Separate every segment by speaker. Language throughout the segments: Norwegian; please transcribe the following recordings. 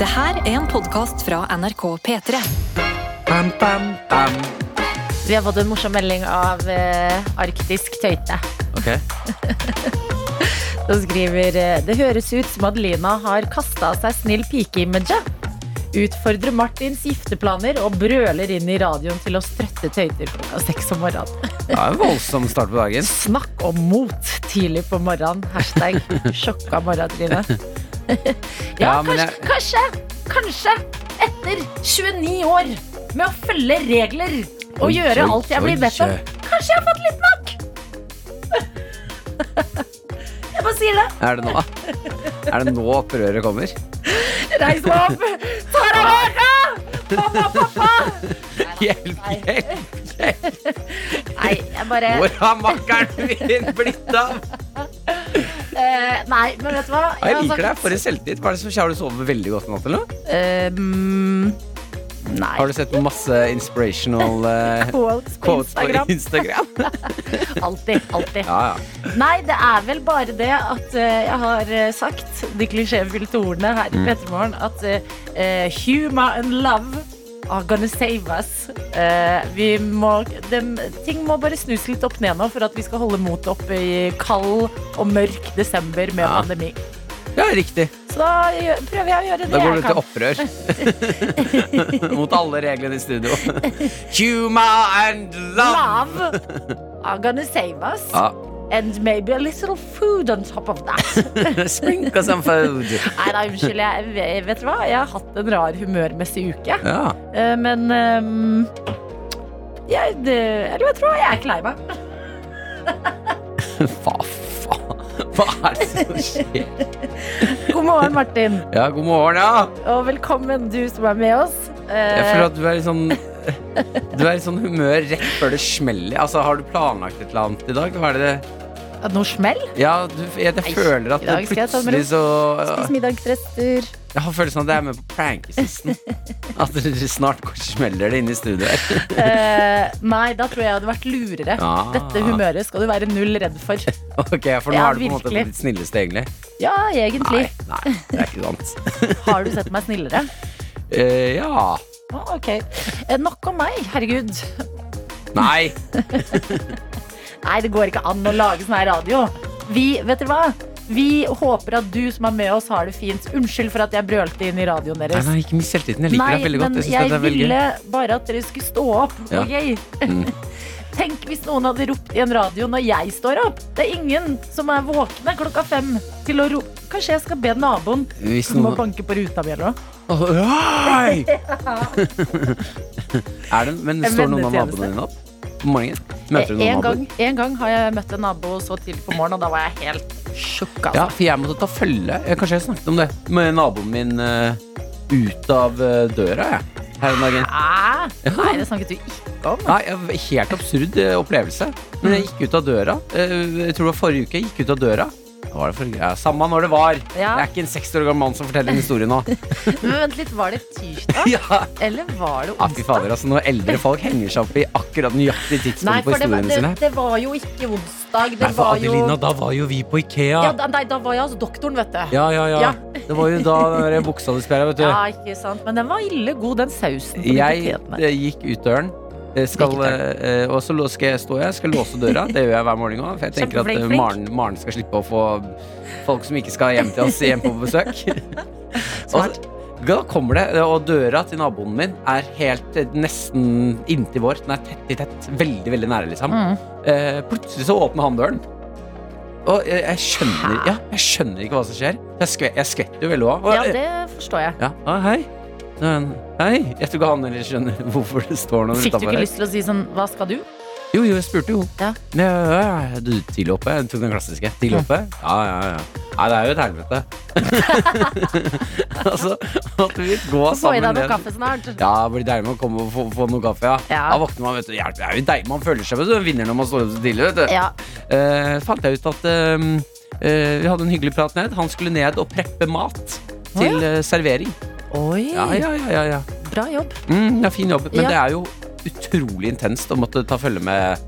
Speaker 1: Det her er en podkast fra NRK P3.
Speaker 2: Bam, bam, bam.
Speaker 3: Vi har fått en morsom melding av eh, Arktisk Tøyte.
Speaker 2: Ok.
Speaker 3: Som skriver eh, Det høres ut som Adelina har kasta av seg snill pike-imaget. Utfordrer Martins gifteplaner og brøler inn i radioen til å strøtte tøyter klokka seks om morgenen.
Speaker 2: Det er en voldsom start på dagen.
Speaker 3: Snakk om mot tidlig på morgenen. Hashtag sjokka morgentryne. ja,
Speaker 2: Ja, men
Speaker 3: kanskje, kanskje, kanskje etter 29 år med å følge regler og
Speaker 2: Oi,
Speaker 3: gjøre
Speaker 2: oi,
Speaker 3: alt jeg blir
Speaker 2: oi,
Speaker 3: bedt om,
Speaker 2: eh.
Speaker 3: kanskje jeg har fått litt nok. jeg bare sier det.
Speaker 2: Er det nå? Er det nå opprøret kommer?
Speaker 3: Reis deg opp! Ta deg vare! Pappa, pappa!
Speaker 2: Hjelp, hjelp!
Speaker 3: Nei, jeg bare
Speaker 2: Hvor har makkeren min blitt av?
Speaker 3: eh, Nei, men vet du hva?
Speaker 2: Ja, jeg
Speaker 3: har
Speaker 2: liker deg.
Speaker 3: sagt-
Speaker 2: For en selvtillit. Hva er det som skjer? Har du sovet veldig godt i natt, eller? noe?
Speaker 3: Eh, mm, Nei.
Speaker 2: Har du sett masse inspirational eh,
Speaker 3: Quotes på
Speaker 2: quotes på
Speaker 3: Instagram.
Speaker 2: Instagram?
Speaker 3: Alltid. alltid
Speaker 2: Ja, ja.
Speaker 3: Nei, det er vel bare det at eh, jeg har eh, sagt de klisjéfylte ordene her
Speaker 2: Mm.
Speaker 3: i Petremorgen at eh, humor and love are gonna save us. Eh, vi må, dem- ting må bare snus litt opp ned nå for at vi skal holde motet oppe i kald og mørk desember med
Speaker 2: Ja.
Speaker 3: pandemi.
Speaker 2: ja riktig.
Speaker 3: Så da gjø- prøver jeg å gjøre det
Speaker 2: Da går
Speaker 3: jeg
Speaker 2: du til
Speaker 3: kan.
Speaker 2: opprør. Mot alle reglene i studio. Humor and love!
Speaker 3: Love are gonna save us.
Speaker 2: Ja.
Speaker 3: And maybe a little food on top of that.
Speaker 2: Sprinkle some food.
Speaker 3: Nei, nei, unnskyld. Jeg, jeg- vet du hva? Jeg har hatt en rar humørmessig uke.
Speaker 2: Ja.
Speaker 3: Eh, Men ehm, jeg, det, eller jeg tror jeg er ikke lei meg.
Speaker 2: Hva faen? Hva er det som skjer?
Speaker 3: God morgen, Martin,
Speaker 2: Ja, god morgen, ja.
Speaker 3: og velkommen du som er med oss. Eh,
Speaker 2: Jeg føler at du er i sånn Du er i sånn humør rett før det smeller. Altså, har du planlagt et eller annet i dag? Hva er det det
Speaker 3: at noe smell?
Speaker 2: Ja, du, jeg, jeg føler at
Speaker 3: i
Speaker 2: det
Speaker 3: dag skal jeg ta det med
Speaker 2: plutselig så
Speaker 3: Spis middagsrester.
Speaker 2: Jeg har følelsen av at jeg er med på prankesisten. At det snart smeller det inne i studio her.
Speaker 3: Eh, nei, da tror jeg jeg hadde vært lurere.
Speaker 2: Ah.
Speaker 3: Dette humøret skal du være null redd for.
Speaker 2: Ok, for nå
Speaker 3: Ja,
Speaker 2: er du på en måte på
Speaker 3: virkelig.
Speaker 2: ditt snilleste, egentlig.
Speaker 3: Ja, egentlig.
Speaker 2: Nei, nei, det er ikke sant.
Speaker 3: Har du sett meg snillere?
Speaker 2: Eh, ja.
Speaker 3: Ah, ok. Eh, nok om meg. Herregud.
Speaker 2: Nei.
Speaker 3: Nei, det går ikke an å lage sånn her radio. Vi, vet dere hva? Vi håper at du som er med oss, har det fint. Unnskyld for at jeg brølte inn i radioen
Speaker 2: nei,
Speaker 3: deres.
Speaker 2: nei ikke mist selvtilliten. Jeg liker deg veldig godt.
Speaker 3: men
Speaker 2: Jeg synes det er veldig
Speaker 3: ville
Speaker 2: gøy.
Speaker 3: bare at dere skulle stå opp.
Speaker 2: Ja.
Speaker 3: ok?
Speaker 2: Mm.
Speaker 3: Tenk hvis noen hadde ropt i en radio når jeg står opp. Det er ingen som er våkne klokka fem til å rope. Kanskje jeg skal be naboen
Speaker 2: Hvis
Speaker 3: som må
Speaker 2: noen
Speaker 3: banke på ruta mi eller noe.
Speaker 2: Åh, Oi! er det, men
Speaker 3: En
Speaker 2: står noen av
Speaker 3: vennetjeneste.
Speaker 2: naboene dine opp om morgenen? Møter du noen
Speaker 3: En gang,
Speaker 2: naboer?
Speaker 3: en gang har jeg møtt en nabo så tidlig på morgenen, og da var jeg helt sjokk.
Speaker 2: Ja,
Speaker 3: Altså.
Speaker 2: for jeg måtte ta følge. Jeg, kanskje jeg snakket om det med naboen min eh, ut av eh, døra, jeg. Her om dagen.
Speaker 3: Hæ? Ah, Nei, det snakket du ikke om.
Speaker 2: Nei, jeg- helt absurd eh, opplevelse. Men jeg gikk ut av døra. eh, jeg tror det var forrige uke. Jeg gikk ut av døra. Hva Var det forrige? Ja, samme når det var.
Speaker 3: Ja.
Speaker 2: Jeg er ikke en 60 år gammel mann som forteller en historie nå.
Speaker 3: Men vent litt, var det tirsdag?
Speaker 2: ja.
Speaker 3: Eller var det
Speaker 2: Ah, fy
Speaker 3: onsdag?
Speaker 2: fader, altså, når eldre folk henger seg opp i akkurat nøyaktig
Speaker 3: Nei,
Speaker 2: tidspunkt på
Speaker 3: for det var,
Speaker 2: historiene
Speaker 3: det,
Speaker 2: sine.
Speaker 3: det var jo ikke onsdag. Det
Speaker 2: Nei, for
Speaker 3: var jo
Speaker 2: Adelina, da var jo vi på Ikea.
Speaker 3: ja, da, Nei, da var jeg hos doktoren, vet du.
Speaker 2: Ja, ja, ja.
Speaker 3: Ja.
Speaker 2: Det var jo da den der buksa du sperra, vet du.
Speaker 3: Ja, ikke sant. Men den var ille god, den sausen. på
Speaker 2: jeg
Speaker 3: potetene.
Speaker 2: eh, gikk ut døren. eh, Skal,
Speaker 3: Gikk ut
Speaker 2: eh, og så lå- skal jeg stå jeg skal låse døra. Det gjør jeg hver morgen òg. For jeg tenker at eh,
Speaker 3: Kjempeflink, flink.
Speaker 2: Maren, Maren skal slippe å få folk som ikke skal hjem til oss, hjem på besøk. Og
Speaker 3: Smart.
Speaker 2: så- da kommer det, eh, og døra til naboen min er helt eh, nesten inntil vår. Den er tett i tett. Veldig, veldig nære, liksom.
Speaker 3: Mm.
Speaker 2: Eh, plutselig så åpner han døren. Og eh, jeg, jeg skjønner
Speaker 3: Hæ?
Speaker 2: Ja, jeg skjønner ikke hva som skjer. Jeg, skve, jeg skvetter jo veldig eh, òg.
Speaker 3: Ja, det forstår jeg.
Speaker 2: Ja, ah, hei. Så er han, hei. Jeg tror ikke han heller skjønner hvorfor det står noen
Speaker 3: Fikk du
Speaker 2: utenfor
Speaker 3: ikke
Speaker 2: her.
Speaker 3: lyst til å si sånn Hva skal du?
Speaker 2: Jo, jo, jeg spurte jo.
Speaker 3: Ja.
Speaker 2: Men, ja, ja, ja, du, tidlig oppe. Jeg tok den klassiske. Tidlig oppe? Ja, ja, ja. Nei, det er jo et helvete. altså, måtte vi gå
Speaker 3: Få få
Speaker 2: sammen
Speaker 3: i deg
Speaker 2: ned.
Speaker 3: noe kaffe snart.
Speaker 2: Ja, det blir deilig med å komme og få, få noe kaffe, ja.
Speaker 3: Ja.
Speaker 2: Da våkner man, vet du. Hjelp, det er jo deilig. Man føler seg vet du, som en vinner når man står opp så tidlig, vet du.
Speaker 3: Ja.
Speaker 2: Eh, fant jeg ut at eh, eh, vi hadde en hyggelig prat ned. Han skulle ned og preppe mat til
Speaker 3: Å,
Speaker 2: eh, servering.
Speaker 3: Oi,
Speaker 2: Ja, ja, ja, ja, ja.
Speaker 3: bra jobb.
Speaker 2: Mm, ja, fin jobb. Men
Speaker 3: Ja.
Speaker 2: det er jo utrolig intenst å måtte ta følge med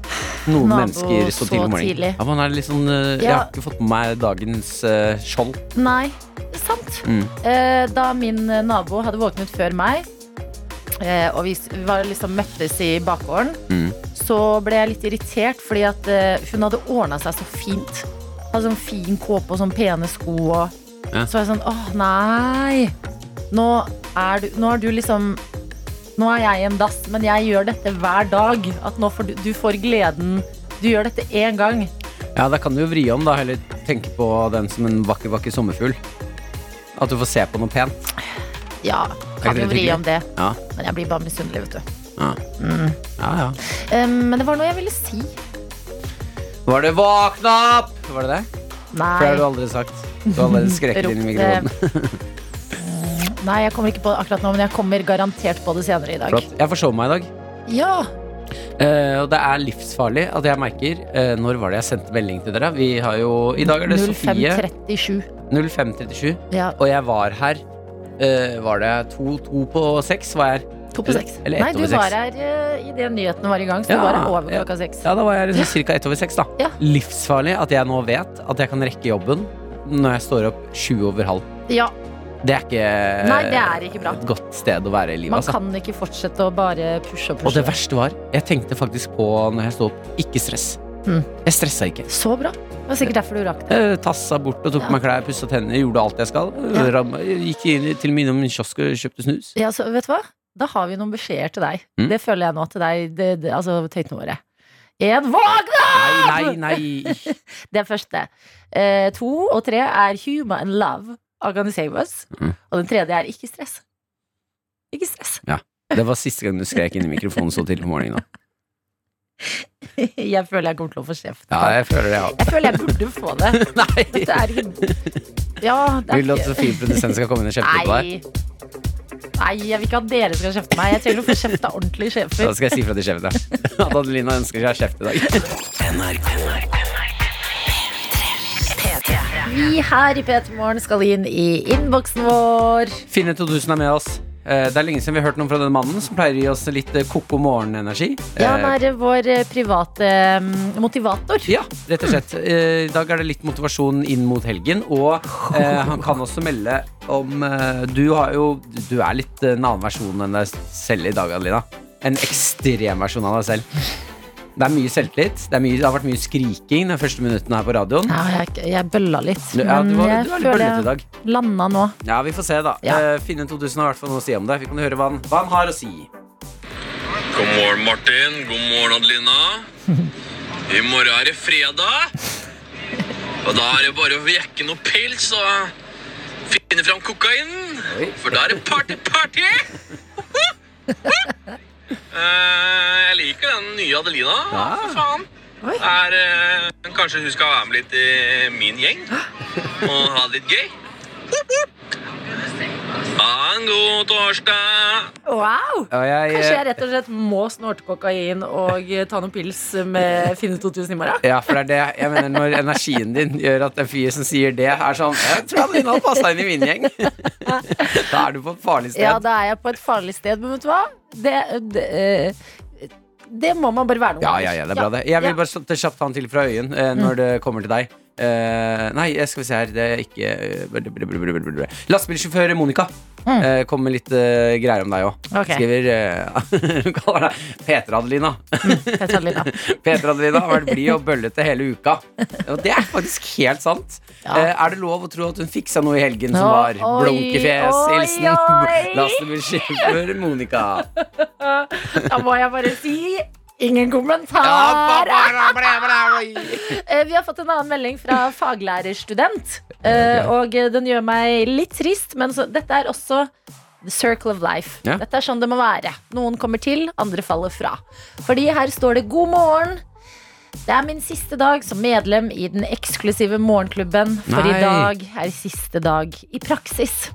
Speaker 2: noen
Speaker 3: Nabo
Speaker 2: mennesker så
Speaker 3: så
Speaker 2: tidlig om morgenen.
Speaker 3: tidlig.
Speaker 2: Ja, man er litt sånn, eh, Jeg
Speaker 3: Ja.
Speaker 2: har ikke fått med meg dagens eh, skjold.
Speaker 3: Nei, sant.
Speaker 2: Mm.
Speaker 3: Eh, da min eh, nabo hadde våknet før meg, eh, og vi s- vi var liksom møttes i bakgården,
Speaker 2: Mm.
Speaker 3: så ble jeg litt irritert fordi at eh, hun hadde ordna seg så fint. Hadde sånn fin kåpe og sånn pene sko og
Speaker 2: Ja.
Speaker 3: Så var jeg sånn åh, nei. Nå er du, nå er du liksom Nå er jeg en dass, men jeg gjør dette hver dag. At nå får du, du får gleden Du gjør dette én gang.
Speaker 2: Ja, Da kan du jo vri om, da. Heller tenke på den som en vakker, vakker sommerfugl. At du får se på noe pent.
Speaker 3: Ja, kan
Speaker 2: det
Speaker 3: jo vri
Speaker 2: hyggelig?
Speaker 3: om det.
Speaker 2: Ja.
Speaker 3: Men jeg blir bare misunnelig, vet du.
Speaker 2: Ja.
Speaker 3: Mm.
Speaker 2: ja, ja.
Speaker 3: Eh, men det var noe jeg ville si.
Speaker 2: Var det 'våkna opp'? Var det det?
Speaker 3: Nei.
Speaker 2: For det har du aldri sagt. Du har allerede skreket inn i mikrofonen.
Speaker 3: Nei, jeg kommer ikke på det akkurat nå, men jeg kommer garantert på det senere i dag.
Speaker 2: Flott. Jeg forsov meg i dag.
Speaker 3: Ja!
Speaker 2: Eh, og det er livsfarlig at jeg merker eh, Når var det jeg sendte melding til dere? Vi har jo, I dag er det Sofie
Speaker 3: 0537.
Speaker 2: 0537
Speaker 3: Ja,
Speaker 2: Og jeg var her eh, Var det to, to på seks? Var jeg her?
Speaker 3: to på seks.
Speaker 2: Eller ett
Speaker 3: Nei, du
Speaker 2: over seks.
Speaker 3: var her eh, i det nyhetene var i gang, så
Speaker 2: Ja,
Speaker 3: du var her over
Speaker 2: ja.
Speaker 3: klokka seks.
Speaker 2: Ja, da var jeg liksom cirka ett over seks da
Speaker 3: Ja.
Speaker 2: Livsfarlig at jeg nå vet at jeg kan rekke jobben Når jeg står opp sju over halv
Speaker 3: Ja,
Speaker 2: Det er ikke,
Speaker 3: Nei, det er ikke bra.
Speaker 2: et godt sted å være i livet
Speaker 3: man
Speaker 2: Eh, altså.
Speaker 3: kan ikke fortsette å bare pushe og
Speaker 2: Og det
Speaker 3: pushe.
Speaker 2: verste var Jeg tenkte faktisk på når jeg stod opp Ikke stress
Speaker 3: Mm.
Speaker 2: Jeg stresset ikke
Speaker 3: Så bra. Det var sikkert derfor du rakk det.
Speaker 2: Jeg tassa Eh, bort og tok
Speaker 3: Ja.
Speaker 2: på meg klær, pussa tenner, gjorde alt jeg skal.
Speaker 3: Ja.
Speaker 2: Ramma- Gikk inn, i- til og med innom en kiosk og kjøpte snus.
Speaker 3: Ja, så vet du hva? Da har vi noen beskjeder til deg.
Speaker 2: Mm.
Speaker 3: Det føler jeg nå til deg, det, det, altså tøytene våre. En våg!
Speaker 2: Nei, nei, nei!
Speaker 3: Det er første. Eh, to og tre er human and love. Organize us.
Speaker 2: Mm.
Speaker 3: Og den tredje er ikke stress. Ikke stress.
Speaker 2: Det var siste gang du skrek inn i mikrofonen så tidlig på morgenen. da.
Speaker 3: Jeg føler jeg kommer til å få kjeft.
Speaker 2: Ja, jeg føler det, ja.
Speaker 3: Jeg føler jeg burde få det. Dette
Speaker 2: Nei!
Speaker 3: er ikke Ja, det
Speaker 2: Vil du
Speaker 3: er
Speaker 2: at
Speaker 3: ikke
Speaker 2: Sofie produsent skal komme inn og kjefte på deg?
Speaker 3: Nei. Nei, jeg vil ikke at dere skal kjefte meg. Jeg trenger å få kjefta ordentlige sjefer.
Speaker 2: Da skal jeg si fra til sjefen, da. At Adelina ønsker seg kjeft i dag.
Speaker 3: Vi her i P3 Morgen skal inn i innboksen vår.
Speaker 2: Finne 2000 er med oss. Eh, Det er lenge siden vi har hørt noe fra den mannen som pleier å gi oss litt eh, koko morgenenergi.
Speaker 3: Ja, han
Speaker 2: Eh,
Speaker 3: er vår eh, private mm, motivator.
Speaker 2: Ja, rett og slett. Eh, I dag er det litt motivasjon inn mot helgen. Og eh, han kan også melde om eh, Du har jo Du er litt eh, en annen versjon enn deg selv i dag, Adelina. En ekstrem versjon av deg selv. Det er mye selvtillit. Det, er mye, det har vært mye skriking de første minuttene her på radioen.
Speaker 3: Ja, jeg, jeg bølla litt,
Speaker 2: Du, ja, du,
Speaker 3: men
Speaker 2: var,
Speaker 3: jeg
Speaker 2: du er litt
Speaker 3: føler
Speaker 2: bøllete i
Speaker 3: jeg
Speaker 2: dag.
Speaker 3: landa nå.
Speaker 2: Ja, vi får se, da.
Speaker 3: Ja.
Speaker 2: Eh, Finne 2000 har i hvert fall noe å si om det. Vi kan høre hva han, hva han har å si.
Speaker 4: God morgen, Martin. God morgen, Adelina. I morgen er det fredag. Og da er det bare å jekke noe pils og finne fram kokainen. For da er det party, party! Eh, jeg liker den nye Adelina.
Speaker 2: Ja.
Speaker 4: For faen.
Speaker 3: Oi.
Speaker 4: Er, eh, kanskje hun skal være med litt i min gjeng og ha det litt gøy. Ha en god torsdag.
Speaker 3: Wow!
Speaker 2: Og jeg,
Speaker 3: Kanskje jeg rett og slett må snorte kokain og eh, ta noen pils med Finne 2000 i morgen?
Speaker 2: Ja, for det er det jeg mener når energien din gjør at en fyr som sier det, er sånn Jeg tror han hadde passa inn i min gjeng. Da er du på et farlig sted.
Speaker 3: Ja, da er jeg på et farlig sted, men vet du hva? Det, det, eh, det må man bare være noe
Speaker 2: Ja, ja, ja, det er bra, det. Jeg vil
Speaker 3: Ja. Mm.
Speaker 2: bare slå- kjapt ta en til fra øyen eh, når det kommer til deg. Eh, nei, jeg skal vi se her Det er ikke eh, blablabla. Lastebilsjåfør Monica
Speaker 3: Mm.
Speaker 2: eh, kom med litt eh, greier om deg òg.
Speaker 3: Ok.
Speaker 2: Skriver eh, Hun kaller deg Peter-Adelina.
Speaker 3: Jeg tar litt av.
Speaker 2: Peter-Adelina har vært blid og bøllete hele uka. Og det er faktisk helt sant.
Speaker 3: Ja.
Speaker 2: Eh, er det lov å tro at hun fiksa noe i helgen som
Speaker 3: Å,
Speaker 2: var
Speaker 3: oi,
Speaker 2: blunkefjes,
Speaker 3: oi, oi.
Speaker 2: hilsen lastebilsjåfør Monica?
Speaker 3: Da må jeg bare si
Speaker 2: Ja,
Speaker 3: ingen kommentar.
Speaker 2: bla, bla, bla, bla, oi.
Speaker 3: Eh, Vi har fått en annen melding fra faglærerstudent. eh, Og eh, den gjør meg litt trist, men så, dette er også the circle of life.
Speaker 2: Ja.
Speaker 3: Dette er sånn det må være. Noen kommer til, andre faller fra. Fordi her står det 'God morgen'. Det er min siste dag som medlem i den eksklusive morgenklubben, for
Speaker 2: Nei.
Speaker 3: i dag er siste dag i praksis.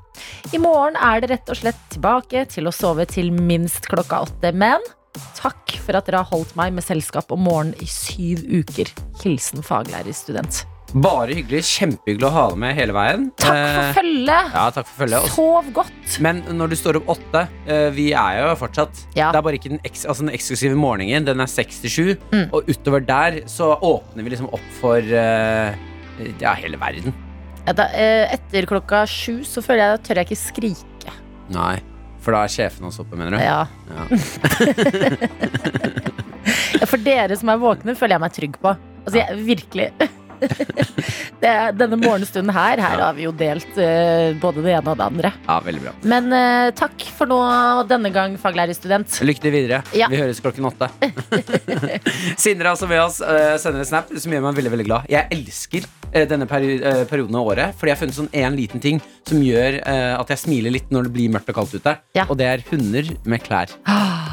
Speaker 3: I morgen er det rett og slett tilbake til å sove til minst klokka åtte, men Takk for at dere har holdt meg med selskap om morgenen i syv uker. Hilsen faglærerstudent.
Speaker 2: Bare hyggelig. Kjempehyggelig å ha deg med hele veien.
Speaker 3: Takk for
Speaker 2: Eh,
Speaker 3: følget.
Speaker 2: Ja, takk for følget. Og-
Speaker 3: Sov godt.
Speaker 2: Men når du står opp åtte eh, Vi er jo fortsatt
Speaker 3: Ja.
Speaker 2: Det er bare ikke den, eks altså den eksklusive morgenen Den er 67
Speaker 3: Mm.
Speaker 2: Og utover der så åpner vi liksom opp for eh, Ja, hele verden
Speaker 3: Ja, da, eh, etter klokka sju så føler jeg da tør jeg ikke skrike.
Speaker 2: Nei For da er sjefen hans oppe, mener du?
Speaker 3: Ja.
Speaker 2: Ja.
Speaker 3: For dere som er våkne, føler jeg meg trygg på. Altså, jeg, virkelig. det, er- denne morgenstunden her, her har vi jo delt eh, både det ene og det andre.
Speaker 2: Ja, veldig bra
Speaker 3: Men eh, takk for nå denne gang, faglærerstudent.
Speaker 2: Lykke til videre
Speaker 3: Ja.
Speaker 2: Vi høres klokken åtte Sindre er altså med oss eh, Sender en snap som gjør meg veldig, veldig glad Jeg elsker eh, denne peri eh, perioden av året Fordi jeg har funnet sånn en liten ting Som gjør eh, at jeg smiler litt når det blir mørkt og kaldt ute
Speaker 3: Ja.
Speaker 2: Og det er hunder med klær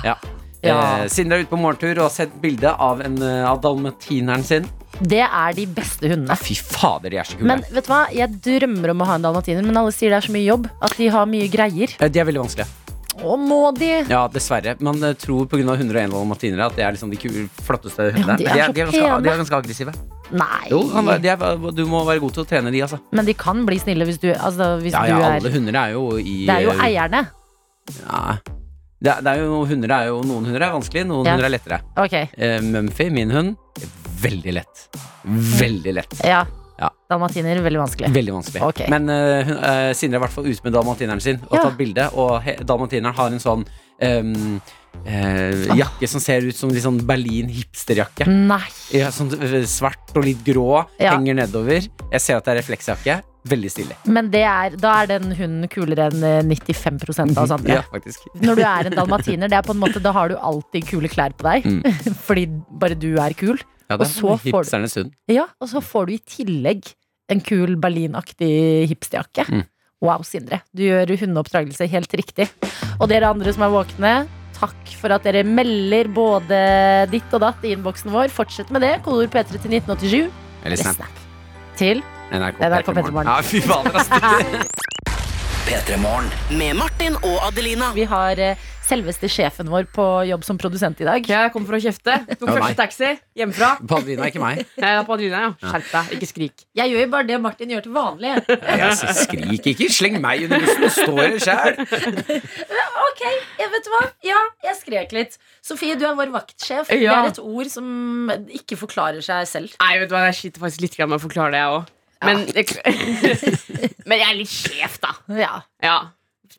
Speaker 2: Ja.
Speaker 3: Ja.
Speaker 2: Eh, Sindre er ute på morgentur og har sett bilde av, en, eh, av dalmatineren sin.
Speaker 3: Det er de beste hundene.
Speaker 2: Fy fader, de er så kule.
Speaker 3: Men vet du hva? Jeg drømmer om å ha en dalmatiner, men alle sier det er så mye jobb at de har mye greier.
Speaker 2: Eh, de er veldig vanskelige.
Speaker 3: Å, må de?
Speaker 2: Ja, dessverre. Man eh, tror pga. 101 dalmatinere at det er liksom de kule, flotteste hundene.
Speaker 3: de
Speaker 2: Men de,
Speaker 3: er så
Speaker 2: er ganske,
Speaker 3: pene.
Speaker 2: de er ganske aggressive.
Speaker 3: Nei.
Speaker 2: Jo, han, de er, du må være god til å trene de, altså.
Speaker 3: Men de kan bli snille hvis du, altså, hvis
Speaker 2: Ja, ja,
Speaker 3: du
Speaker 2: alle
Speaker 3: er
Speaker 2: hunder er jo i
Speaker 3: Det er jo
Speaker 2: eh,
Speaker 3: eierne.
Speaker 2: ja. det, er- det er jo, hunder er jo Noen hunder er vanskelig, noen
Speaker 3: Ja.
Speaker 2: hunder er lettere.
Speaker 3: Ok,
Speaker 2: Eh, Mumphy, min hund, veldig lett. Veldig lett.
Speaker 3: ja.
Speaker 2: Ja.
Speaker 3: Dalmatiner, veldig vanskelig.
Speaker 2: Veldig vanskelig.
Speaker 3: Ok.
Speaker 2: Men eh, hun- eh, Sindre er i hvert fall ute med dalmatineren sin og
Speaker 3: Ja.
Speaker 2: tatt bilde. Og he dalmatineren har en sånn ehm, eh,
Speaker 3: Ah.
Speaker 2: jakke som ser ut som litt sånn Berlin hipsterjakke.
Speaker 3: Nei.
Speaker 2: Ja, sånn eh, svart og litt grå,
Speaker 3: Ja.
Speaker 2: henger nedover. Jeg ser at det er refleksjakke. Veldig stilig.
Speaker 3: Men det er, da er den hunden kulere enn eh, 95 av oss andre.
Speaker 2: Ja, faktisk.
Speaker 3: Når du er en dalmatiner, det er på en måte, da har du alltid kule klær på
Speaker 2: Mm.
Speaker 3: deg. Fordi bare du er kul.
Speaker 2: Ja,
Speaker 3: Og
Speaker 2: det
Speaker 3: så
Speaker 2: er
Speaker 3: får du-
Speaker 2: hipsternes hund.
Speaker 3: Ja, Og så får du i tillegg en kul berlinaktig hipsterjakke.
Speaker 2: Mm.
Speaker 3: Wow, Sindre. Du gjør hundeoppdragelse helt riktig. Og dere andre som er våkne, takk for at dere melder både ditt og datt i innboksen vår. Fortsett med det. Kodeord P3 til 1987.
Speaker 2: Eller
Speaker 3: Eller
Speaker 2: Snap.
Speaker 3: Snap. Til
Speaker 2: NRK
Speaker 3: NRK
Speaker 2: Petremorgen.
Speaker 3: Petremorgen.
Speaker 2: Ja, fy fader, ass.
Speaker 5: P3morgen. Med Martin og Adelina.
Speaker 3: Vi har eh, selveste sjefen vår på jobb som produsent i dag.
Speaker 6: Jeg kom for å kjefte. Tok
Speaker 2: Ja, nei.
Speaker 6: første taxi hjemmefra.
Speaker 2: Paddelina, ikke meg.
Speaker 6: Jeg er på Adelina, ja. Skjerp deg, ikke skrik.
Speaker 3: Jeg gjør jo bare det Martin gjør til vanlig.
Speaker 2: Jeg sier, skrik ikke. Sleng meg under bussen og stå her sjæl.
Speaker 3: Ok, jeg vet hva? Ja, jeg skrek litt. Sofie, du er vår vaktsjef.
Speaker 6: Ja.
Speaker 3: Det er et ord som ikke forklarer seg selv.
Speaker 6: Nei, vet du hva, jeg sliter faktisk litt grann med å forklare det, jeg òg. Men, jeg- men jeg er litt sjef, da.
Speaker 3: Ja.
Speaker 6: Ja.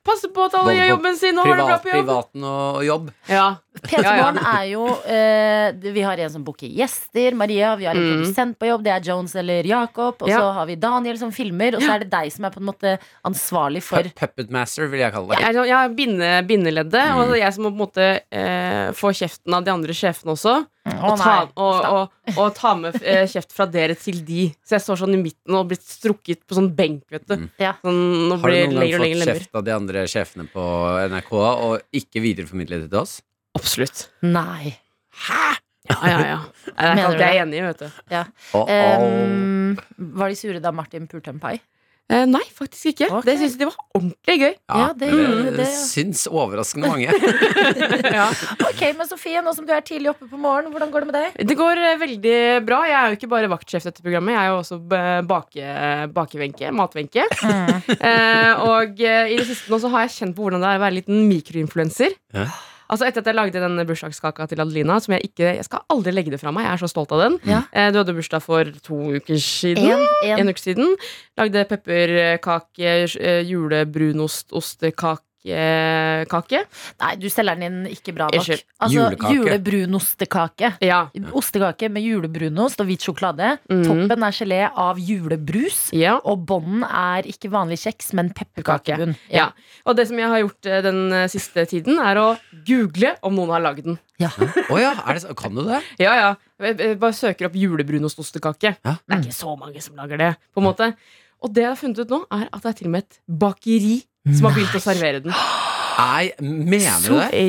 Speaker 6: Passer på at alle gjør jobben sin og har det bra på jobb.
Speaker 2: privaten og jobb.
Speaker 6: Ja.
Speaker 3: P3
Speaker 6: Ja, ja.
Speaker 3: Morgen er jo eh, det- Vi har en som booker gjester. Maria, vi har en
Speaker 6: Mm.
Speaker 3: produsent på jobb. Det er Jones eller Jakob. Og
Speaker 6: Ja.
Speaker 3: så har vi Daniel som filmer. Og så er det deg som er på en måte ansvarlig for
Speaker 2: Pu- Puppet master, vil jeg kalle det.
Speaker 6: Jeg er sånn- jeg er binde, bindeleddet,
Speaker 2: Mm.
Speaker 6: og det er jeg som må på en måte eh, få kjeften av de andre sjefene også.
Speaker 3: Å,
Speaker 6: Og ta,
Speaker 3: nei.
Speaker 6: og, og, og ta med eh, kjeft fra dere til de. Så jeg står sånn i midten og blir strukket på sånn benk, vet du.
Speaker 3: Ja.
Speaker 6: Sånn, nå
Speaker 2: Mm. Har du
Speaker 6: blir det
Speaker 2: noen gang
Speaker 6: lenger og
Speaker 2: fått
Speaker 6: lenger lemmer.
Speaker 2: kjeft av de andre sjefene på NRK og ikke videreformidlet det til oss?
Speaker 6: Absolutt.
Speaker 3: nei.
Speaker 6: Ja, ja, ja. Det er
Speaker 3: Mener
Speaker 6: ikke
Speaker 3: du
Speaker 6: alt jeg er enig i, vet du.
Speaker 2: Oh,
Speaker 3: Um, var de sure da Martin pulte en pai?
Speaker 6: Eh, nei, faktisk ikke.
Speaker 3: Ok.
Speaker 6: Det syns jeg de var ordentlig gøy.
Speaker 3: ja, det gjorde det, ja.
Speaker 2: syns overraskende mange.
Speaker 6: Ja.
Speaker 3: Ok, men Sofie, nå som du er tidlig oppe på morgenen, hvordan går det med deg?
Speaker 6: Det går eh, veldig bra. Jeg er jo ikke bare vaktsjef dette programmet. Jeg er jo også eh, bake, bakevenke. Matvenke.
Speaker 3: Mm.
Speaker 6: Eh, og eh, i det siste nå så har jeg kjent på hvordan det er å være en liten mikroinfluenser.
Speaker 2: Ja.
Speaker 6: Altså Etter at jeg lagde den bursdagskaka til Adelina, som jeg ikke Jeg skal aldri legge det fra meg. Jeg er så stolt av den.
Speaker 3: Ja.
Speaker 6: Eh, du hadde bursdag for to uker siden.
Speaker 3: En, en.
Speaker 6: en uke siden. Lagde pepperkake, eh, julebrunost, ostekake kake.
Speaker 3: Nei, du selger den inn ikke bra nok.
Speaker 6: Unnskyld.
Speaker 3: Altså,
Speaker 2: Julekake.
Speaker 3: Julebrunostekake.
Speaker 6: Ja.
Speaker 3: Ostekake med julebrunost og hvit sjokolade.
Speaker 6: Mhm.
Speaker 3: Toppen er gelé av julebrus.
Speaker 6: ja.
Speaker 3: Og bånden er ikke vanlig kjeks, men pepperkakebunn.
Speaker 6: Ja. Og det som jeg har gjort eh, den eh, siste tiden, er å google om noen har lagd den.
Speaker 3: Ja.
Speaker 2: Oh, ja, er det, så- kan du det?
Speaker 6: Ja, ja. Jeg, jeg bare søker opp julebrunostostekake.
Speaker 2: Ja.
Speaker 6: Det er ikke så mange som lager det. på en måte. Og det jeg har funnet ut nå, er at det er til og med et bakeri som har begynt å servere den.
Speaker 2: Nei, mener du det?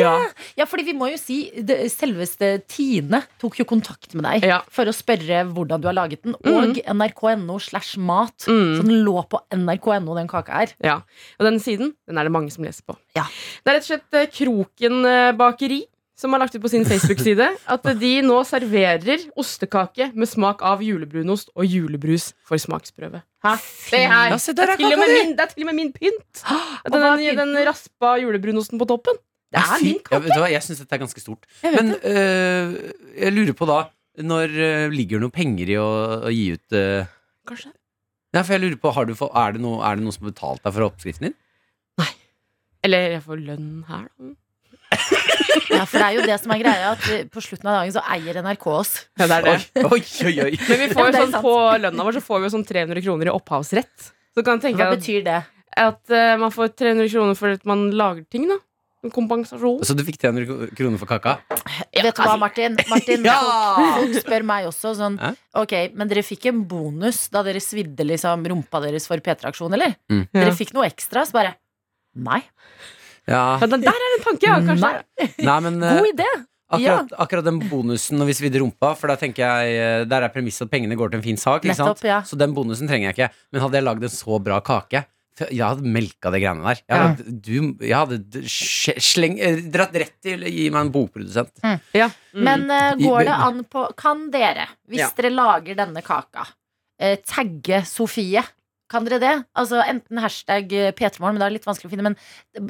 Speaker 6: Ja.
Speaker 3: ja, fordi vi må jo si det, Selveste Tine tok jo kontakt med deg
Speaker 6: Ja.
Speaker 3: for å spørre hvordan du har laget den, og nrk.no slash mat.
Speaker 6: Mm.
Speaker 3: Så den lå på nrk.no, den kaka her.
Speaker 6: Ja, Og den siden den er det mange som leser på.
Speaker 3: Ja.
Speaker 6: Det er rett og slett eh, Kroken eh, bakeri. som har lagt ut på sin Facebook-side at eh, de nå serverer ostekake med smak av julebrunost og julebrus for smaksprøve. Hæ? Det her.
Speaker 2: Ja, se der er
Speaker 6: Til og med
Speaker 2: kaka di!
Speaker 6: min, det er til Ah, og med min pynt!
Speaker 3: Og hva
Speaker 6: Den,
Speaker 3: er
Speaker 6: den raspa julebrunosten på toppen. Det
Speaker 2: Ja,
Speaker 6: er
Speaker 2: fy-
Speaker 6: min
Speaker 2: ja,
Speaker 6: kake.
Speaker 2: vet du hva, Jeg syns dette er ganske stort. Men øh, jeg lurer på da Når øh, ligger det noen penger i å, å gi ut øh,
Speaker 6: Kanskje.
Speaker 2: Nei, for jeg lurer på har du fått- er, det noe, er det noen som har betalt deg for oppskriften din?
Speaker 6: Eller jeg får lønn her, da.
Speaker 3: Ja, for det er jo det som er greia, at eh, på slutten av dagen så eier NRK oss.
Speaker 6: Ja, det er det.
Speaker 2: Oi, oi, oi, oi.
Speaker 6: Men vi får
Speaker 3: Ja, det
Speaker 6: jo
Speaker 3: er
Speaker 6: sånn,
Speaker 3: sant.
Speaker 6: på lønna vår så får vi jo sånn 300 kroner i opphavsrett. Så kan jeg tenke
Speaker 3: Hva
Speaker 6: at,
Speaker 3: betyr det?
Speaker 6: at eh, man får 300 kroner for at man lager ting, da. En kompensasjon.
Speaker 2: Så du fikk 300 kro- kroner for kaka?
Speaker 3: Vet
Speaker 6: altså-
Speaker 3: du hva, Martin? Martin
Speaker 2: Ja!
Speaker 3: folk, folk spør meg også sånn
Speaker 2: Hæ?
Speaker 3: Ok, men dere fikk en bonus da dere svidde liksom rumpa deres for P3-aksjon, eller?
Speaker 2: Mm.
Speaker 6: Ja.
Speaker 3: Dere fikk noe ekstra? Så bare Nei.
Speaker 2: Ja.
Speaker 6: Ja, den der er en tanke, ja, kanskje.
Speaker 3: Nei.
Speaker 2: Nei, men øh,
Speaker 3: God idé!
Speaker 2: akkurat, akkurat den bonusen når vi svidde rumpa, for da tenker jeg øh, der er premisset at pengene går til en fin sak. Ikke sant?
Speaker 3: Nettopp, ja.
Speaker 2: Så den bonusen trenger jeg ikke. Men hadde jeg lagd en så bra kake for Jeg hadde melka det greiene der. Jeg hadde, du, jeg hadde d- sj- sleng, eh, dratt rett til Gi meg en bokprodusent.
Speaker 6: Ja. Mm.
Speaker 3: Men eh,
Speaker 2: I-
Speaker 3: går det an på Kan dere, hvis
Speaker 2: Ja.
Speaker 3: dere lager denne kaka, eh, tagge Sofie? Kan dere det? Altså Enten hashtag eh, P3morgen, men det er litt vanskelig å finne. Men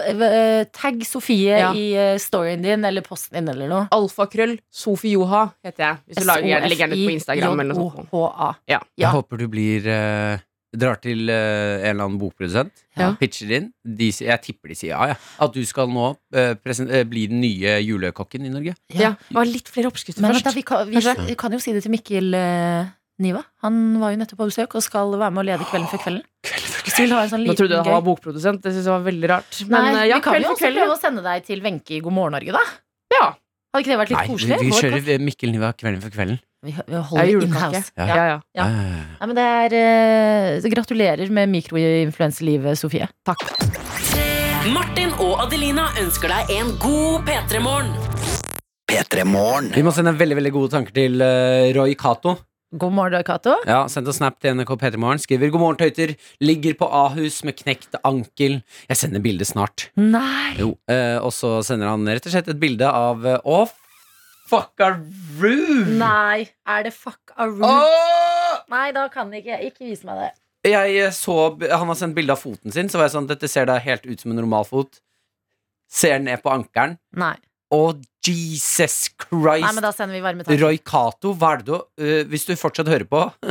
Speaker 3: eh, eh, tagg Sofie
Speaker 6: Ja.
Speaker 3: i eh, storyen din eller posten din eller noe.
Speaker 6: Alfakrøll Sofi Joha heter jeg. Hvis du lager gjerne- legger den ut på Instagram eller noe sånt.
Speaker 3: S-O-F-I-J-O-H-A. Ja.
Speaker 2: Jeg håper du blir eh, Drar til eh, en eller annen bokprodusent,
Speaker 6: Ja.
Speaker 2: pitcher inn. De, sier- jeg tipper de sier ja, ja. At du skal nå eh, presen- eh, bli den nye julekokken i Norge.
Speaker 6: Ja, bare litt flere oppskrifter
Speaker 3: Men vent
Speaker 6: først.
Speaker 3: da, vi, kan, vi,
Speaker 6: Kanskje?
Speaker 3: vi kan jo si det til Mikkel eh, Niva. Han var jo nettopp på besøk og skal være med og lede Kvelden før kvelden. Hvis du vil ha en sånn
Speaker 6: Nå trodde jeg
Speaker 3: liten
Speaker 6: han var
Speaker 3: gøy
Speaker 6: bokprodusent. Det synes jeg var veldig rart. Men
Speaker 3: Nei,
Speaker 6: eh, ja,
Speaker 3: vi kan
Speaker 6: kveld
Speaker 3: jo
Speaker 6: for
Speaker 3: også prøve
Speaker 6: kveld.
Speaker 3: å sende deg til Wenche i God morgen Norge, da.
Speaker 6: Ja.
Speaker 3: Hadde ikke det vært litt
Speaker 2: Nei, vi,
Speaker 3: koselig?
Speaker 2: vi
Speaker 3: Vår
Speaker 2: kjører eh, Mikkel Niva Kvelden for kvelden.
Speaker 3: Vi, vi
Speaker 6: Ja,
Speaker 3: holder
Speaker 6: julekake.
Speaker 3: in-house.
Speaker 2: Ja.
Speaker 6: Ja, ja.
Speaker 3: Ja.
Speaker 2: Eh,
Speaker 3: Nei, men det er, eh, så gratulerer med mikroinfluenselivet, Sofie.
Speaker 6: Takk.
Speaker 5: Martin og Adelina ønsker deg en god P3-morgen.
Speaker 2: Vi må sende veldig veldig gode tanker til eh, Roy Cato.
Speaker 3: God morgen, da, Cato.
Speaker 2: Ja, sendt en snap til NRK P3 Morgen. Skriver 'God morgen, tøyter'. Ligger på Ahus med knekt ankel. Jeg sender bilde snart.
Speaker 3: Nei!
Speaker 2: Jo, eh, Og så sender han rett og slett et bilde av eh, Å, fuckaroo!
Speaker 3: Nei, er det fuck a room?
Speaker 2: Åh!
Speaker 3: Nei, da kan det ikke. Ikke vis meg det.
Speaker 2: Jeg eh, så, b- Han har sendt bilde av foten sin, så var jeg sånn Dette ser da helt ut som en normal fot. Ser ned på ankelen.
Speaker 3: Nei,
Speaker 2: Å, Jesus
Speaker 3: Nei
Speaker 2: Christ!
Speaker 3: men da sender vi varme tanker.
Speaker 2: Roy Cato, hva er det du eh, Hvis du fortsatt hører på,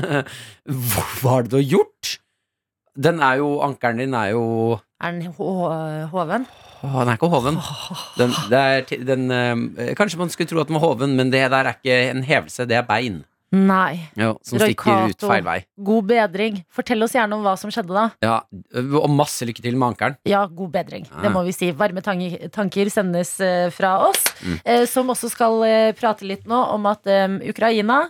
Speaker 2: hva er det du har gjort? Den er jo Ankelen din er jo
Speaker 3: Er den ho- hoven?
Speaker 2: Åh, den er ikke hoven. Den, det er, ti- den, eh, kanskje man skulle tro at den var hoven, men det der er ikke en hevelse, det er bein.
Speaker 3: Nei.
Speaker 2: Jo, som
Speaker 3: Roy
Speaker 2: stikker ut
Speaker 3: Cato.
Speaker 2: feil vei.
Speaker 3: God bedring. Fortell oss gjerne om hva som skjedde da.
Speaker 2: Ja, og masse lykke til med ankelen.
Speaker 3: Ja, god bedring.
Speaker 2: Ja.
Speaker 3: Det må vi si. Varme tange- tanker sendes eh, fra oss,
Speaker 2: Mm.
Speaker 3: eh, som også skal eh, prate litt nå om at eh, Ukraina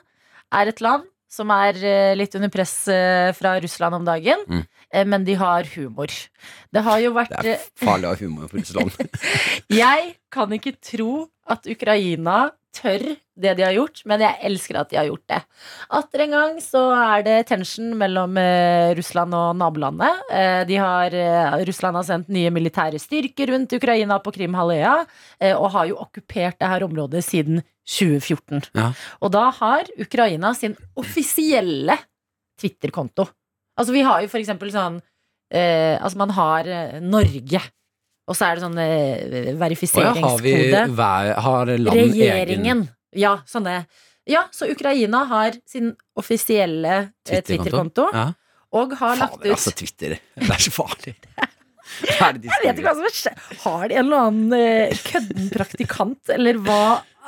Speaker 3: er et land som er eh, litt under press eh, fra Russland om dagen,
Speaker 2: Mm.
Speaker 3: eh, men de har humor. Det har jo vært
Speaker 2: Det er
Speaker 3: eh,
Speaker 2: farlig å ha humor på Russland.
Speaker 3: Jeg kan ikke tro at Ukraina tør det de har gjort, men jeg elsker at de har gjort det. Atter en gang så er det tension mellom eh, Russland og nabolandet. Eh, de har, eh, Russland har sendt nye militære styrker rundt Ukraina på Krimhalvøya, eh, og har jo okkupert det her området siden 2014.
Speaker 2: Ja.
Speaker 3: Og da har Ukraina sin offisielle Twitter-konto. Altså vi har jo for eksempel sånn eh, Altså man har eh, Norge. Og så er det sånn
Speaker 2: Å
Speaker 3: eh,
Speaker 2: ja, har vi
Speaker 3: verifiseringskode.
Speaker 2: hver, har land egen
Speaker 3: Regjeringen. Ja, sånne. Ja, så Ukraina har sin offisielle eh, Twitter-konto.
Speaker 2: Ja.
Speaker 3: og har lagt ut
Speaker 2: Fader, altså, Twitter. Det er så farlig. Hva er det de
Speaker 3: Jeg vet ikke hva
Speaker 2: skriver?
Speaker 3: som har skjedd. Har de en eller annen eh, kødden praktikant, eller hva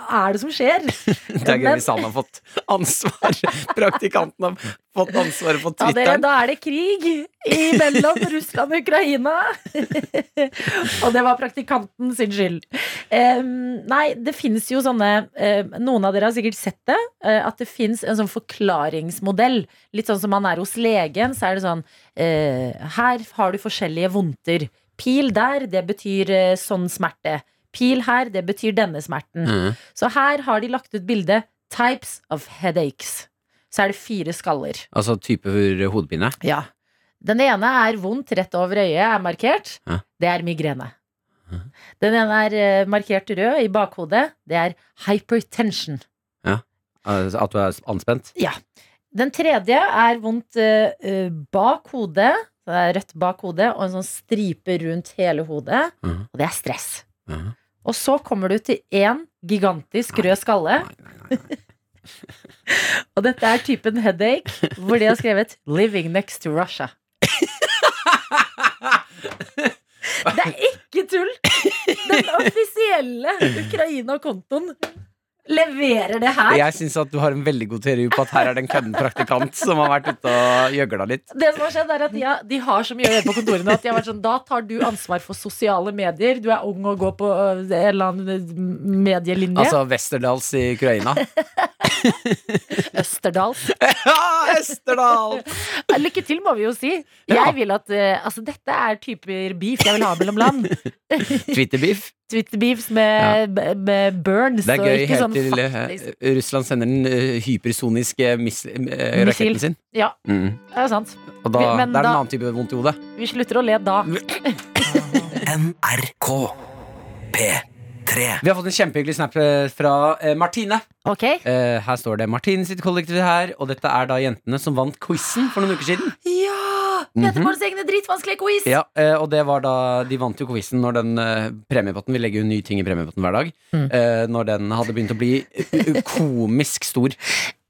Speaker 3: er det som skjer?
Speaker 2: Det er gøy hvis han har fått ansvar. Praktikanten har fått ansvaret på
Speaker 3: Ja, dere,
Speaker 2: Twitteren.
Speaker 3: da er det krig i- mellom Russland og Ukraina. og det var praktikanten sin skyld. Em, nei, det fins jo sånne eh, Noen av dere har sikkert sett det. eh, at det fins en sånn forklaringsmodell. Litt sånn som man er hos legen, så er det sånn eh, Her har du forskjellige vondter. Pil der, det betyr eh, sånn smerte. Pil her, det betyr denne smerten.
Speaker 2: Mhm.
Speaker 3: Så her har de lagt ut bildet 'Types of headaches'. Så er det fire skaller.
Speaker 2: Altså type for hodepine.
Speaker 3: Ja. Den ene er vondt rett over øyet, er markert.
Speaker 2: Ja.
Speaker 3: Det er migrene. Den ene er eh, markert rød i bakhodet. Det er hypertension.
Speaker 2: Eh, At du er anspent?
Speaker 3: Den tredje er vondt eh, eh, bak hodet. Så Det er rødt bak hodet og en sånn stripe rundt hele hodet.
Speaker 2: Mhm.
Speaker 3: Og det er stress.
Speaker 2: Mhm.
Speaker 3: Og så kommer du til én gigantisk rød skalle.
Speaker 2: Nei, nei, nei, nei.
Speaker 3: Og dette er typen headache hvor de har skrevet 'Living next to Russia'. Det er ikke tull! Den offisielle Ukraina-kontoen leverer det her.
Speaker 2: Jeg syns at du har en veldig god teori på at her er det en kødden praktikant som har vært ute og gjøgla litt.
Speaker 3: Det som har skjedd er at de har, de har så mye å gjøre på kontorene at de har vært sånn Da tar du ansvar for sosiale medier. Du er ung og går på øh, en eller annen øh, medielinje.
Speaker 2: Altså Westerdals i Ukraina.
Speaker 3: Østerdals.
Speaker 2: Ja, Østerdal!
Speaker 3: Lykke til, må vi jo si.
Speaker 2: Ja.
Speaker 3: Jeg vil at øh, Altså, dette er typer beef jeg vil ha mellom land.
Speaker 2: Twitterbeef.
Speaker 3: Twitter-beefs med, med burns.
Speaker 2: Det er
Speaker 3: og
Speaker 2: gøy
Speaker 3: ikke
Speaker 2: helt
Speaker 3: sånn
Speaker 2: til
Speaker 3: faktisk-
Speaker 2: eh, Russland sender den eh, hypersoniske miss, eh, raketten sin.
Speaker 3: Ja,
Speaker 2: Mm.
Speaker 3: det er sant.
Speaker 2: Og da,
Speaker 3: Men
Speaker 2: det er
Speaker 3: da-
Speaker 2: en annen type vondt i hodet.
Speaker 3: Vi slutter å le da.
Speaker 7: NRK P3
Speaker 2: Vi har fått en kjempehyggelig snap eh, fra eh, Martine.
Speaker 3: Ok?
Speaker 2: Eh, her står det Martine sitt kollektiv her, og dette er da jentene som vant quizen for noen uker siden.
Speaker 3: Ja! Petermorgens egne dritvanskelige quiz!
Speaker 2: Mhm. Ja, eh, og det var da De vant jo quizen når den eh, premiepotten Vi legger jo nye ting i premiepotten hver dag. eh, Når den hadde begynt å bli eh, komisk stor.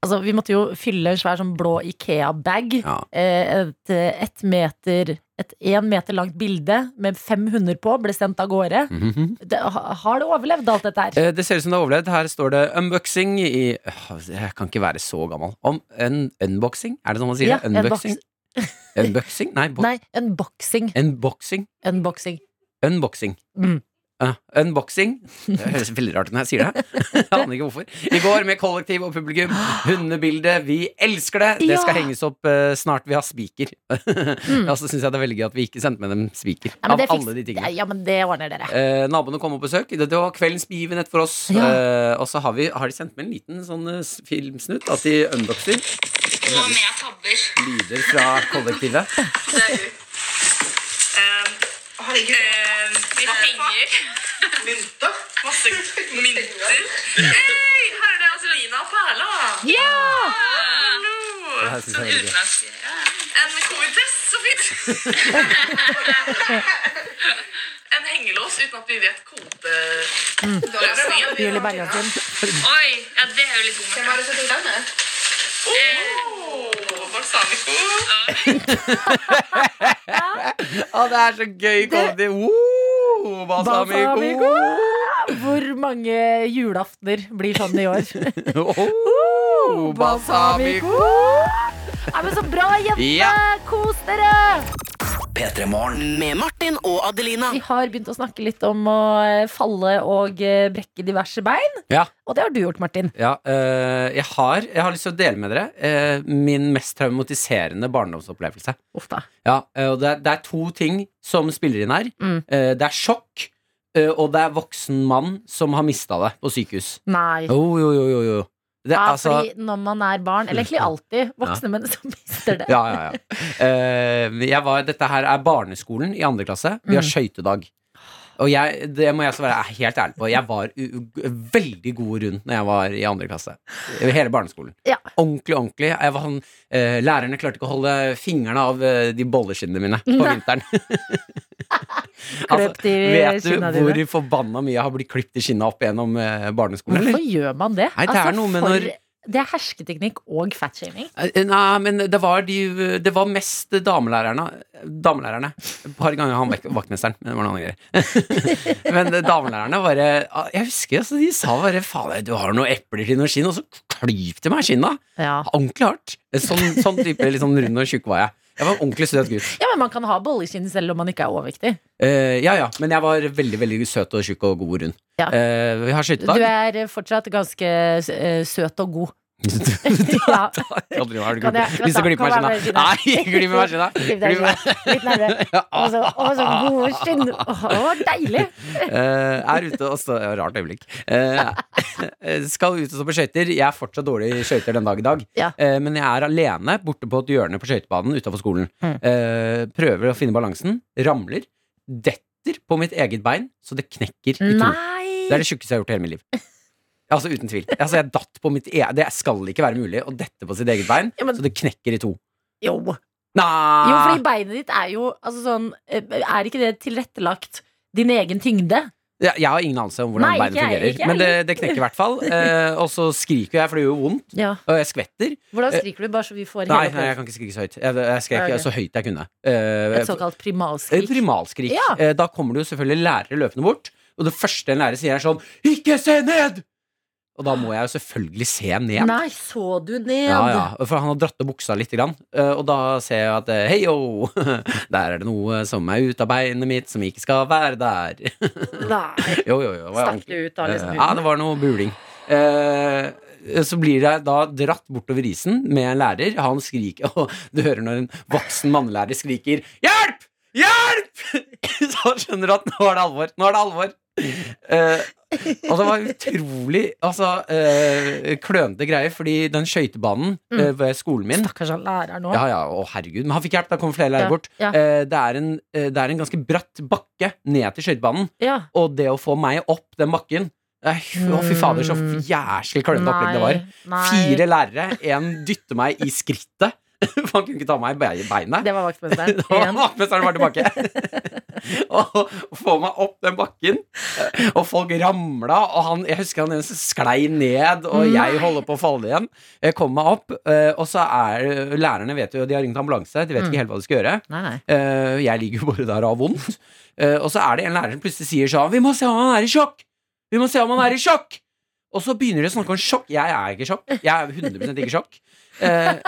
Speaker 3: Altså, vi måtte jo fylle en svær sånn blå Ikea-bag.
Speaker 2: Ja.
Speaker 3: Eh, Et, eh, ett meter et én meter langt bilde med fem hunder på ble sendt av gårde.
Speaker 2: Mhm.
Speaker 3: Det, ha- har det overlevd alt dette her?
Speaker 2: Eh, Det ser ut som det har overlevd. Her står det unboxing i Åh, Jeg kan ikke være så gammel. Om un unboxing? Er det sånn man sier
Speaker 3: Ja,
Speaker 2: det? Unboxing? unboxing? Nei, bo
Speaker 3: Nei, unboxing.
Speaker 2: unboxing.
Speaker 3: Unboxing.
Speaker 2: Unboxing.
Speaker 3: Mm.
Speaker 2: Ja, unboxing. Det høres veldig rart ut når jeg sier det. Jeg aner ikke hvorfor. I går med kollektiv og publikum. Hundebildet. Vi elsker det! Det skal
Speaker 3: Ja. Mm.
Speaker 2: henges opp eh, snart vi har spiker. Og så syns jeg det er veldig gøy at vi ikke sendte med dem spiker.
Speaker 3: Ja, men
Speaker 2: av
Speaker 3: det fiks-
Speaker 2: alle de tingene.
Speaker 3: Ja, men det ordner dere.
Speaker 2: Eh, naboene kom på besøk. Det, det var kveldens begivenhet for oss.
Speaker 3: Ja.
Speaker 2: Eh, og så har, vi, har de sendt med en liten sånn eh, s- filmsnutt at de unboxer
Speaker 8: Nå om jeg tabber.
Speaker 2: lyder fra kollektivet.
Speaker 8: Det er du. Herregud. eh, vi har penger. Mynter. Masse mynter. Hei, her er det Azelina og Perla.
Speaker 3: Ja!
Speaker 8: Hallo.
Speaker 2: Det her synes jeg
Speaker 8: Sånn
Speaker 2: er veldig gøy.
Speaker 8: utenlandsk. En covid-test, så fint. En hengelås uten at vi vet
Speaker 3: Julie
Speaker 8: kodeløsningen.
Speaker 3: Bergantin.
Speaker 8: Oi, ja, det er jo litt dumt. Hvem har du sett den med? Oh, balsamico.
Speaker 2: Å, det er så gøy! Kollektiv. Oh, balsamico!
Speaker 3: Hvor mange julaftener blir sånn i år?
Speaker 2: Oh, balsamico!
Speaker 3: Nei, men så bra, jente!
Speaker 2: Ja.
Speaker 3: Kos dere!
Speaker 7: P3 Morgen
Speaker 5: Med Martin og Adelina.
Speaker 3: Vi har begynt å snakke litt om å eh, falle og eh, brekke diverse bein.
Speaker 2: Ja.
Speaker 3: Og det har du gjort, Martin.
Speaker 2: Ja, eh, jeg, har, jeg har lyst til å dele med dere eh, min mest traumatiserende barndomsopplevelse.
Speaker 3: Uff da.
Speaker 2: Ja, eh, og det er, det er to ting som spiller inn her.
Speaker 3: Mm.
Speaker 2: Eh, det er sjokk, eh, og det er voksen mann som har mista det på sykehus.
Speaker 3: Nei.
Speaker 2: Jo, jo, jo, jo, jo. Det, er
Speaker 3: ja,
Speaker 2: altså,
Speaker 3: fordi når man er barn, eller egentlig alltid voksne menn som mister det.
Speaker 2: ja, ja, ja. Eh, jeg var, dette her er barneskolen i andre klasse. Vi har
Speaker 3: Mm.
Speaker 2: skøytedag. Og jeg, det må jeg også være helt ærlig på. Jeg var u u- veldig god rundt når jeg var i andre klasse. Hele barneskolen.
Speaker 3: Ja.
Speaker 2: Ordentlig, ordentlig. Jeg var sånn, eh, lærerne klarte ikke å holde fingrene av eh, de bolleskinnene mine på
Speaker 3: Nei.
Speaker 2: vinteren.
Speaker 3: Kløpt
Speaker 2: altså,
Speaker 3: i
Speaker 2: vet du
Speaker 3: skinna dine.
Speaker 2: hvor forbanna mye jeg har blitt klippet i skinna opp gjennom eh, barneskolen? eller?
Speaker 3: Hvorfor gjør man det? Altså,
Speaker 2: Nei, det er noe med
Speaker 3: for-
Speaker 2: når-
Speaker 3: Det er hersketeknikk og fatshaming.
Speaker 2: Eh, Nei, men det var, de, det var mest damelærerne. Damelærerne. Et par ganger han vek- vaktmesteren, men det var noen greier. men damelærerne bare Jeg husker altså, de sa bare faen, du har noen epler til noen skinn, og så klyp de meg i skinna.
Speaker 3: Ja.
Speaker 2: Ordentlig hardt. Sånn, sånn type litt sånn rund og tjukk var jeg. Jeg var en ordentlig søt gutt.
Speaker 3: ja, men man kan ha bolleskinn selv om man ikke er overvektig.
Speaker 2: Eh, ja ja, men jeg var veldig veldig søt og tjukk og god og rund.
Speaker 3: Ja.
Speaker 2: Eh, vi har
Speaker 3: Du
Speaker 2: skøytedag.
Speaker 3: er eh, fortsatt ganske eh, søt og god. Ja.
Speaker 2: Aldri har du
Speaker 3: Kan jeg-
Speaker 2: glipp- lyst til å glippe meg
Speaker 3: vent da,
Speaker 2: i
Speaker 3: kan jeg
Speaker 2: skinna.
Speaker 3: bare
Speaker 2: Nei, glipp meg i skinna.
Speaker 3: Klipp deg i skinna. Litt nærmere. Og så, og så gode skinn. Åh, Det var deilig.
Speaker 2: Eh, er ute og står ja, Rart øyeblikk. Eh, skal ut og stå på skøyter. Jeg er fortsatt dårlig i skøyter den dag i dag.
Speaker 3: Ja.
Speaker 2: Eh, men jeg er alene borte på et hjørne på skøytebanen utafor skolen.
Speaker 3: Mm.
Speaker 2: Eh, prøver å finne balansen. Ramler. Detter sitter på mitt eget bein, så det knekker i to.
Speaker 3: Nei!
Speaker 2: Det er det tjukkeste jeg har gjort i hele mitt liv. Altså Uten tvil. Altså, jeg datt på mitt e Det skal ikke være mulig å dette på sitt eget bein,
Speaker 3: Ja, men-
Speaker 2: så det knekker i to.
Speaker 3: Jo.
Speaker 2: Nei!
Speaker 3: jo, fordi beinet ditt er jo altså sånn eh, Er ikke det tilrettelagt din egen tyngde?
Speaker 2: jeg, jeg har ingen anelse om hvordan
Speaker 3: Nei, ikke
Speaker 2: beinet
Speaker 3: jeg,
Speaker 2: fungerer,
Speaker 3: ikke jeg
Speaker 2: men det, det knekker i hvert fall. Eh, og så skriker jeg, for det gjør jo vondt,
Speaker 3: Ja.
Speaker 2: og jeg skvetter.
Speaker 3: Hvordan skriker du, bare så vi får
Speaker 2: Nei,
Speaker 3: hele
Speaker 2: nei, jeg kan ikke skrike så høyt. Jeg, jeg skrek
Speaker 3: Ok.
Speaker 2: så høyt jeg kunne. Eh,
Speaker 3: Et såkalt
Speaker 2: Eh,
Speaker 3: primalskrik?
Speaker 2: Primalskrik.
Speaker 3: Ja.
Speaker 2: Eh, Da kommer det jo selvfølgelig lærere løpende bort, og det første en lærer sier, er sånn Ikke se ned! Og da må jeg jo selvfølgelig se ned.
Speaker 3: Nei, så du ned?
Speaker 2: Ja, ja, For han har dratt av buksa litt, grann, eh, og da ser jeg at eh, Hei, yo! Der er det noe som er ute av beinet mitt, som ikke skal være der.
Speaker 3: Nei.
Speaker 2: Jo, jo, jo. det var
Speaker 3: Stakk det ut av liksom
Speaker 2: Eh,
Speaker 3: huden?
Speaker 2: Ja, det var noe buling. Eh, så blir jeg da dratt bortover isen med en lærer. Han skriker, og du hører når en voksen mannlærer skriker 'Hjelp! Hjelp!' Så han skjønner at nå er det alvor. Nå er det alvor. Eh, og det var utrolig altså, eh, klønete greier, fordi den skøytebanen
Speaker 3: Mm.
Speaker 2: eh, ved skolen min
Speaker 3: Stakkars han lærer nå.
Speaker 2: ja, ja, å herregud, men han fikk hjelp, da kom flere lærere
Speaker 3: Ja,
Speaker 2: bort.
Speaker 3: ja.
Speaker 2: Eh, det, er en, eh, det er en ganske bratt bakke ned til skøytebanen.
Speaker 3: Ja.
Speaker 2: Og det å få meg opp den bakken eh, Å, fy fader, så jæslig klønete opplegg det var.
Speaker 3: Mm. nei.
Speaker 2: Fire lærere. Én dytter meg i skrittet. For han kunne ikke ta meg i be- beinet.
Speaker 3: Det var vaktmesteren.
Speaker 2: Og
Speaker 3: Igjen.
Speaker 2: vaktmesteren var tilbake. og få meg opp den bakken. eh, Og folk ramla, og han, jeg husker han ene som sklei ned,
Speaker 3: Mm.
Speaker 2: og jeg holder på å falle igjen. Jeg kom meg opp, eh, og så er lærerne vet jo, de har ringt ambulanse,
Speaker 3: Mm.
Speaker 2: de vet ikke helt hva de skal gjøre.
Speaker 3: Nei, nei.
Speaker 2: Eh, jeg ligger jo bare der og har vondt. Eh, og så er det en lærer som plutselig sier sånn Vi må se om han er i sjokk! Vi må se om han er i sjokk! Og så begynner de å snakke om sjokk. Jeg er ikke i sjokk. Jeg er 100 ikke i sjokk. Eh,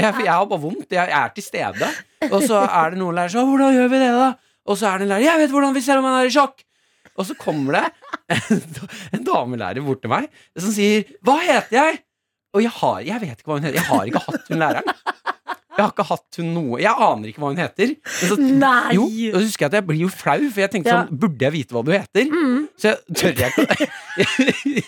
Speaker 2: jeg, jeg har bare vondt. Jeg, jeg er til stede. Og så er det noen lærere sånn Hvordan gjør vi det, da? Og så er det en lærer Jeg vet hvordan vi ser om han er i sjokk! Og så kommer det en, en damelærer bort til meg som sier Hva heter jeg? Og jeg har Jeg vet ikke hva hun heter. Jeg har ikke hatt hun læreren. Jeg har ikke hatt hun noe Jeg aner ikke hva hun heter. Men så,
Speaker 3: Nei!
Speaker 2: Jo, og så husker jeg at jeg blir jo flau, for jeg tenkte
Speaker 3: Ja. Mm.
Speaker 2: sånn Burde jeg vite hva du heter? Så jeg tør jeg ikke Jeg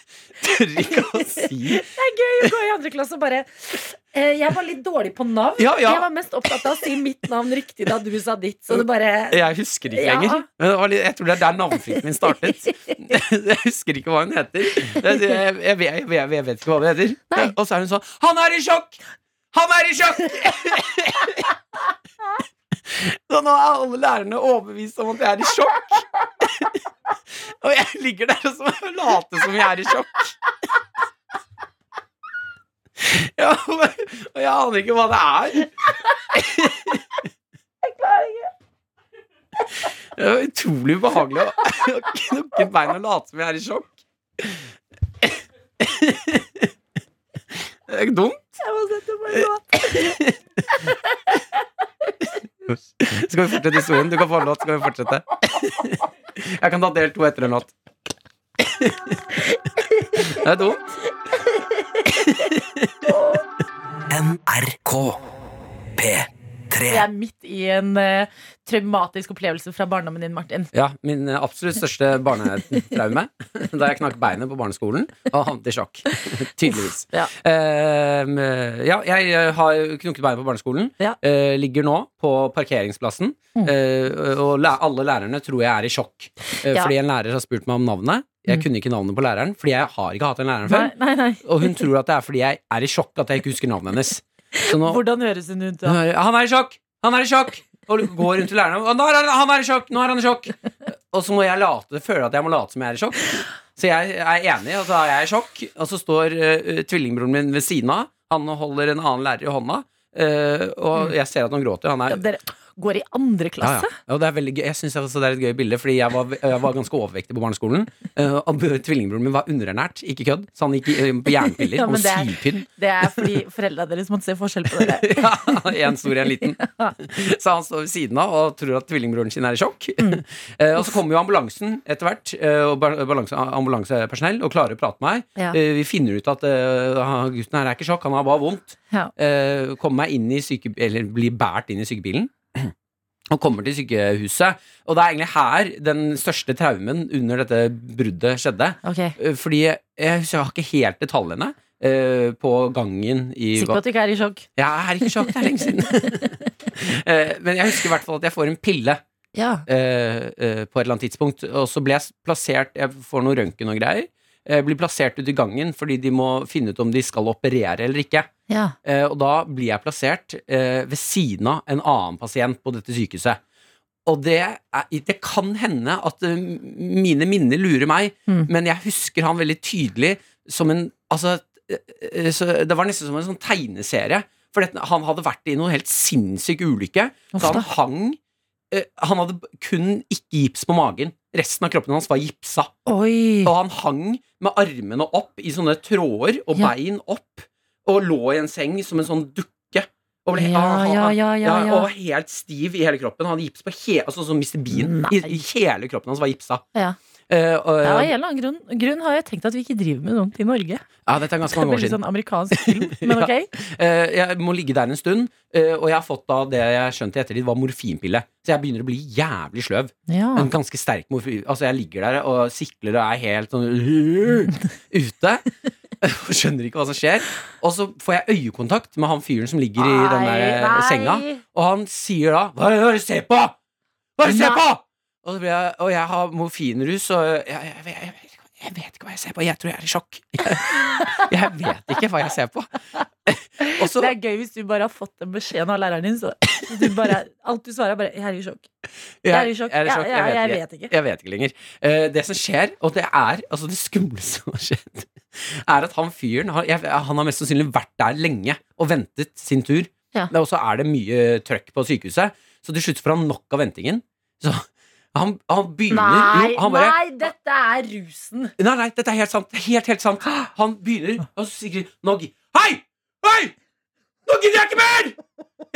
Speaker 2: tør ikke å si
Speaker 3: Det er gøy å gå i andre klasse og bare eh, Jeg var litt dårlig på navn.
Speaker 2: Ja, ja.
Speaker 3: Jeg var mest opptatt av å si mitt navn riktig da du sa ditt. Så det bare
Speaker 2: Jeg husker ikke
Speaker 3: Eh, Ja.
Speaker 2: lenger. Men det var litt, jeg tror det er der navnefrykten min startet. Jeg husker ikke hva hun heter. Jeg, jeg, jeg, jeg, jeg, jeg vet ikke hva hun heter.
Speaker 3: Nei.
Speaker 2: Og så er hun sånn Han er i sjokk! Han er i sjokk! Så nå er alle lærerne overbevist om at jeg er i sjokk. Og jeg ligger der og så later som jeg er i sjokk. Ja, og jeg aner ikke hva det er. Det var utrolig ubehagelig å å knukke et bein og late som jeg er i sjokk. Det er ikke dumt.
Speaker 3: Jeg må sette meg nå.
Speaker 2: Skal vi fortsette historien? Du kan få en låt, så kan vi fortsette. Jeg kan ta del to etter en låt. Det er dumt.
Speaker 7: NRK
Speaker 3: Jeg
Speaker 7: P3
Speaker 3: er midt i en eh, traumatisk opplevelse fra barndommen din, Martin.
Speaker 2: Ja, Min eh, absolutt største barnetraume da jeg knakk beinet på barneskolen og havnet i sjokk. Tydeligvis.
Speaker 3: Ja.
Speaker 2: Ehm, ja, jeg eh, har knukket beinet på barneskolen.
Speaker 3: Ja. Mm.
Speaker 2: Eh, ligger nå på parkeringsplassen. eh, og læ alle lærerne tror jeg er i sjokk. Eh,
Speaker 3: Ja. Mm.
Speaker 2: Fordi en lærer har spurt meg om navnet. Jeg kunne ikke navnet på læreren, fordi jeg har ikke hatt en lærer før.
Speaker 3: Nei, nei, nei.
Speaker 2: Og hun tror at det er fordi jeg er i sjokk at jeg ikke husker navnet hennes. Så nå,
Speaker 3: Hvordan høres hun ut da?
Speaker 2: nå hører jeg, han er i sjokk! Han er i sjokk! Og går rundt til lærerne og nå er han, han er i sjokk! Nå er han i sjokk! Og så må jeg late, føle at jeg må late som jeg er i sjokk. Så jeg er enig, og så er jeg i sjokk. Og så står eh, tvillingbroren min ved siden av. Han holder en annen lærer i hånda. eh, og jeg ser at han gråter. Han er
Speaker 3: Mm. Ja, Dere går i andre
Speaker 2: ja,
Speaker 3: klasse?
Speaker 2: ja. Og det er veldig gøy. Jeg synes altså det er et gøy bilde, fordi jeg var, jeg var ganske overvektig på barneskolen. eh, og b- tvillingbroren min var underernært, ikke kødd, så han gikk i- eh, på jernpiller
Speaker 3: Ja,
Speaker 2: og
Speaker 3: men det er-
Speaker 2: syltynn.
Speaker 3: Det er fordi foreldra deres måtte se forskjell på dere.
Speaker 2: Ja, en stor, en liten. Så han står ved siden av og tror at tvillingbroren sin er i sjokk. Eh, og så kommer jo ambulansen etter hvert, eh, og ba- balanse, ambulansepersonell, og klarer å prate med meg.
Speaker 3: Ja.
Speaker 2: Eh, vi finner ut at eh, han- gutten her er ikke i sjokk, han har bare vondt.
Speaker 3: Ja.
Speaker 2: Eh, kommer meg inn i syke, eller blir båret inn i sykebilen. Og kommer til sykehuset. Og det er egentlig her den største traumen under dette bruddet skjedde.
Speaker 3: Ok,
Speaker 2: Eh, Fordi jeg, jeg har ikke helt detaljene eh, på gangen i
Speaker 3: Sikker på at du ikke er i sjokk?
Speaker 2: jeg er ikke i sjokk, det er lenge siden. Eh, Men jeg husker i hvert fall at jeg får en pille
Speaker 3: Ja.
Speaker 2: eh, eh, på et eller annet tidspunkt. Og så ble jeg s- plassert Jeg får noe røntgen og greier. Eh, blir plassert ute i gangen fordi de må finne ut om de skal operere eller ikke.
Speaker 3: ja.
Speaker 2: Eh, og da blir jeg plassert eh, ved siden av en annen pasient på dette sykehuset. Og det, er, det kan hende at eh, mine minner lurer meg,
Speaker 3: Mm.
Speaker 2: men jeg husker han veldig tydelig som en Altså, eh, eh, så det var nesten som en sånn tegneserie. For dette, han hadde vært i noen helt sinnssyk ulykke. Så
Speaker 3: Uff da.
Speaker 2: han hang eh, Han hadde b- kun ikke gips på magen. Resten av kroppen hans var gipsa.
Speaker 3: Oi.
Speaker 2: Og han hang med armene opp i sånne tråder og
Speaker 3: Ja.
Speaker 2: bein opp, og lå i en seng som en sånn dukke. Og ble, Ah,
Speaker 3: Ja,
Speaker 2: han-
Speaker 3: ja,
Speaker 2: han-
Speaker 3: ja, ja,
Speaker 2: ja,
Speaker 3: ja.
Speaker 2: og var helt stiv i hele kroppen. Han hadde gips på he, altså, som Mr. Bean. I, i hele kroppen hans var gipsa.
Speaker 3: Ja.
Speaker 2: Eh, og,
Speaker 3: Ja, av en
Speaker 2: ja,
Speaker 3: eller annen grunn, grunn har jeg tenkt at vi ikke driver med sånt i Norge.
Speaker 2: dette er ganske
Speaker 3: Det
Speaker 2: mange
Speaker 3: er
Speaker 2: år
Speaker 3: veldig
Speaker 2: siden.
Speaker 3: sånn amerikansk film, men
Speaker 2: Ja.
Speaker 3: ok.
Speaker 2: Eh, jeg må ligge der en stund, eh, og jeg har fått da det jeg skjønte i ettertid var morfinpille. Så jeg begynner å bli jævlig sløv.
Speaker 3: Ja.
Speaker 2: En ganske sterk morfin. Altså, jeg ligger der og sikler og er helt sånn ute. Og skjønner ikke hva som skjer. Og så får jeg øyekontakt med han fyren som ligger i den der eh,
Speaker 3: Nei, nei.
Speaker 2: senga. Og han sier da Hva er det du ser på?! Hva er det du ser på?! Og, så blir jeg, og jeg har morfinrus, og jeg, jeg, jeg, jeg, vet ikke- jeg vet ikke hva jeg ser på. Jeg tror jeg er i sjokk. Jeg, jeg vet ikke hva jeg ser på. Og så
Speaker 3: Det er gøy hvis du bare har fått den beskjeden av læreren din, så du bare, alt du svarer, er bare 'Jeg er i sjokk'. Jeg er i sjokk.
Speaker 2: Jeg, er i
Speaker 3: Jeg,
Speaker 2: sjokk.
Speaker 3: jeg, jeg
Speaker 2: ikke.
Speaker 3: vet ikke.
Speaker 2: Jeg vet ikke lenger. Eh, det som skjer, og det er altså det skumleste som har skjedd, er at han fyren har, jeg, han har mest sannsynlig vært der lenge og ventet sin tur.
Speaker 3: Ja.
Speaker 2: Det er- Og så er det mye trøkk på sykehuset, så til slutt får han nok av ventingen. Så han, han begynner jo, han bare,
Speaker 3: nei, dette er rusen.
Speaker 2: Nei, nei, dette er helt sant. Helt, helt sant. Han begynner, og så sier han Hei! Hei! Nå gidder jeg ikke mer!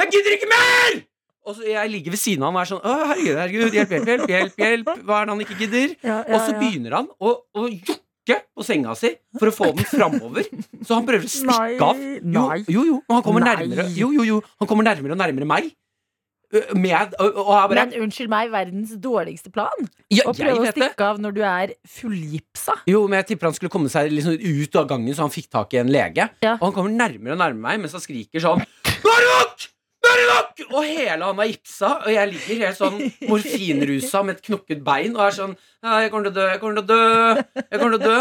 Speaker 2: Jeg gidder ikke mer! Og så jeg ligger ved siden av han og er sånn Å, herregud, herregud, hjelp, hjelp, hjelp, hjelp, hjelp. Hva er det han ikke gidder?
Speaker 3: Ja,
Speaker 2: Og så begynner han å, å jokke på senga si for å få den framover. Så han prøver å
Speaker 3: Nei,
Speaker 2: stikke av. Jo,
Speaker 3: nei.
Speaker 2: jo, jo, han kommer
Speaker 3: Nei.
Speaker 2: nærmere Jo, jo, jo, han kommer nærmere og nærmere meg. Ø, Med, og, og jeg bare
Speaker 3: Men unnskyld meg, verdens dårligste plan?
Speaker 2: ja,
Speaker 3: Å
Speaker 2: jeg
Speaker 3: prøve å
Speaker 2: vet det.
Speaker 3: stikke av når du er fullgipsa?
Speaker 2: Jo, men jeg tipper han skulle komme seg liksom ut av gangen, så han fikk tak i en lege.
Speaker 3: Ja.
Speaker 2: Og han kommer nærmere og nærmere meg mens han skriker sånn Nå er det nok! Nå er det nok! Og hele han har gipsa, og jeg ligger helt sånn morfinrusa med et knokket bein og er sånn «Ja, Jeg kommer til å dø, jeg kommer til å dø, jeg kommer til å dø.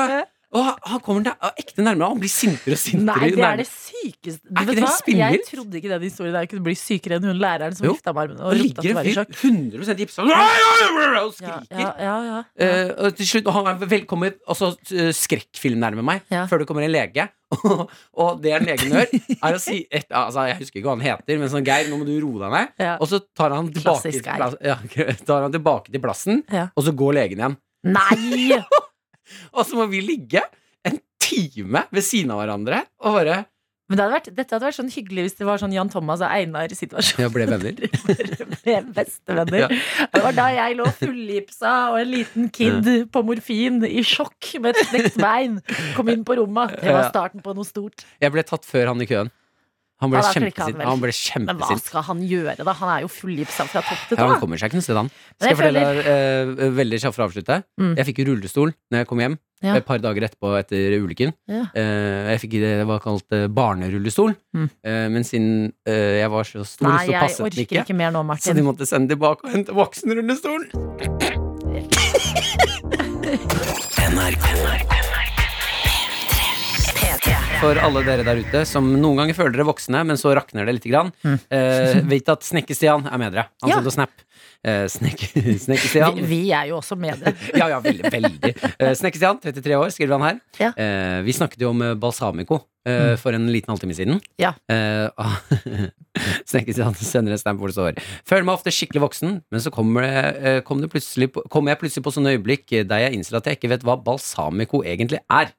Speaker 2: Og han kommer nær, ekte nærmere, og han blir sintere og sintere.
Speaker 3: Nei,
Speaker 2: jo
Speaker 3: det er
Speaker 2: nærmere-
Speaker 3: det sykeste
Speaker 2: Er ikke
Speaker 3: Vet du
Speaker 2: det
Speaker 3: hva? Jeg
Speaker 2: spinnvilt?
Speaker 3: trodde ikke den historien der kunne bli sykere enn hun læreren som
Speaker 2: Jo.
Speaker 3: vifta med armene
Speaker 2: Og
Speaker 3: og ropte at du
Speaker 2: ligger
Speaker 3: var i
Speaker 2: en
Speaker 3: sjokk.
Speaker 2: fyr 100 gipsa sånn, og
Speaker 3: Ja,
Speaker 2: skriker.
Speaker 3: ja, ja, ja.
Speaker 2: Eh, og til slutt, og han er velkommen altså, eh, skrekkfilm nærme meg,
Speaker 3: Ja.
Speaker 2: før det kommer en lege. og, og det en legen gjør, er å si et, altså, Jeg husker ikke hva han heter, men sånn Geir, nå må du roe deg ned.
Speaker 3: Ja.
Speaker 2: Og så tar han tilbake, til,
Speaker 3: Klassisk Geir.
Speaker 2: plass, ja, tar han tilbake til plassen,
Speaker 3: Ja.
Speaker 2: og så går legen igjen.
Speaker 3: Nei!
Speaker 2: Og så må vi ligge en time ved siden av hverandre og bare
Speaker 3: Men det hadde vært, dette hadde vært sånn hyggelig hvis det var sånn Jan Thomas og Einar-situasjon.
Speaker 2: Ja, ble venner.
Speaker 3: Ble bestevenner.
Speaker 2: Ja.
Speaker 3: Det var da jeg lå fullgipsa og en liten kid på morfin i sjokk med et knekt bein kom inn på rommet. Det var
Speaker 2: Ja.
Speaker 3: starten på noe stort.
Speaker 2: Jeg ble tatt før han i køen. Han ble
Speaker 3: Ja, da klikket han
Speaker 2: kjempesint.
Speaker 3: vel.
Speaker 2: Han ble
Speaker 3: Men hva
Speaker 2: kjempesint.
Speaker 3: skal han gjøre, da? Han er jo fullgipsa fra topp til
Speaker 2: Ja, han
Speaker 3: tå.
Speaker 2: kommer seg ikke noe sted, han. Skal
Speaker 3: Men
Speaker 2: jeg
Speaker 3: jeg
Speaker 2: fortelle eh, veldig kjapt for å avslutte?
Speaker 3: Mm.
Speaker 2: Jeg fikk jo rullestol når jeg kom hjem.
Speaker 3: Ja.
Speaker 2: Et par dager etterpå etter ulykken.
Speaker 3: Ja.
Speaker 2: Eh, jeg fikk det det var kalt eh, barnerullestol,
Speaker 3: Mm.
Speaker 2: Eh, men siden eh, jeg var så stor,
Speaker 3: Nei,
Speaker 2: så
Speaker 3: jeg
Speaker 2: passet den
Speaker 3: orker
Speaker 2: ikke.
Speaker 3: ikke mer nå,
Speaker 2: Så de
Speaker 3: Martin.
Speaker 2: måtte sende tilbake og hente voksenrullestol. For alle dere der ute som noen ganger føler dere voksne, men så rakner det lite grann. Eh, Vit at Snekke-Stian er med dere. Han
Speaker 3: Mm. Ja.
Speaker 2: sendte oss snap. Eh, Snekke- Snekke-Stian.
Speaker 3: Vi, vi er jo også med det.
Speaker 2: ja, ja, veldig. veldig. Eh, Snekke-Stian, 33 år, skriver han her.
Speaker 3: Ja. Mm.
Speaker 2: Eh, vi snakket jo om eh, balsamico eh, for en liten halvtime siden.
Speaker 3: Ja.
Speaker 2: Eh, og- Snekke-Stian sender en stamp hvor det står Føler meg ofte skikkelig voksen, men så kommer det, eh, kom det plutselig på, kommer jeg plutselig på sånne øyeblikk eh, der jeg innser at jeg ikke vet hva balsamico egentlig er.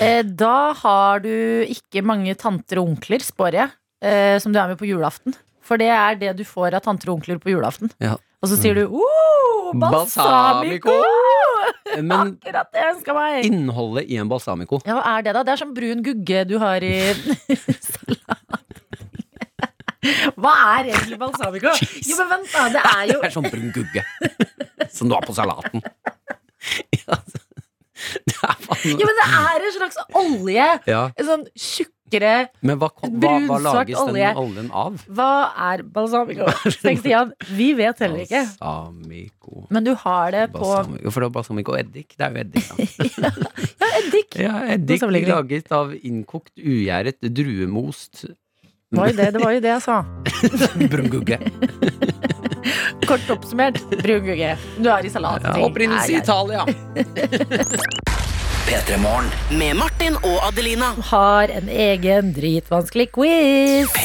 Speaker 3: Eh, Da har du ikke mange tanter og onkler, spår jeg, eh, som du er med på julaften. For det er det du får av tanter og onkler på julaften.
Speaker 2: Ja. Mm.
Speaker 3: Og så sier du oh, balsamico!
Speaker 2: Eh, Men
Speaker 3: Akkurat det jeg ønska meg!
Speaker 2: innholdet i en balsamico
Speaker 3: Ja, hva er det da? Det er sånn brun gugge du har i salat. Hva er egentlig balsamico? Jo, men vent, da. Det er jo
Speaker 2: Det er sånn brun gugge som du har på salaten. Ja, altså. det er faen
Speaker 3: Jo, men det er en slags olje.
Speaker 2: ja.
Speaker 3: En sånn tjukk lekre
Speaker 2: Men hva, hva, hva
Speaker 3: Brunsvart
Speaker 2: lages den
Speaker 3: olje.
Speaker 2: oljen av?
Speaker 3: Hva er balsamico? Tenk Stian, vi vet heller ikke.
Speaker 2: Balsamico.
Speaker 3: Men du har det på
Speaker 2: Balsamico. For det er balsamico og eddik. Det er jo eddik, da.
Speaker 3: eddik.
Speaker 2: Ja, eddik
Speaker 3: Balsamico.
Speaker 2: laget av innkokt, ugjæret druemost
Speaker 3: Det var jo det, det var jo det jeg sa.
Speaker 2: brun gugge.
Speaker 3: Kort oppsummert, brun gugge. Du er i salaten.
Speaker 2: Ja, opprinnelse Italia.
Speaker 7: P3morgen.
Speaker 5: Med Martin og Adelina.
Speaker 3: Har en egen dritvanskelig quiz.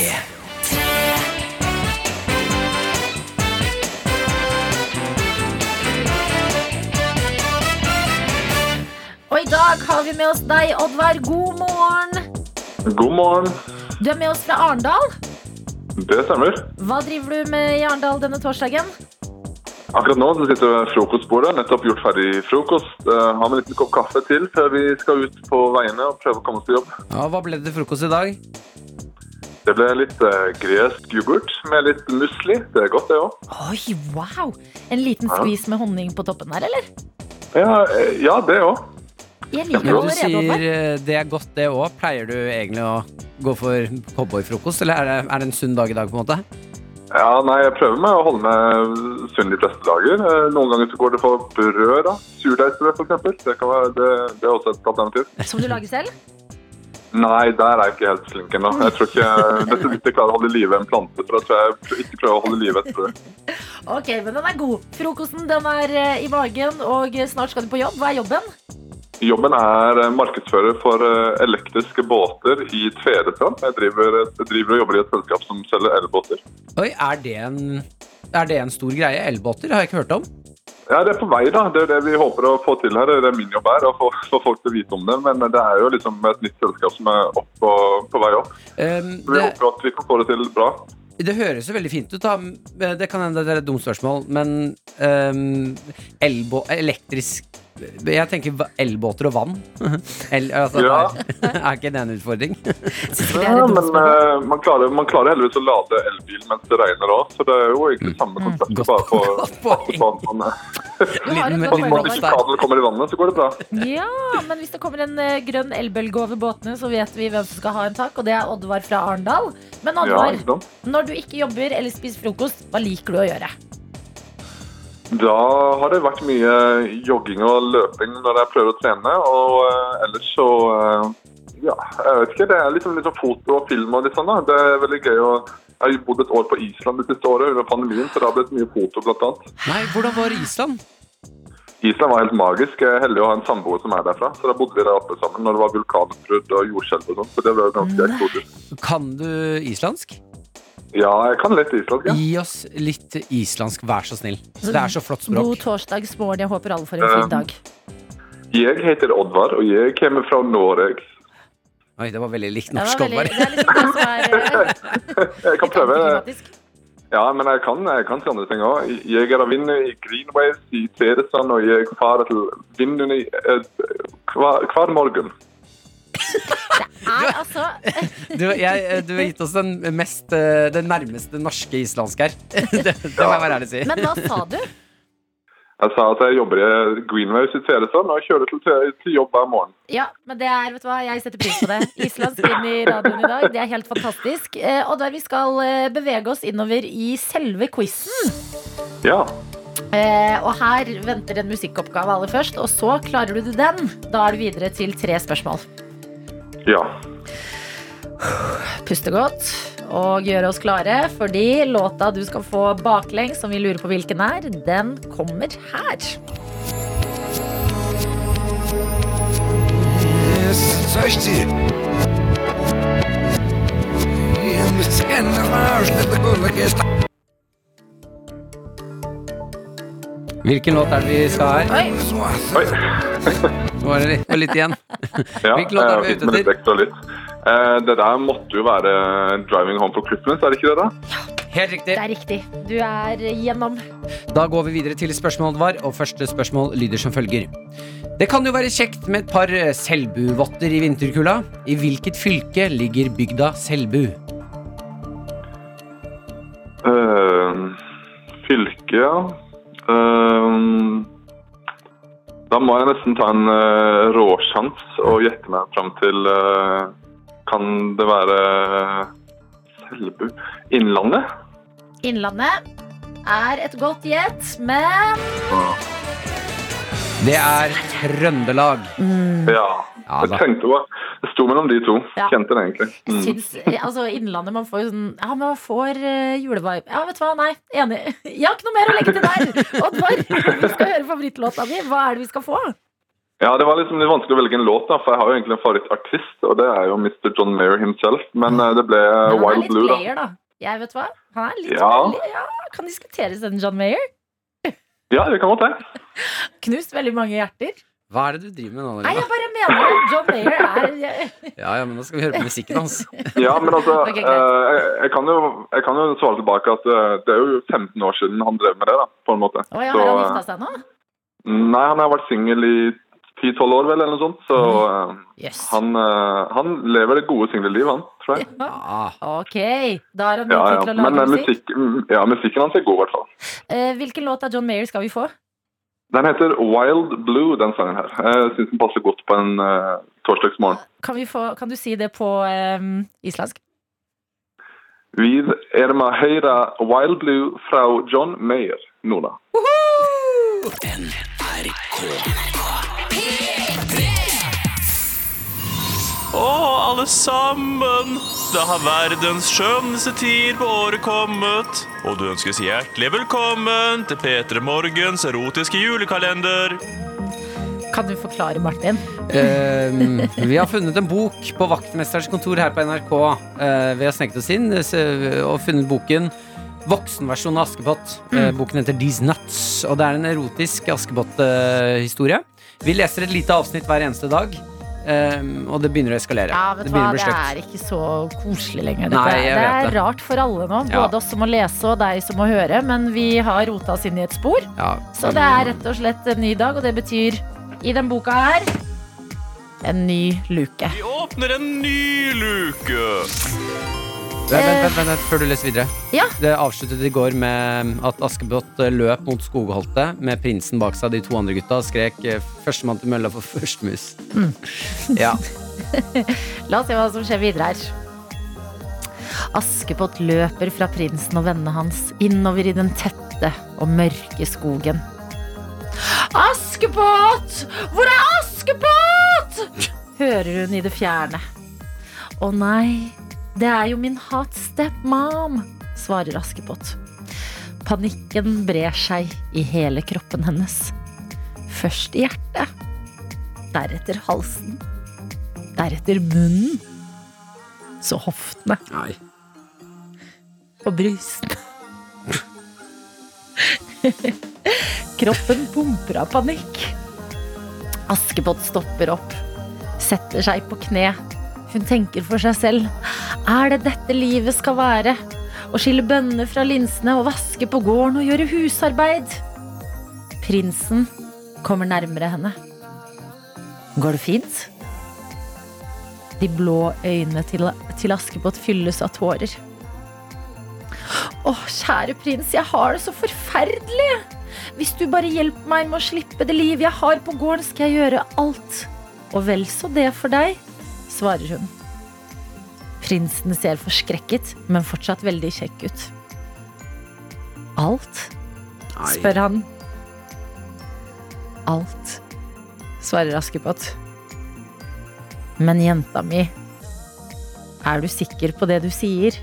Speaker 3: Og i dag har vi med oss deg, Oddvar. God morgen.
Speaker 9: God morgen.
Speaker 3: Du er med oss fra Arendal.
Speaker 9: Det stemmer.
Speaker 3: Hva driver du med i Arendal denne torsdagen?
Speaker 9: Akkurat nå så sitter vi ved frokostbordet, nettopp gjort ferdig frokost. Eh, har med en liten kopp kaffe til før vi skal ut på veiene og prøve å komme oss til jobb.
Speaker 2: Ja, hva ble det til frokost i dag?
Speaker 9: Det ble litt eh, gresk yoghurt med litt musli. Det er godt, det òg.
Speaker 3: Oi, wow! En liten skvis med honning på toppen der, eller?
Speaker 9: Ja, eh, ja, det òg.
Speaker 3: Jeg
Speaker 2: Når
Speaker 3: liker
Speaker 2: du
Speaker 3: allerede,
Speaker 2: sier
Speaker 3: Oddvar.
Speaker 2: eh, det er godt, det òg, pleier du egentlig å gå for cowboyfrokost? Eller er det, er det en sunn dag i dag, på en måte?
Speaker 9: Ja, nei, jeg prøver meg å holde meg sunn de fleste dager. Eh, noen ganger så går det for brød, da. Surdeigsbrød, f.eks. Det, kan være- det, det er også et alternativ.
Speaker 3: Som du lager selv?
Speaker 9: Nei, der er jeg ikke helt flink ennå. Jeg tror ikke dette hvis jeg klarer å holde i live en plante, så da tror jeg jeg pr- ikke prøver å holde i live et brød.
Speaker 3: Ok, men den er god. Frokosten den er eh, i magen, og eh, snart skal du på jobb. Hva er jobben?
Speaker 9: Jobben er eh, markedsfører for eh, elektriske båter i Tvedestrand. Jeg driver, jeg driver og jobber i et selskap som selger elbåter.
Speaker 2: Oi, er det en, er det en stor greie? Elbåter har jeg ikke hørt om.
Speaker 9: Ja, det er på vei, da. Det er det vi håper å få til her. Det er min jobb her å få, få folk til å vite om det. Men det er jo liksom et nytt selskap som er opp og, på vei opp.
Speaker 2: Um,
Speaker 9: Så vi
Speaker 2: det,
Speaker 9: håper at vi kan få det til bra.
Speaker 2: det høres jo veldig fint ut, da. Eh, Det kan hende det er et dumt spørsmål, men um, elbå... Elektrisk Jeg tenker va- elbåter og vann. El, altså,
Speaker 9: Ja.
Speaker 2: er, er ikke det en utfordring?
Speaker 9: Ja, men eh, man klarer, man klarer heldigvis å lade elbil mens det regner òg, så det er jo egentlig samme konsept. Bare på,
Speaker 2: Godt poeng.
Speaker 9: på en sånn, eh,
Speaker 3: Du har
Speaker 2: Liten-
Speaker 3: et godt
Speaker 9: Og
Speaker 2: liten
Speaker 3: poeng,
Speaker 9: hvis
Speaker 2: bonus der.
Speaker 3: Oddvar.
Speaker 9: kabelen kommer i vannet, så går det bra.
Speaker 3: Ja, men hvis det kommer en eh, grønn elbølge over båtene, så vet vi hvem som skal ha en takk, og det er Oddvar fra Arendal. Men
Speaker 9: Ja,
Speaker 3: Oddvar,
Speaker 9: ikke sant?
Speaker 3: når du ikke jobber eller spiser frokost, hva liker du å gjøre?
Speaker 9: Da har det vært mye jogging og løping når jeg prøver å trene, og eh, ellers så eh, Ja, jeg vet ikke. Det er liksom litt sånn foto og film og litt sånn, da. Det er veldig gøy å jeg har jo bodd et år på Island det siste året under pandemien, så det har blitt mye foto, blant annet.
Speaker 2: Nei, hvordan var Island?
Speaker 9: Island var helt magisk. Jeg er heldig å ha en samboer som er derfra, så da bodde vi der oppe sammen når det var vulkanutbrudd og jordskjelv og sånn, så det ble jo ganske eksotisk.
Speaker 2: Kan du islandsk?
Speaker 9: Ja, jeg kan litt islandsk, jeg.
Speaker 2: Gi oss litt islandsk, vær så snill. Det er så flott
Speaker 3: Altså, God
Speaker 2: språk.
Speaker 3: torsdagsmorgen. Jeg håper alle får en fin
Speaker 9: Eh,
Speaker 3: dag.
Speaker 9: Jeg heter Oddvar, og jeg kommer fra Norge.
Speaker 2: Oi, det var veldig likt
Speaker 3: Det,
Speaker 2: norsk.
Speaker 3: var veldig,
Speaker 2: Oddvar.
Speaker 3: det er liksom det som er eh,
Speaker 9: Jeg kan
Speaker 3: litt
Speaker 9: prøve.
Speaker 3: antiklimatisk.
Speaker 9: Ja, men jeg kan, jeg kan si andre ting òg. Jeg er av vind i Greenways i Tvedestrand, og jeg farer til vinden i eh, hver, hver morgen.
Speaker 3: Er, altså,
Speaker 2: Du, jeg, du har gitt oss den, mest, eh, den nærmeste norske islandsk her. Det, det må jeg være ærlig og si.
Speaker 3: men hva sa du?
Speaker 9: Jeg sa at jeg jobber i Greenways i Tvedestrand og kjører til, til jobb hver morgen.
Speaker 3: Ja, men det er, vet du hva, jeg setter pris på det. Islandsk inn i radioen i dag, det er helt fantastisk. Eh, Og der vi skal eh, bevege oss innover i selve quizen.
Speaker 9: Ja.
Speaker 3: Eh, Og her venter en musikkoppgave aller først, og så klarer du den. Da er du videre til tre spørsmål.
Speaker 9: Ja.
Speaker 3: Puste godt og gjøre oss klare, fordi låta du skal få baklengs, som vi lurer på hvilken er, den kommer her.
Speaker 2: Hvilken låt er det vi skal her?
Speaker 9: Oi.
Speaker 2: Nå er det litt, og litt igjen.
Speaker 9: Ja, Eh,
Speaker 2: Hvilken låt er
Speaker 9: jeg
Speaker 2: vi
Speaker 9: fikk
Speaker 2: ute
Speaker 9: med litt
Speaker 2: etter?
Speaker 9: ekstra litt. Eh, det der måtte jo være 'Driving Home for Christmas', er det ikke det? da?
Speaker 2: Helt riktig.
Speaker 3: Det er riktig. Du er gjennom.
Speaker 2: Da går vi videre til spørsmål, Oddvar, og første spørsmål lyder som følger. Det kan jo være kjekt med et par eh, Selbuvotter i vinterkulda. I hvilket fylke ligger bygda Selbu?
Speaker 9: Uh, fylke, ja. Eh, da må jeg nesten ta en uh, råsjans og gjette meg fram til eh, Kan det være eh, Selbu? Innlandet?
Speaker 3: Innlandet er et godt gjett, men
Speaker 2: Det er Trøndelag.
Speaker 9: Ja.
Speaker 2: Mm. Ja
Speaker 9: Jeg
Speaker 2: da.
Speaker 9: tenkte det. Det sto mellom de to.
Speaker 3: Ja.
Speaker 9: Kjente det egentlig.
Speaker 3: jeg
Speaker 9: Mm.
Speaker 3: syns eh, Altså, Innlandet, man får jo sånn Ja, man får eh, julevibe. Ja, vet du hva, nei. Enig. Jeg har ikke noe mer å legge til der. Oddvar, vi skal høre favorittlåta di. Hva er det vi skal få?
Speaker 9: Ja, Det var liksom litt vanskelig å velge en låt, da, for jeg har jo egentlig en favorittartist, og det er jo Mr. John Mayer himself, men eh, det ble
Speaker 3: Men han Mm. er
Speaker 9: Wild
Speaker 3: litt
Speaker 9: Blue, da.
Speaker 3: player, da. Jeg vet hva. Han er litt
Speaker 9: Ja.
Speaker 3: veldig- ja kan diskuteres, den John Mayer.
Speaker 9: Ja, det kan godt det.
Speaker 3: Knust veldig mange hjerter.
Speaker 2: Hva er det du driver med nå?
Speaker 3: Nei,
Speaker 2: Lina?
Speaker 3: jeg bare mener det. John Mayer er jeg-
Speaker 2: Ja, ja, men Nå skal vi høre på musikken hans.
Speaker 9: Ja, men altså,
Speaker 3: Ok, greit.
Speaker 9: eh, jeg, jeg, kan jo, jeg kan jo svare tilbake at eh, det er jo 15 år siden han drev med det, da, på en måte.
Speaker 3: Å ja,
Speaker 9: Så,
Speaker 3: har han
Speaker 9: eh,
Speaker 3: gifta seg nå?
Speaker 9: Nei, han har vært singel i 10-12 år, vel, eller noe sånt. Så
Speaker 3: Mm.
Speaker 9: eh,
Speaker 3: Jøss.
Speaker 9: han, eh, han lever det gode singelliv, han, tror jeg.
Speaker 2: Ah,
Speaker 3: Ok, da har han mye
Speaker 9: Ja,
Speaker 3: tid
Speaker 9: ja.
Speaker 3: til å
Speaker 9: Men
Speaker 3: lage
Speaker 9: eh,
Speaker 3: musikk.
Speaker 9: musikk, mm, ja, musikken hans er god, i hvert fall.
Speaker 3: Eh, hvilken låt av John Mayer skal vi få?
Speaker 9: Den heter Wild Blue, den sangen her. Jeg syns den passer godt på en eh, torsdagsmorgen.
Speaker 3: Kan, vi få, kan du si det på eh, islandsk?
Speaker 9: Vid Erma Heira Wild Blue fra John Mayer, Nona.
Speaker 4: Å, alle sammen! Da har verdens skjønneste tid på året kommet. Og du ønskes hjertelig velkommen til P3 Morgens erotiske julekalender.
Speaker 3: Kan du forklare, Martin?
Speaker 2: ehm, vi har funnet en bok på vaktmesterens kontor her på NRK. eh, vi har sneket oss inn eh, se- og funnet boken. Voksenversjonen av Askepott. Eh,
Speaker 3: Mm.
Speaker 2: boken heter These Nuts. Og det er en erotisk Askepott-historie. vi leser et lite avsnitt hver eneste dag, ehm, og det begynner å eskalere.
Speaker 3: Ja, vet
Speaker 2: det
Speaker 3: du
Speaker 2: begynner å
Speaker 3: hva,
Speaker 2: bli
Speaker 3: det
Speaker 2: stygt.
Speaker 3: er ikke så koselig lenger.
Speaker 2: Nei,
Speaker 3: dette.
Speaker 2: jeg
Speaker 3: det
Speaker 2: vet
Speaker 3: er
Speaker 2: det.
Speaker 3: rart for alle nå, både
Speaker 2: Ja.
Speaker 3: oss som må lese og deg som må høre, men vi har rota oss inn i et spor.
Speaker 2: Ja.
Speaker 3: Så det er rett og slett en ny dag, og det betyr i den boka her en ny luke.
Speaker 4: Vi åpner en ny luke.
Speaker 2: Vent, vent, vent, vent, vent, før du leser videre.
Speaker 3: Eh. Ja.
Speaker 2: Det avsluttet i går med at Askepott eh, løp mot skogholtet med prinsen bak seg. De to andre gutta og skrek eh, 'førstemann til mølla for først mus'.
Speaker 3: Mm.
Speaker 2: Ja.
Speaker 3: La oss se hva som skjer videre her. Askepott løper fra prinsen og vennene hans innover i den tette og mørke skogen. Askepott! Hvor er Askepott? hører hun i det fjerne. Å nei, det er jo min hot stepmom, svarer Askepott. Panikken brer seg i hele kroppen hennes. Først i hjertet, deretter halsen deretter munnen, så hoftene
Speaker 2: Nei.
Speaker 3: og brystene. Kroppen pumper av panikk. Askepott stopper opp, setter seg på kne. Hun tenker for seg selv. Er det dette livet skal være? Å skille bønner fra linsene og vaske på gården og gjøre husarbeid? Prinsen kommer nærmere henne. Går det fint? De blå øynene til, til Askepott fylles av tårer. Å, kjære prins, jeg har det så forferdelig! Hvis du bare hjelper meg med å slippe det livet jeg har på gården, skal jeg gjøre alt. Og vel så det for deg, svarer hun. Prinsen ser forskrekket, men fortsatt veldig kjekk ut. Alt? spør han. Alt, svarer Askepott. Men jenta mi, er du sikker på det du sier?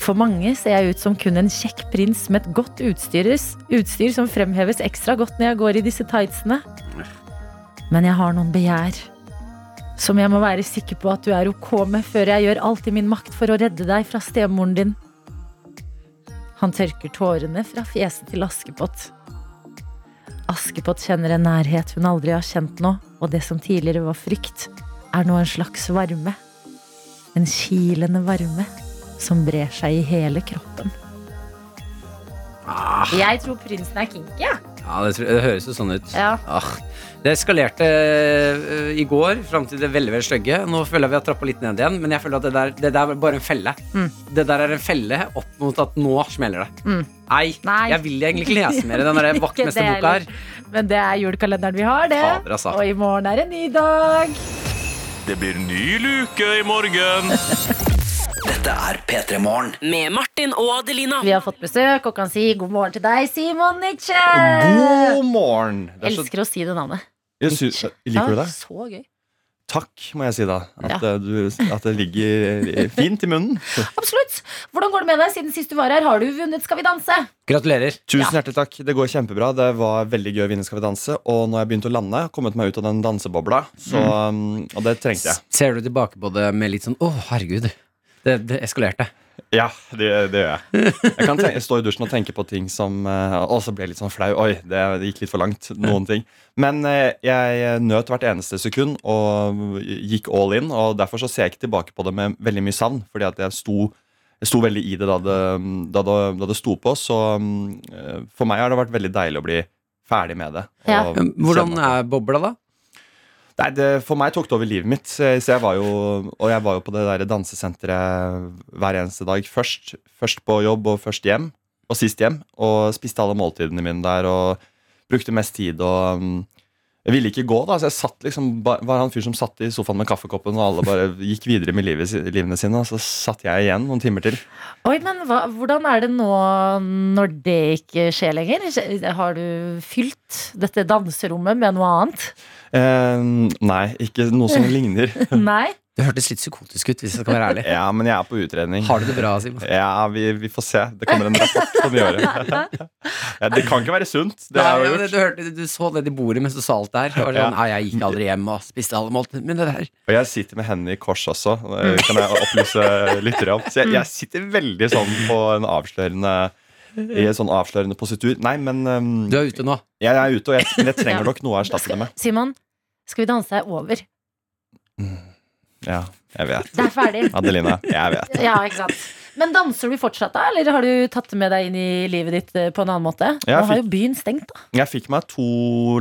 Speaker 3: For mange ser jeg ut som kun en kjekk prins med et godt utstyres, utstyr som fremheves ekstra godt når jeg går i disse tightsene. Men jeg har noen begjær. Som jeg må være sikker på at du er ok med før jeg gjør alt i min makt for å redde deg fra stemoren din. Han tørker tårene fra fjeset til Askepott. Askepott kjenner en nærhet hun aldri har kjent nå, og det som tidligere var frykt, er nå en slags varme. En kilende varme som brer seg i hele kroppen.
Speaker 2: Ah.
Speaker 3: Jeg tror prinsen er kinky, jeg.
Speaker 2: Ja, det, tror- det høres jo sånn ut.
Speaker 3: Ja.
Speaker 2: Ah. Det eskalerte eh, i går fram til det veldig veldig stygge. Nå føler jeg vi har trappa litt ned igjen, men jeg føler at det der, det der er bare en felle.
Speaker 3: Mm.
Speaker 2: Det der er en felle opp mot at nå smeller det. Nei,
Speaker 3: Nei.
Speaker 2: jeg vil egentlig ikke lese mer i den der
Speaker 3: Ikke det
Speaker 2: vaktmesterboka her.
Speaker 3: heller. Men det er julekalenderen vi har, det.
Speaker 2: Fader, altså.
Speaker 3: Og i morgen er en ny dag.
Speaker 10: Det blir ny luke i morgen.
Speaker 7: Dette er P3 Morgen.
Speaker 5: Med Martin og Adelina.
Speaker 3: Vi har fått besøk og kan si god morgen til deg, Simon Nitsche!
Speaker 11: God morgen! Det er så-
Speaker 3: Elsker å si det navnet.
Speaker 11: Jeg sy- liker du det?
Speaker 3: Så gøy.
Speaker 11: Takk, må jeg si da. At,
Speaker 3: Ja.
Speaker 11: eh, du, at det ligger eh, fint i munnen.
Speaker 3: Absolutt. Hvordan går det med deg siden sist du var her? Har du vunnet Skal vi danse?
Speaker 2: Gratulerer.
Speaker 11: Tusen hjertelig takk. Det går kjempebra. Det var veldig gøy å vinne Skal vi danse. Og nå har jeg begynt å lande. Kommet meg ut av den dansebobla. Så, um, og det trengte jeg.
Speaker 2: Ser du tilbake på det med litt sånn Å, herregud. Det, det eskalerte.
Speaker 11: Ja, det, det gjør jeg. Jeg kan tenke, stå i dusjen og tenke på ting som eh, Og så ble jeg litt sånn flau. Oi, det, det gikk litt for langt. Noen ting. Men eh, jeg nøt hvert eneste sekund og gikk all in. Og derfor så ser jeg ikke tilbake på det med veldig mye savn. Fordi at jeg sto, jeg sto veldig i det da det, da det da det sto på. Så mm, eh, for meg har det vært veldig deilig å bli ferdig med det.
Speaker 2: Ja.
Speaker 11: og
Speaker 2: Hvordan
Speaker 11: kjenne-
Speaker 2: er bobla, da?
Speaker 11: Nei, det, For meg tok det over livet mitt. eh, Så jeg var jo, og jeg var jo på det der dansesenteret hver eneste dag. Først, først på jobb og først hjem. Og sist hjem. Og spiste alle måltidene mine der og brukte mest tid og um, Jeg ville ikke gå, da. Så jeg satt liksom, ba- var han fyr som satt i sofaen med kaffekoppen, og alle bare gikk videre med livet, si- livene sine. Og så satt jeg igjen noen timer til.
Speaker 3: Oi, men hva, Hvordan er det nå når det ikke skjer lenger? Har du fylt dette danserommet med noe annet?
Speaker 11: Eh, nei, ikke noe som ligner.
Speaker 3: Nei?
Speaker 2: Det hørtes litt psykotisk ut, hvis jeg skal være ærlig.
Speaker 11: Ja, men jeg er på utredning.
Speaker 2: Har du det bra, Simon?
Speaker 11: Ja, vi, vi får se. Det kommer en rapport om i året. Ja, det kan ikke være sunt. Det
Speaker 2: Nei,
Speaker 11: er jo
Speaker 2: men
Speaker 11: gjort.
Speaker 2: du, hørte, du så ned i bordet mens du sa alt det her. Det var
Speaker 11: Ja.
Speaker 2: Sånn, «Nei, jeg gikk aldri hjem og spiste alle måltidene mine. det der».
Speaker 11: Og jeg sitter med hendene i kors også, eh, kan jeg opplyse lyttere om. Så jeg, jeg sitter veldig sånn på en avslørende i en sånn avslørende positur. Nei, men ehm,
Speaker 2: Du er ute nå.
Speaker 11: Jeg er ute, og jeg, men jeg
Speaker 3: Ja.
Speaker 11: trenger nok noe å erstatte det med.
Speaker 3: Simon, Skal vi danse er over.
Speaker 11: Ja, jeg vet.
Speaker 3: Det er ferdig.
Speaker 11: Adelina, jeg vet.
Speaker 3: Ja, ikke sant. Men danser du fortsatt, da? Eller har du tatt det med deg inn i livet ditt eh, på en annen måte?
Speaker 11: Jeg
Speaker 3: Nå har
Speaker 11: fikk-
Speaker 3: jo byen stengt, da.
Speaker 11: Jeg fikk meg to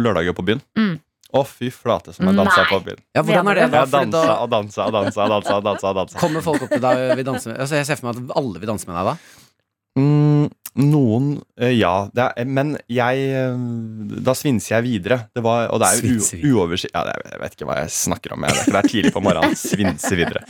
Speaker 11: lørdager på byen.
Speaker 3: Mm.
Speaker 11: Å, fy flate som jeg dansa
Speaker 3: Nei.
Speaker 11: på byen.
Speaker 2: Ja, hvordan er det?
Speaker 11: Jeg
Speaker 2: Fordi
Speaker 11: dansa
Speaker 2: da
Speaker 11: og dansa og dansa og dansa. og dansa, og dansa.
Speaker 2: kommer folk opp til deg og vil danse med altså, Jeg ser for meg at alle vil danse med deg da.
Speaker 11: Mm, noen eh, Ja. Det er, men jeg eh, Da svinser jeg videre. Det var, og det er
Speaker 2: Svinser
Speaker 11: jo uoversiktlig ja, det er- Jeg vet ikke hva jeg snakker om. Jeg vet ikke, det er tidlig på morgenen. Svinse videre.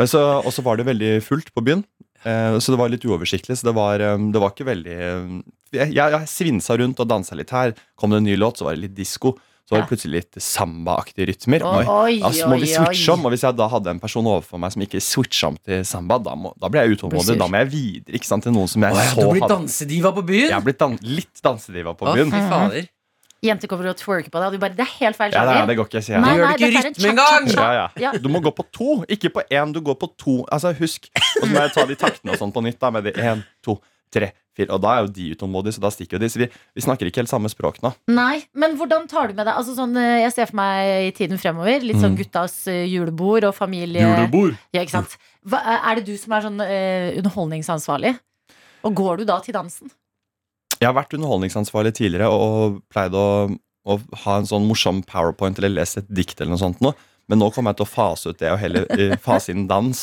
Speaker 11: Og så og så var det veldig fullt på byen, eh, så det var litt uoversiktlig. Så det var, eh, det var ikke veldig eh, jeg, jeg, jeg svinsa rundt og dansa litt her. Kom det en ny låt, så var det litt disko. Så var det plutselig litt sambaaktige rytmer.
Speaker 3: Oi, oi,
Speaker 11: ja, så må vi
Speaker 3: oi,
Speaker 11: switche
Speaker 3: oi.
Speaker 11: om. Og hvis jeg da hadde en person overfor meg som ikke switcha om til samba, da, må, da ble jeg
Speaker 3: Blir
Speaker 11: utålmodig.
Speaker 3: sur.
Speaker 11: Da må jeg videre ikke sant, til noen som jeg
Speaker 2: Å, ja,
Speaker 11: så
Speaker 2: du blir
Speaker 11: hadde
Speaker 2: dansediva på byen?
Speaker 11: Jeg er blitt dan litt dansediva på
Speaker 2: Å,
Speaker 11: byen.
Speaker 2: fy fader.
Speaker 3: Jenter kommer og twerker på deg, og du bare Det er helt feil
Speaker 11: Ja, nei,
Speaker 3: sjanger.
Speaker 11: det går ikke, sier
Speaker 3: Nei,
Speaker 11: jeg.
Speaker 2: gjør
Speaker 3: nei,
Speaker 2: det ikke
Speaker 3: dette er en
Speaker 2: rytme engang!
Speaker 3: cha-cha-cha.
Speaker 11: Ja, ja.
Speaker 3: Ja.
Speaker 11: Du må gå på to, ikke på én. Du går på to. Altså, husk. Og så må jeg ta de taktene og sånn på nytt. da, med de en, to, tre, fire. Og da er jo de utålmodige, så da stikker jo de. Så vi, vi snakker ikke helt samme språk nå.
Speaker 3: Nei, men hvordan tar du med deg altså sånn, eh, Jeg ser for meg i tiden fremover Litt sånn guttas eh, julebord og familie Ja, ikke sant Hva, Er det du som er sånn eh, underholdningsansvarlig? Og går du da til dansen?
Speaker 11: Jeg har vært underholdningsansvarlig tidligere og pleide å, å ha en sånn morsom powerpoint eller lese et dikt eller noe sånt nå. Men nå kommer jeg til å fase ut det og heller eh, fase inn dans.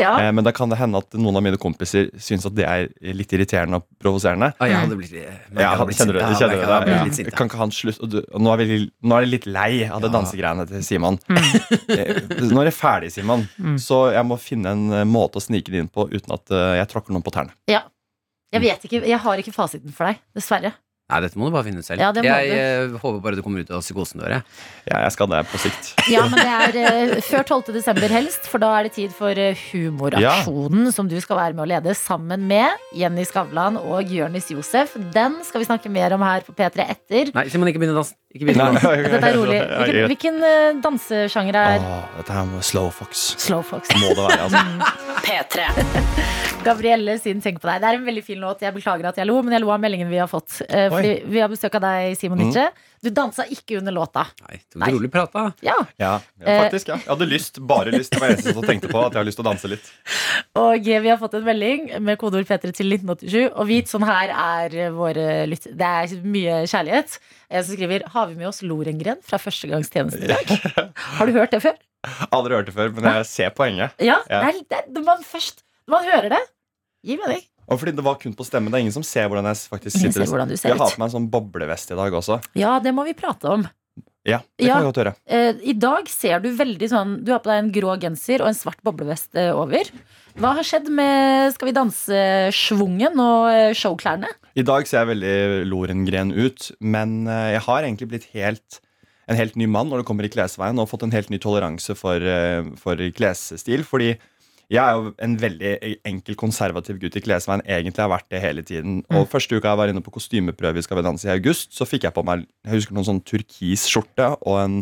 Speaker 3: Ja,
Speaker 11: Eh, men da kan det hende at noen av mine kompiser syns at det er litt irriterende og provoserende.
Speaker 2: Å, jeg hadde blitt jeg hadde
Speaker 11: Ja,
Speaker 2: blitt
Speaker 11: kjenner du,
Speaker 2: sint.
Speaker 11: kjenner du
Speaker 2: jeg hadde
Speaker 11: det?
Speaker 2: blitt
Speaker 11: Ja.
Speaker 2: litt sint, ja.
Speaker 11: Kan ikke han slutte? Og du- og Nå er, vi, nå er jeg litt lei av det
Speaker 2: Ja.
Speaker 11: dansegreiene til Simon. Eh, Nå er det ferdig, Simon. Så jeg må finne en eh, måte å snike det inn på uten at eh, jeg tråkker noen på tærne.
Speaker 3: jeg vet ikke Jeg har ikke fasiten for deg, dessverre
Speaker 2: Nei, dette må du bare finne ut selv.
Speaker 3: Ja, det må
Speaker 2: jeg
Speaker 3: du.
Speaker 2: eh, håper bare du kommer ut av psykosen dør. jeg.
Speaker 11: Ja, jeg skal det på sikt.
Speaker 3: Ja, men det er eh, før 12. desember helst For da er det tid for eh, humoraksjonen Som du skal være med å lede sammen med Jenny Skavlan og Jørnis Josef Den skal vi snakke mer om her på P3 etter
Speaker 2: Nei, Simon, ikke begynn å danse. Ikke begynn å danse.
Speaker 3: Dette er rolig Hvilken, hvilken eh, dansesjanger er
Speaker 11: Åh, dette her må slow fox.
Speaker 3: Slowfox.
Speaker 11: Må det være, altså.
Speaker 5: P3.
Speaker 3: Gabrielle sin Tenk på deg. Det er en veldig fin låt. Jeg beklager at jeg lo, men jeg lo av meldingen vi har fått. Eh, fordi vi har besøk av deg,
Speaker 11: Mm.
Speaker 3: Simon Nietzsche. Du dansa ikke under låta.
Speaker 2: Nei, tok det rolig prat, da.
Speaker 3: Ja.
Speaker 11: Ja, ja, faktisk. Ja. Jeg hadde lyst, bare lyst. Det var det eneste som tenkte på at jeg har lyst til å danse litt.
Speaker 3: Og eh, vi har fått en melding med kodeord P3 til 1987. Og vit, sånn her er eh, våre lytt... Det er mye kjærlighet. Jeg som skriver Har vi med oss Lorengren fra førstegangstjenesten i dag? Har du hørt det før?
Speaker 11: Aldri hørt det før, men jeg ser poenget.
Speaker 3: Ja. Det
Speaker 11: Ja.
Speaker 3: er, det er, når man først Når man hører det, gir mening.
Speaker 11: Og fordi det var kun på stemmen. Det er ingen som ser hvordan jeg faktisk
Speaker 3: Ingen
Speaker 11: sitter.
Speaker 3: ser hvordan du ser
Speaker 11: Jeg har
Speaker 3: ut.
Speaker 11: på meg en sånn boblevest i dag også.
Speaker 3: Ja, det må vi prate om.
Speaker 11: Ja, det kan
Speaker 12: Ja.
Speaker 11: vi godt gjøre.
Speaker 12: Eh, I dag ser du veldig sånn Du har på deg en grå genser og en svart boblevest eh, over. Hva har skjedd med Skal vi danse-schwungen og eh, showklærne?
Speaker 11: I dag ser jeg veldig Lorengren ut, men eh, jeg har egentlig blitt helt en helt ny mann når det kommer i klesveien, og fått en helt ny toleranse for, eh, for klesstil. Fordi jeg er jo en veldig e-, enkel, konservativ gutt i klesveien. Egentlig har jeg vært det hele tiden.
Speaker 2: Mm.
Speaker 11: Og første uka jeg var inne på kostymeprøve i Skal vi danse i august, så fikk jeg på meg jeg husker noen sånn turkis skjorte og en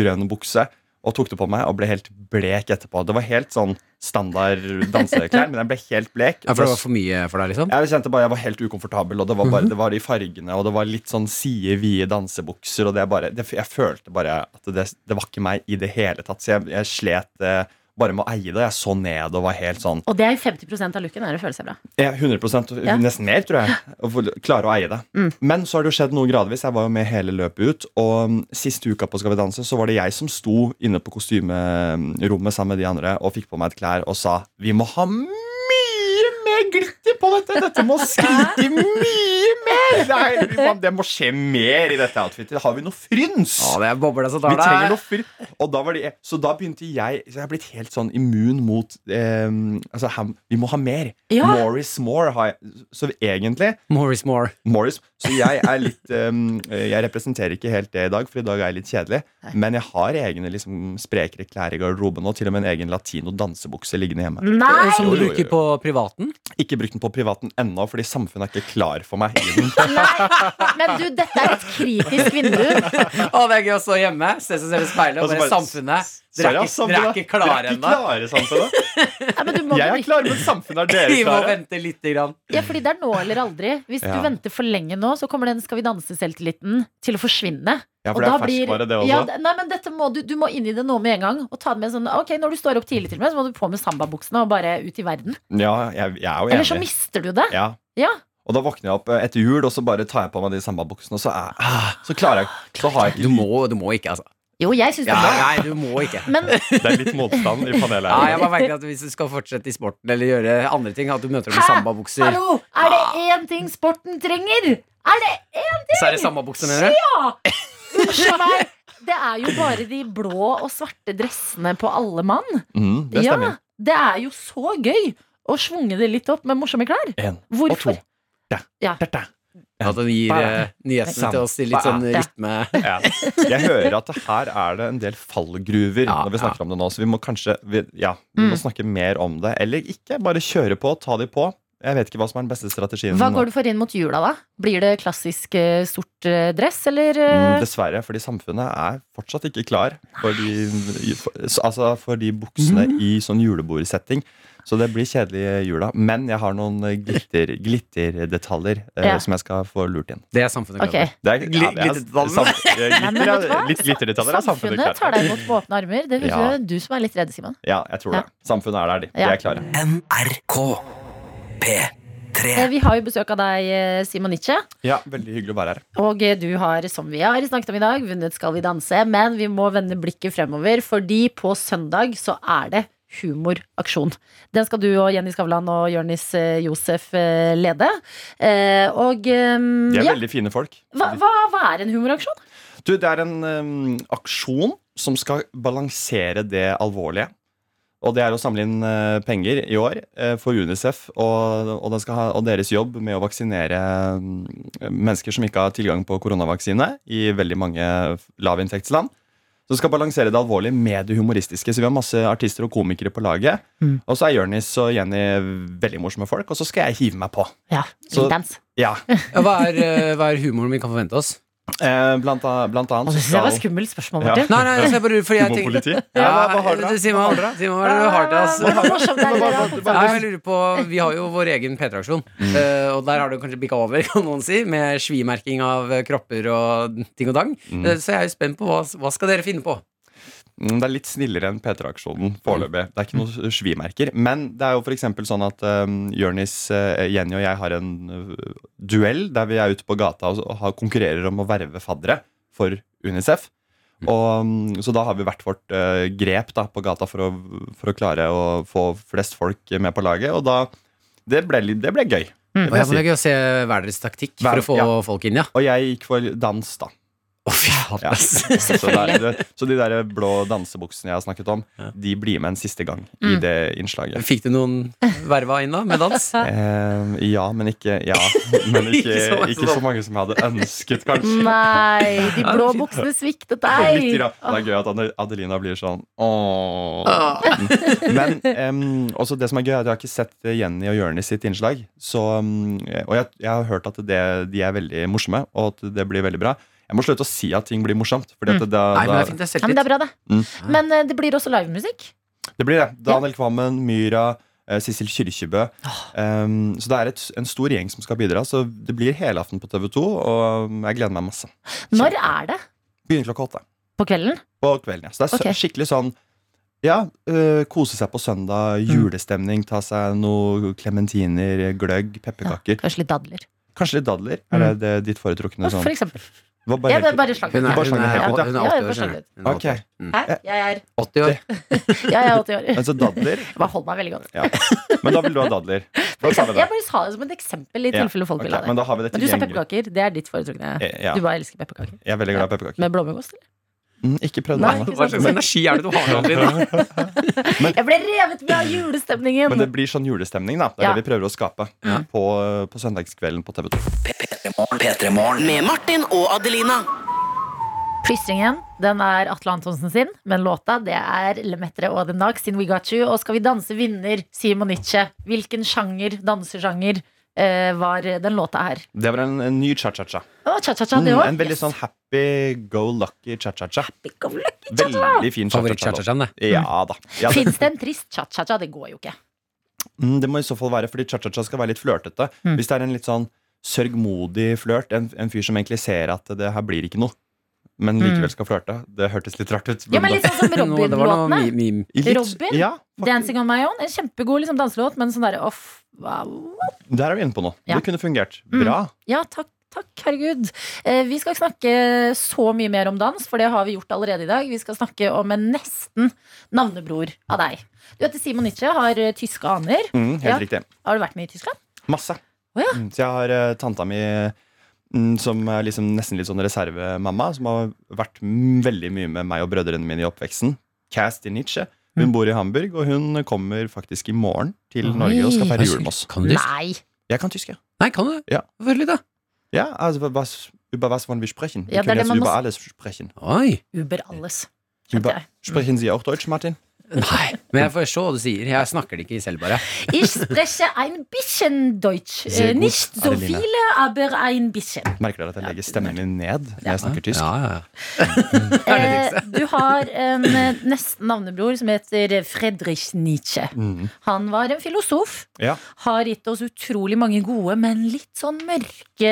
Speaker 11: grønn bukse. Og tok det på meg og ble helt blek etterpå. Det var helt sånn standard danseklær, men jeg ble helt blek.
Speaker 2: Ja, for det var for mye for deg, liksom?
Speaker 11: Jeg kjente bare jeg var helt ukomfortabel, og det var, bare, det var i fargene, og det var litt sånn side vide dansebukser, og det bare det, Jeg følte bare at det, det var ikke meg i det hele tatt, så jeg, jeg slet eh, bare med å eie det. Jeg så ned og var helt sånn
Speaker 3: Og det er 50 av looken, er det føles bra.
Speaker 11: ja, 100
Speaker 3: Ja.
Speaker 11: Nesten mer, tror jeg. Å få klare å eie det. Men så har det jo skjedd noe gradvis. Jeg var jo med hele løpet ut. Og mm, siste uka på Skal vi danse så var det jeg som sto inne på kostymerommet sammen med de andre og fikk på meg et klær og sa vi må ha mye mer glitter på dette! Dette må skrike mye mer! Det, er, vi må- det må skje mer i dette outfitet. Har vi noe fryns?
Speaker 2: Ja, det er bobler som tar
Speaker 11: Vi trenger
Speaker 2: deg.
Speaker 11: noe fyr. Og da var det, så da begynte jeg Så jeg har blitt helt sånn immun mot eh, Altså, ham, vi må ha mer.
Speaker 2: Ja.
Speaker 11: More is more. Har jeg, så egentlig
Speaker 2: More is more.
Speaker 11: Så jeg er litt eh, Jeg representerer ikke helt det i dag, for i dag er jeg litt kjedelig. Men jeg har egne liksom, sprekere klær i garderoben og til og med en egen latino dansebukse liggende hjemme.
Speaker 2: Nei! eh, Som du
Speaker 11: Jo, jo, jo.
Speaker 2: bruker på privaten?
Speaker 11: Ikke brukt den på privaten ennå, fordi samfunnet er ikke klar for meg i den.
Speaker 3: Men du, dette er et kritisk vindu.
Speaker 2: Å, det er gøy å stå hjemme, se seg selv i speilet og
Speaker 11: Og så
Speaker 2: bare
Speaker 11: bare,
Speaker 2: Samfunnet. Dere
Speaker 11: Sorry,
Speaker 2: er ikke, dere
Speaker 11: ass,
Speaker 2: er
Speaker 11: samfunnet.
Speaker 2: ikke klare
Speaker 11: Dere er ikke
Speaker 2: ennå.
Speaker 11: klare, samfunnet. Jeg er klar, men samfunnet er dere
Speaker 2: Vi må
Speaker 11: klare.
Speaker 2: vente lite grann.
Speaker 3: Ja, fordi det er nå eller aldri. Hvis
Speaker 11: Ja.
Speaker 3: du venter for lenge nå, så kommer den Skal vi danse-selvtilliten til å forsvinne.
Speaker 11: Ja,
Speaker 3: Og
Speaker 11: for det er
Speaker 3: da
Speaker 11: ferskvare, det også.
Speaker 3: Ja, nei, men dette må du, du må inn i det nå med en gang. Og ta det med en sånn, ok, Når du står opp tidlig, til og med, så må du på med sambabuksene og bare ut i verden.
Speaker 11: Ja, jeg, jeg er jo enig.
Speaker 3: Eller så mister du det.
Speaker 11: Ja.
Speaker 3: Ja.
Speaker 11: Og da våkner jeg opp eh, etter jul, og så bare tar jeg på meg de samme buksene, og så, er, ah, så klarer jeg så har jeg ikke Du
Speaker 2: må, ikke, altså.
Speaker 3: Jo, jeg syns
Speaker 2: Ja,
Speaker 3: det er bra.
Speaker 2: nei, du må ikke.
Speaker 3: Men-
Speaker 11: Det er litt motstand i panelet
Speaker 2: Ja, jeg
Speaker 11: her.
Speaker 2: bare merker at Hvis du skal fortsette i sporten eller gjøre andre ting, at du møter dem i sambabukser,
Speaker 3: Hallo! Er det én ting sporten trenger? Er det én ting?
Speaker 2: så er det
Speaker 11: Sånn
Speaker 2: sambabukser, mener du?
Speaker 3: Ja! Unnskyld meg. Det er jo bare de blå og svarte dressene på alle mann.
Speaker 11: Mm, det
Speaker 3: ja,
Speaker 11: stemmer.
Speaker 3: det er jo så gøy å svunge det litt opp med morsomme klær.
Speaker 11: En og to.
Speaker 3: Hvorfor? Ja.
Speaker 2: At den gir eh, nyhetene til oss i litt sånn rytme.
Speaker 11: Ja. Jeg hører at det her er det en del fallgruver når vi snakker om det nå, så vi må kanskje vi, ja, vi
Speaker 3: Mm.
Speaker 11: må snakke mer om det. Eller ikke. Bare kjøre på, ta de på. Jeg vet ikke hva som er den beste strategien.
Speaker 3: Hva
Speaker 11: nå.
Speaker 3: går du for inn mot jula, da? Blir det klassisk eh, sort eh, dress, eller eh,
Speaker 11: Mm, Dessverre, fordi samfunnet er fortsatt ikke klar for de, for, altså for de buksene
Speaker 3: Mm.
Speaker 11: i sånn julebordsetting. Så det blir kjedelig i jula. Men jeg har noen glitter, glitterdetaljer eh,
Speaker 3: Ja.
Speaker 11: som jeg skal få lurt inn.
Speaker 2: Det er samfunnet
Speaker 3: klar Ok. for.
Speaker 11: Det er,
Speaker 2: Gli-
Speaker 11: ja, det er,
Speaker 2: glitterdetaljer.
Speaker 11: sam, eh,
Speaker 3: Nei, men
Speaker 11: glitter,
Speaker 3: vet du
Speaker 11: er-
Speaker 3: hva?
Speaker 11: litt glitterdetaljer er samfunnet
Speaker 3: Samfunnet
Speaker 11: klar
Speaker 3: tar deg
Speaker 11: for.
Speaker 3: imot på åpne armer. Det høres
Speaker 11: Ja.
Speaker 3: ut som du som er litt redd, Simon.
Speaker 11: Ja, jeg tror
Speaker 3: Ja.
Speaker 11: det. Samfunnet er der, de.
Speaker 3: Ja.
Speaker 11: De er klare. NRK P3.
Speaker 3: Eh, Vi har jo besøk av deg, eh, Simon Nietzsche.
Speaker 11: Ja, veldig hyggelig å være her.
Speaker 3: Og eh, du har, som vi har snakket om i dag, vunnet Skal vi danse. Men vi må vende blikket fremover, fordi på søndag så er det humoraksjon. Den skal du og Jenny Skavlan og Jørnis eh, Josef eh, lede. Eh, Og eh,
Speaker 11: De er
Speaker 3: ja.
Speaker 11: veldig fine folk.
Speaker 3: hva, hva, hva er en humoraksjon?
Speaker 11: Du, det er en em, aksjon som skal balansere det alvorlige. Og det er å samle inn eh, penger i år eh, for UNICEF og, og, den skal ha, og deres jobb med å vaksinere mm, mennesker som ikke har tilgang på koronavaksine i veldig mange lavinntektsland. Som skal balansere det alvorlige med det humoristiske. Så vi har masse artister og komikere på laget.
Speaker 3: Mm.
Speaker 11: Og så er Jonis og Jenny veldig morsomme folk, og så skal jeg hive meg på.
Speaker 3: Ja,
Speaker 11: Så-
Speaker 3: Breakdance.
Speaker 11: Ja.
Speaker 2: Hva er, eh, hva er humoren vi kan forvente oss?
Speaker 11: Eh, blant, an- blant annet
Speaker 3: Det synes jeg var skummelt spørsmål,
Speaker 11: Ja.
Speaker 3: Martin.
Speaker 2: Nei, nei, altså, jeg bare, fordi jeg tenker
Speaker 11: Humorpoliti?
Speaker 2: ja, eh,
Speaker 11: Ja, hva- hva har dere da?
Speaker 2: Simon,
Speaker 11: Hva har dere?
Speaker 2: Simon, hva er det du har til oss?
Speaker 3: Hva- hva- hva- hva- hva- hva- hva-
Speaker 2: Nei, jeg lurer på, Vi har jo vår egen P3-aksjon,
Speaker 11: Mm.
Speaker 2: eh, og der har det kanskje bikka over, kan noen si, med svimerking av eh, kropper og ting og dang.
Speaker 11: Mm.
Speaker 2: Eh, Så jeg er jo spent på hva, hva skal dere finne på.
Speaker 11: Mm, Det er litt snillere enn P3-aksjonen foreløpig. Det er ikke noen svimerker. Men det er jo for eksempel sånn at um, Jørnis, eh, Jenny og jeg har en eh, duell der vi er ute på gata og og har, konkurrerer om å verve faddere for UNICEF. Og, mm, så da har vi hvert vårt eh, grep da, på gata for å, for å klare å få flest folk med på laget. Og da Det ble, litt- det ble gøy.
Speaker 2: Og
Speaker 3: Mm.
Speaker 11: må jeg
Speaker 2: jeg
Speaker 11: si.
Speaker 2: får gøy å se hver deres taktikk for å få folk inn, ja.
Speaker 11: Og jeg gikk for dans, da. Ja. Så, der, det, så de der blå dansebuksene jeg har snakket om, de blir med en siste gang i
Speaker 2: Mm.
Speaker 11: det innslaget.
Speaker 2: Fikk du noen verva inn da, med dans?
Speaker 11: Eh, ja, men ikke Ja, men ikke,
Speaker 2: Ikke så
Speaker 11: ikke,
Speaker 2: mange
Speaker 11: så mange som jeg hadde ønsket, kanskje.
Speaker 3: Nei, de blå buksene sviktet deg.
Speaker 11: Litt, grann. det er gøy at Ade- Adelina blir sånn åh.
Speaker 3: Åh.
Speaker 11: Men em, også det som er gøy, er at jeg har ikke sett Jenny og Jonis sitt innslag. Så, em, og jeg, jeg har hørt at det, de er veldig morsomme, og at det blir veldig bra. Jeg må slutte å si at ting blir morsomt. Fordi at det,
Speaker 2: Mm.
Speaker 11: da,
Speaker 2: Nei, men det er fint,
Speaker 11: da,
Speaker 2: det er
Speaker 3: Ja, men det er bra, det.
Speaker 11: Mm.
Speaker 3: Men eh, det blir også livemusikk.
Speaker 11: det blir det. Daniel Kvammen, Myra, eh, Sissel Kyrkjebø. Em, så det er et, en stor gjeng som skal bidra. Så det blir helaften på TV2, og em, jeg gleder meg masse.
Speaker 3: Når er det?
Speaker 11: Begynner klokka åtte.
Speaker 3: På kvelden?
Speaker 11: På kvelden, ja. Så det er sø-
Speaker 3: Ok.
Speaker 11: skikkelig sånn ja, øh, kose seg på søndag,
Speaker 3: Mm.
Speaker 11: julestemning, ta seg noe klementiner, gløgg, pepperkaker.
Speaker 3: kanskje litt dadler.
Speaker 11: Kanskje litt dadler. Er det, det ditt foretrukne
Speaker 3: Mm.
Speaker 11: sånn?
Speaker 3: For eksempel.
Speaker 11: Det var
Speaker 3: Ja, det
Speaker 11: helt-
Speaker 3: er bare slaget.
Speaker 11: Hun er-
Speaker 3: Bare
Speaker 11: hun er-
Speaker 3: slaget helt ut, ja.
Speaker 11: hun er
Speaker 3: Ja, det er
Speaker 11: åtte år,
Speaker 3: bare
Speaker 11: skjønner du.
Speaker 3: slaget ut.
Speaker 11: Ok.
Speaker 3: Hæ? Jeg er,
Speaker 2: 80 år.
Speaker 3: jeg er 80 år.
Speaker 11: Altså dadler.
Speaker 3: Jeg bare hold meg veldig godt.
Speaker 11: Ja. Men da vil du ha dadler. Da tar vi
Speaker 3: Jeg
Speaker 11: det.
Speaker 3: bare sa det som et eksempel i
Speaker 11: Ja,
Speaker 3: tilfelle folk
Speaker 11: ok,
Speaker 3: vil ha det.
Speaker 11: men da har vi det
Speaker 3: du sa
Speaker 11: tilgjengelig.
Speaker 3: pepperkaker. Det er ditt foretrukne.
Speaker 11: Eh, ja.
Speaker 3: Du bare elsker pepperkaker.
Speaker 11: Jeg er veldig glad i pepperkaker.
Speaker 3: Med blåmuggost, eller?
Speaker 11: Mm, Ikke prøvd
Speaker 3: Nei, ikke
Speaker 11: ennå.
Speaker 3: sant. Hva slags
Speaker 2: energi er det du har, Adelina?
Speaker 3: Jeg ble revet med av julestemningen!
Speaker 11: Men det blir sånn julestemning, da. Det
Speaker 3: Mm.
Speaker 11: er
Speaker 3: Ja.
Speaker 11: det vi prøver å skape på, på søndagskvelden på TV2.
Speaker 5: Med Martin og Adelina.
Speaker 3: Plystringen den er Atle Antonsen sin, men låta det er Lemetre og The Knox sin We Got You. Og Skal vi danse vinner Simon Nietzsche. Hvilken sjanger, dansesjanger, eh, var den låta her?
Speaker 11: Det var en, en ny cha-cha-cha.
Speaker 3: Å, cha-cha-cha, det òg?
Speaker 11: en veldig sånn happy go lucky cha-cha-cha. Veldig fin cha-cha-cha. Ja da. Ja, det,
Speaker 3: Fins det en trist cha-cha-cha? Det går jo ikke.
Speaker 11: Mm, det må i så fall være fordi cha-cha-cha skal være litt flørtete.
Speaker 3: Mm.
Speaker 11: Hvis det er en litt sånn sørgmodig flørt, en, en fyr som egentlig ser at det her blir ikke noe, men likevel skal flørte, det hørtes litt rart ut.
Speaker 3: Mm. Ja, men litt sånn som
Speaker 11: Nå, det var noe
Speaker 3: Robin-låtene.
Speaker 11: mi- mime. I litt-
Speaker 3: Robin,
Speaker 11: ja,
Speaker 3: 'Dancing on my own', en kjempegod liksom, danselåt, men sånn derre off wow.
Speaker 11: Der er vi inne på noe.
Speaker 3: Ja.
Speaker 11: Det kunne fungert.
Speaker 3: Mm.
Speaker 11: Bra.
Speaker 3: Ja, takk, takk, herregud. Eh, vi skal ikke snakke så mye mer om dans, for det har vi gjort allerede i dag. Vi skal snakke om en nesten navnebror av deg. Du heter Simon Nietzsche, har eh, tyske aner.
Speaker 11: Mm, helt
Speaker 3: Ja.
Speaker 11: riktig.
Speaker 3: Har du vært med i Tyskland?
Speaker 11: Masse.
Speaker 3: Å, ja.
Speaker 11: Mm, Så jeg har eh, tanta mi mm, som er liksom nesten litt sånn reservemamma, som har vært m- veldig mye med meg og brødrene mine i oppveksten. Cast in Nietzsche.
Speaker 3: Mm.
Speaker 11: Hun bor i Hamburg, og hun kommer faktisk i morgen til
Speaker 2: Oi.
Speaker 11: Norge og skal feire jul med oss.
Speaker 2: Kan du tysk?
Speaker 3: Nei.
Speaker 11: Jeg kan tysk, ja.
Speaker 2: Nei, kan du?
Speaker 11: Ja,
Speaker 2: Hvorfor litt, da?
Speaker 11: ja altså, was, über was wollen wir sprechen?
Speaker 3: Ja,
Speaker 11: Wir können
Speaker 3: det er det
Speaker 11: jetzt
Speaker 3: man må
Speaker 11: über
Speaker 3: s-
Speaker 11: alles sprechen.
Speaker 2: Oi.
Speaker 3: Uber alles.
Speaker 11: Über,
Speaker 3: Mm.
Speaker 11: sprechen Sie auch Deutsch, Martin?
Speaker 2: Nei, men jeg forstår hva du sier. Jeg snakker det ikke selv, bare.
Speaker 3: Ich spreche ein bisschen Deutsch.
Speaker 11: Sehr
Speaker 3: Eh,
Speaker 11: gut,
Speaker 3: Nicht so
Speaker 11: Adelina.
Speaker 3: viele, aber ein bisschen.
Speaker 11: Merker dere at jeg legger stemmen min ned når jeg snakker tysk?
Speaker 3: Eh, du har en eh, nesten navnebror som heter Fredrich Nietzsche.
Speaker 11: Mm.
Speaker 3: Han var en filosof.
Speaker 11: Ja.
Speaker 3: har gitt oss utrolig mange gode, men litt sånn mørke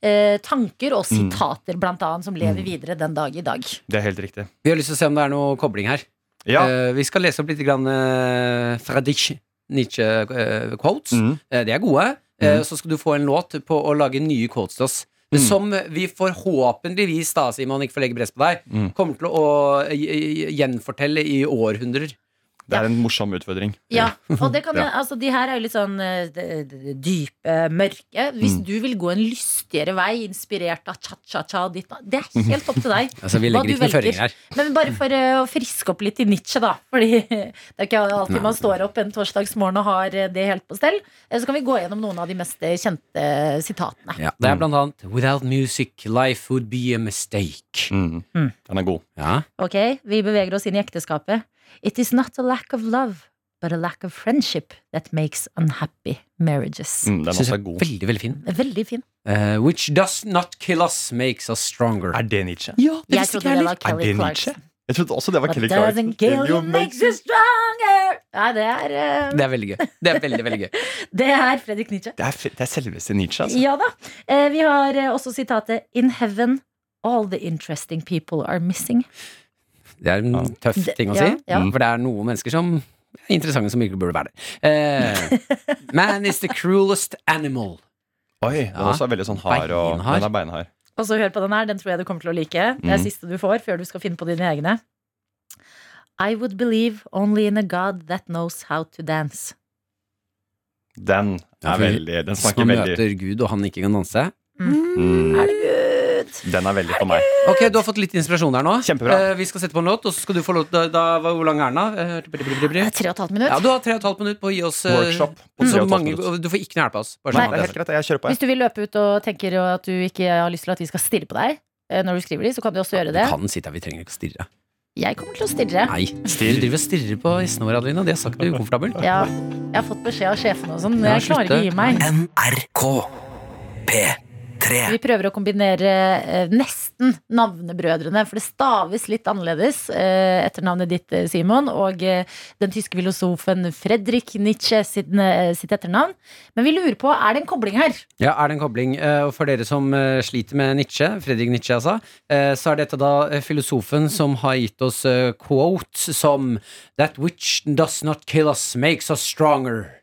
Speaker 3: eh, tanker og
Speaker 2: Mm.
Speaker 3: sitater, blant annet, som lever videre den dag i dag.
Speaker 11: Det er helt riktig.
Speaker 2: Vi har lyst til å se om det er noe kobling her. Eh, vi skal lese opp litt grann, eh, Friedrich Nietzsche-quotes. de er gode. Eh,
Speaker 11: Mm.
Speaker 2: så skal du få en låt på å lage nye quotes til oss.
Speaker 11: Mm.
Speaker 2: Som vi forhåpentligvis, da, Simon, ikke får legge press på deg,
Speaker 11: Mm.
Speaker 2: kommer til å eh, gjenfortelle i århundrer.
Speaker 11: Det er en morsom utfordring.
Speaker 3: Ja, og det kan,
Speaker 11: Ja.
Speaker 3: altså, De her er jo litt sånn eh, d- d- dype, mørke. Hvis
Speaker 11: Mm.
Speaker 3: du vil gå en lystigere vei, inspirert av cha-cha-cha og ditt Det er helt opp til deg.
Speaker 2: Altså, vi
Speaker 3: hva
Speaker 2: legger
Speaker 3: du
Speaker 2: ikke noen
Speaker 3: velger.
Speaker 2: føringer her.
Speaker 3: Men bare for eh, å friske opp litt i Nietzsche, da. Fordi det er ikke alltid
Speaker 2: Nei.
Speaker 3: man står opp en torsdagsmorgen og har eh, det helt på stell. Eh, Så kan vi gå gjennom noen av de mest eh, kjente sitatene.
Speaker 2: Ja, Mm. det er blant annet 'Without music, life would be a mistake'.
Speaker 11: Mm.
Speaker 3: Mm.
Speaker 11: Den er god.
Speaker 2: Ja.
Speaker 3: Ok, vi beveger oss inn i ekteskapet. It is not a lack of love, but a lack of friendship that makes unhappy marriages.
Speaker 11: Mm, den
Speaker 2: Synes
Speaker 11: også
Speaker 2: jeg
Speaker 11: er god.
Speaker 2: Veldig, veldig fin.
Speaker 3: Veldig fin.
Speaker 2: Eh, which does not kill us makes us stronger.
Speaker 11: Er det Nietzsche?
Speaker 2: Ja,
Speaker 3: Jeg trodde det var
Speaker 11: Er
Speaker 3: Kelly
Speaker 11: det Nietzsche?
Speaker 3: Clarkson.
Speaker 11: Jeg trodde også det var
Speaker 3: What
Speaker 11: Kelly Clarkson.
Speaker 3: doesn't kill you makes you stronger. Nei, det er, eh,
Speaker 2: Det er veldig gøy. Det er veldig, veldig gøy.
Speaker 3: det er Fredrik Nietzsche.
Speaker 11: Det er, fe- det er selveste Nietzsche, altså.
Speaker 3: Ja da. Eh, Vi har eh, også sitatet In heaven all the interesting people are missing.
Speaker 2: Det er en tøff
Speaker 3: Det-
Speaker 2: ting å
Speaker 3: ja,
Speaker 2: si, Mm.
Speaker 3: ja.
Speaker 2: for det er noen mennesker som er interessante som ikke burde være der. Eh, man is the cruelest animal.
Speaker 11: Oi, den
Speaker 2: Ja.
Speaker 11: også er veldig sånn hard. Og,
Speaker 2: Beinhard.
Speaker 11: den er beinhard.
Speaker 3: Og så hør på den her, den tror jeg du kommer til å like. Det er
Speaker 11: Mm.
Speaker 3: siste du får før du skal finne på dine egne. I would believe only in a god that knows how to dance.
Speaker 11: Den er
Speaker 2: for
Speaker 11: veldig Den
Speaker 2: Hvis
Speaker 11: snakker
Speaker 2: man
Speaker 11: veldig Mm.
Speaker 2: møter Gud og han ikke kan danse,
Speaker 3: Er det herregud.
Speaker 11: Den er veldig for meg.
Speaker 2: Ok, Du har fått litt inspirasjon der nå.
Speaker 11: Kjempebra.
Speaker 2: Eh, vi skal sette på en låt, og så skal du få låt. Da, da, hva- hvor lang er den, da? Eh, bri- bri- bri- bri.
Speaker 3: Tre og et halvt minutt.
Speaker 2: Ja, Du har tre og et halvt minutt på å gi oss eh,
Speaker 11: Workshop
Speaker 2: så
Speaker 11: på tre og et halvt
Speaker 2: mange,
Speaker 11: minutt.
Speaker 2: Du får ikke noe hjelp av oss. Bare
Speaker 11: Nei,
Speaker 2: sånn
Speaker 11: det er
Speaker 2: at
Speaker 11: helt greit. Jeg kjører på.
Speaker 3: Hvis du vil løpe ut og tenker at du ikke har lyst til at vi skal stirre på deg eh, når du skriver de, så kan du også gjøre det.
Speaker 2: Kan sitte her, vi trenger ikke å stirre.
Speaker 3: Jeg kommer til å stirre.
Speaker 2: Nei, Du driver og stirrer på gjestene våre, Adelina. De har sagt det er ukomfortabelt.
Speaker 3: Ja, jeg har fått beskjed av sjefen og sånn. men
Speaker 2: Ja,
Speaker 3: Jeg klarer ikke å gi meg.
Speaker 13: NRK P3
Speaker 3: Vi prøver å kombinere eh, nesten navnebrødrene, for det staves litt annerledes eh, etter navnet ditt, eh, Simon, og eh, den tyske filosofen Fredrik Nietzsche sitt, eh, sitt etternavn. Men vi lurer på, er det en kobling her?
Speaker 2: Ja, er det en kobling? Eh, Og for dere som eh, sliter med Nietzsche, Fredrik Nietzsche altså, eh, så er dette da eh, filosofen som har gitt oss eh, quotes som That which does not kill us makes us stronger.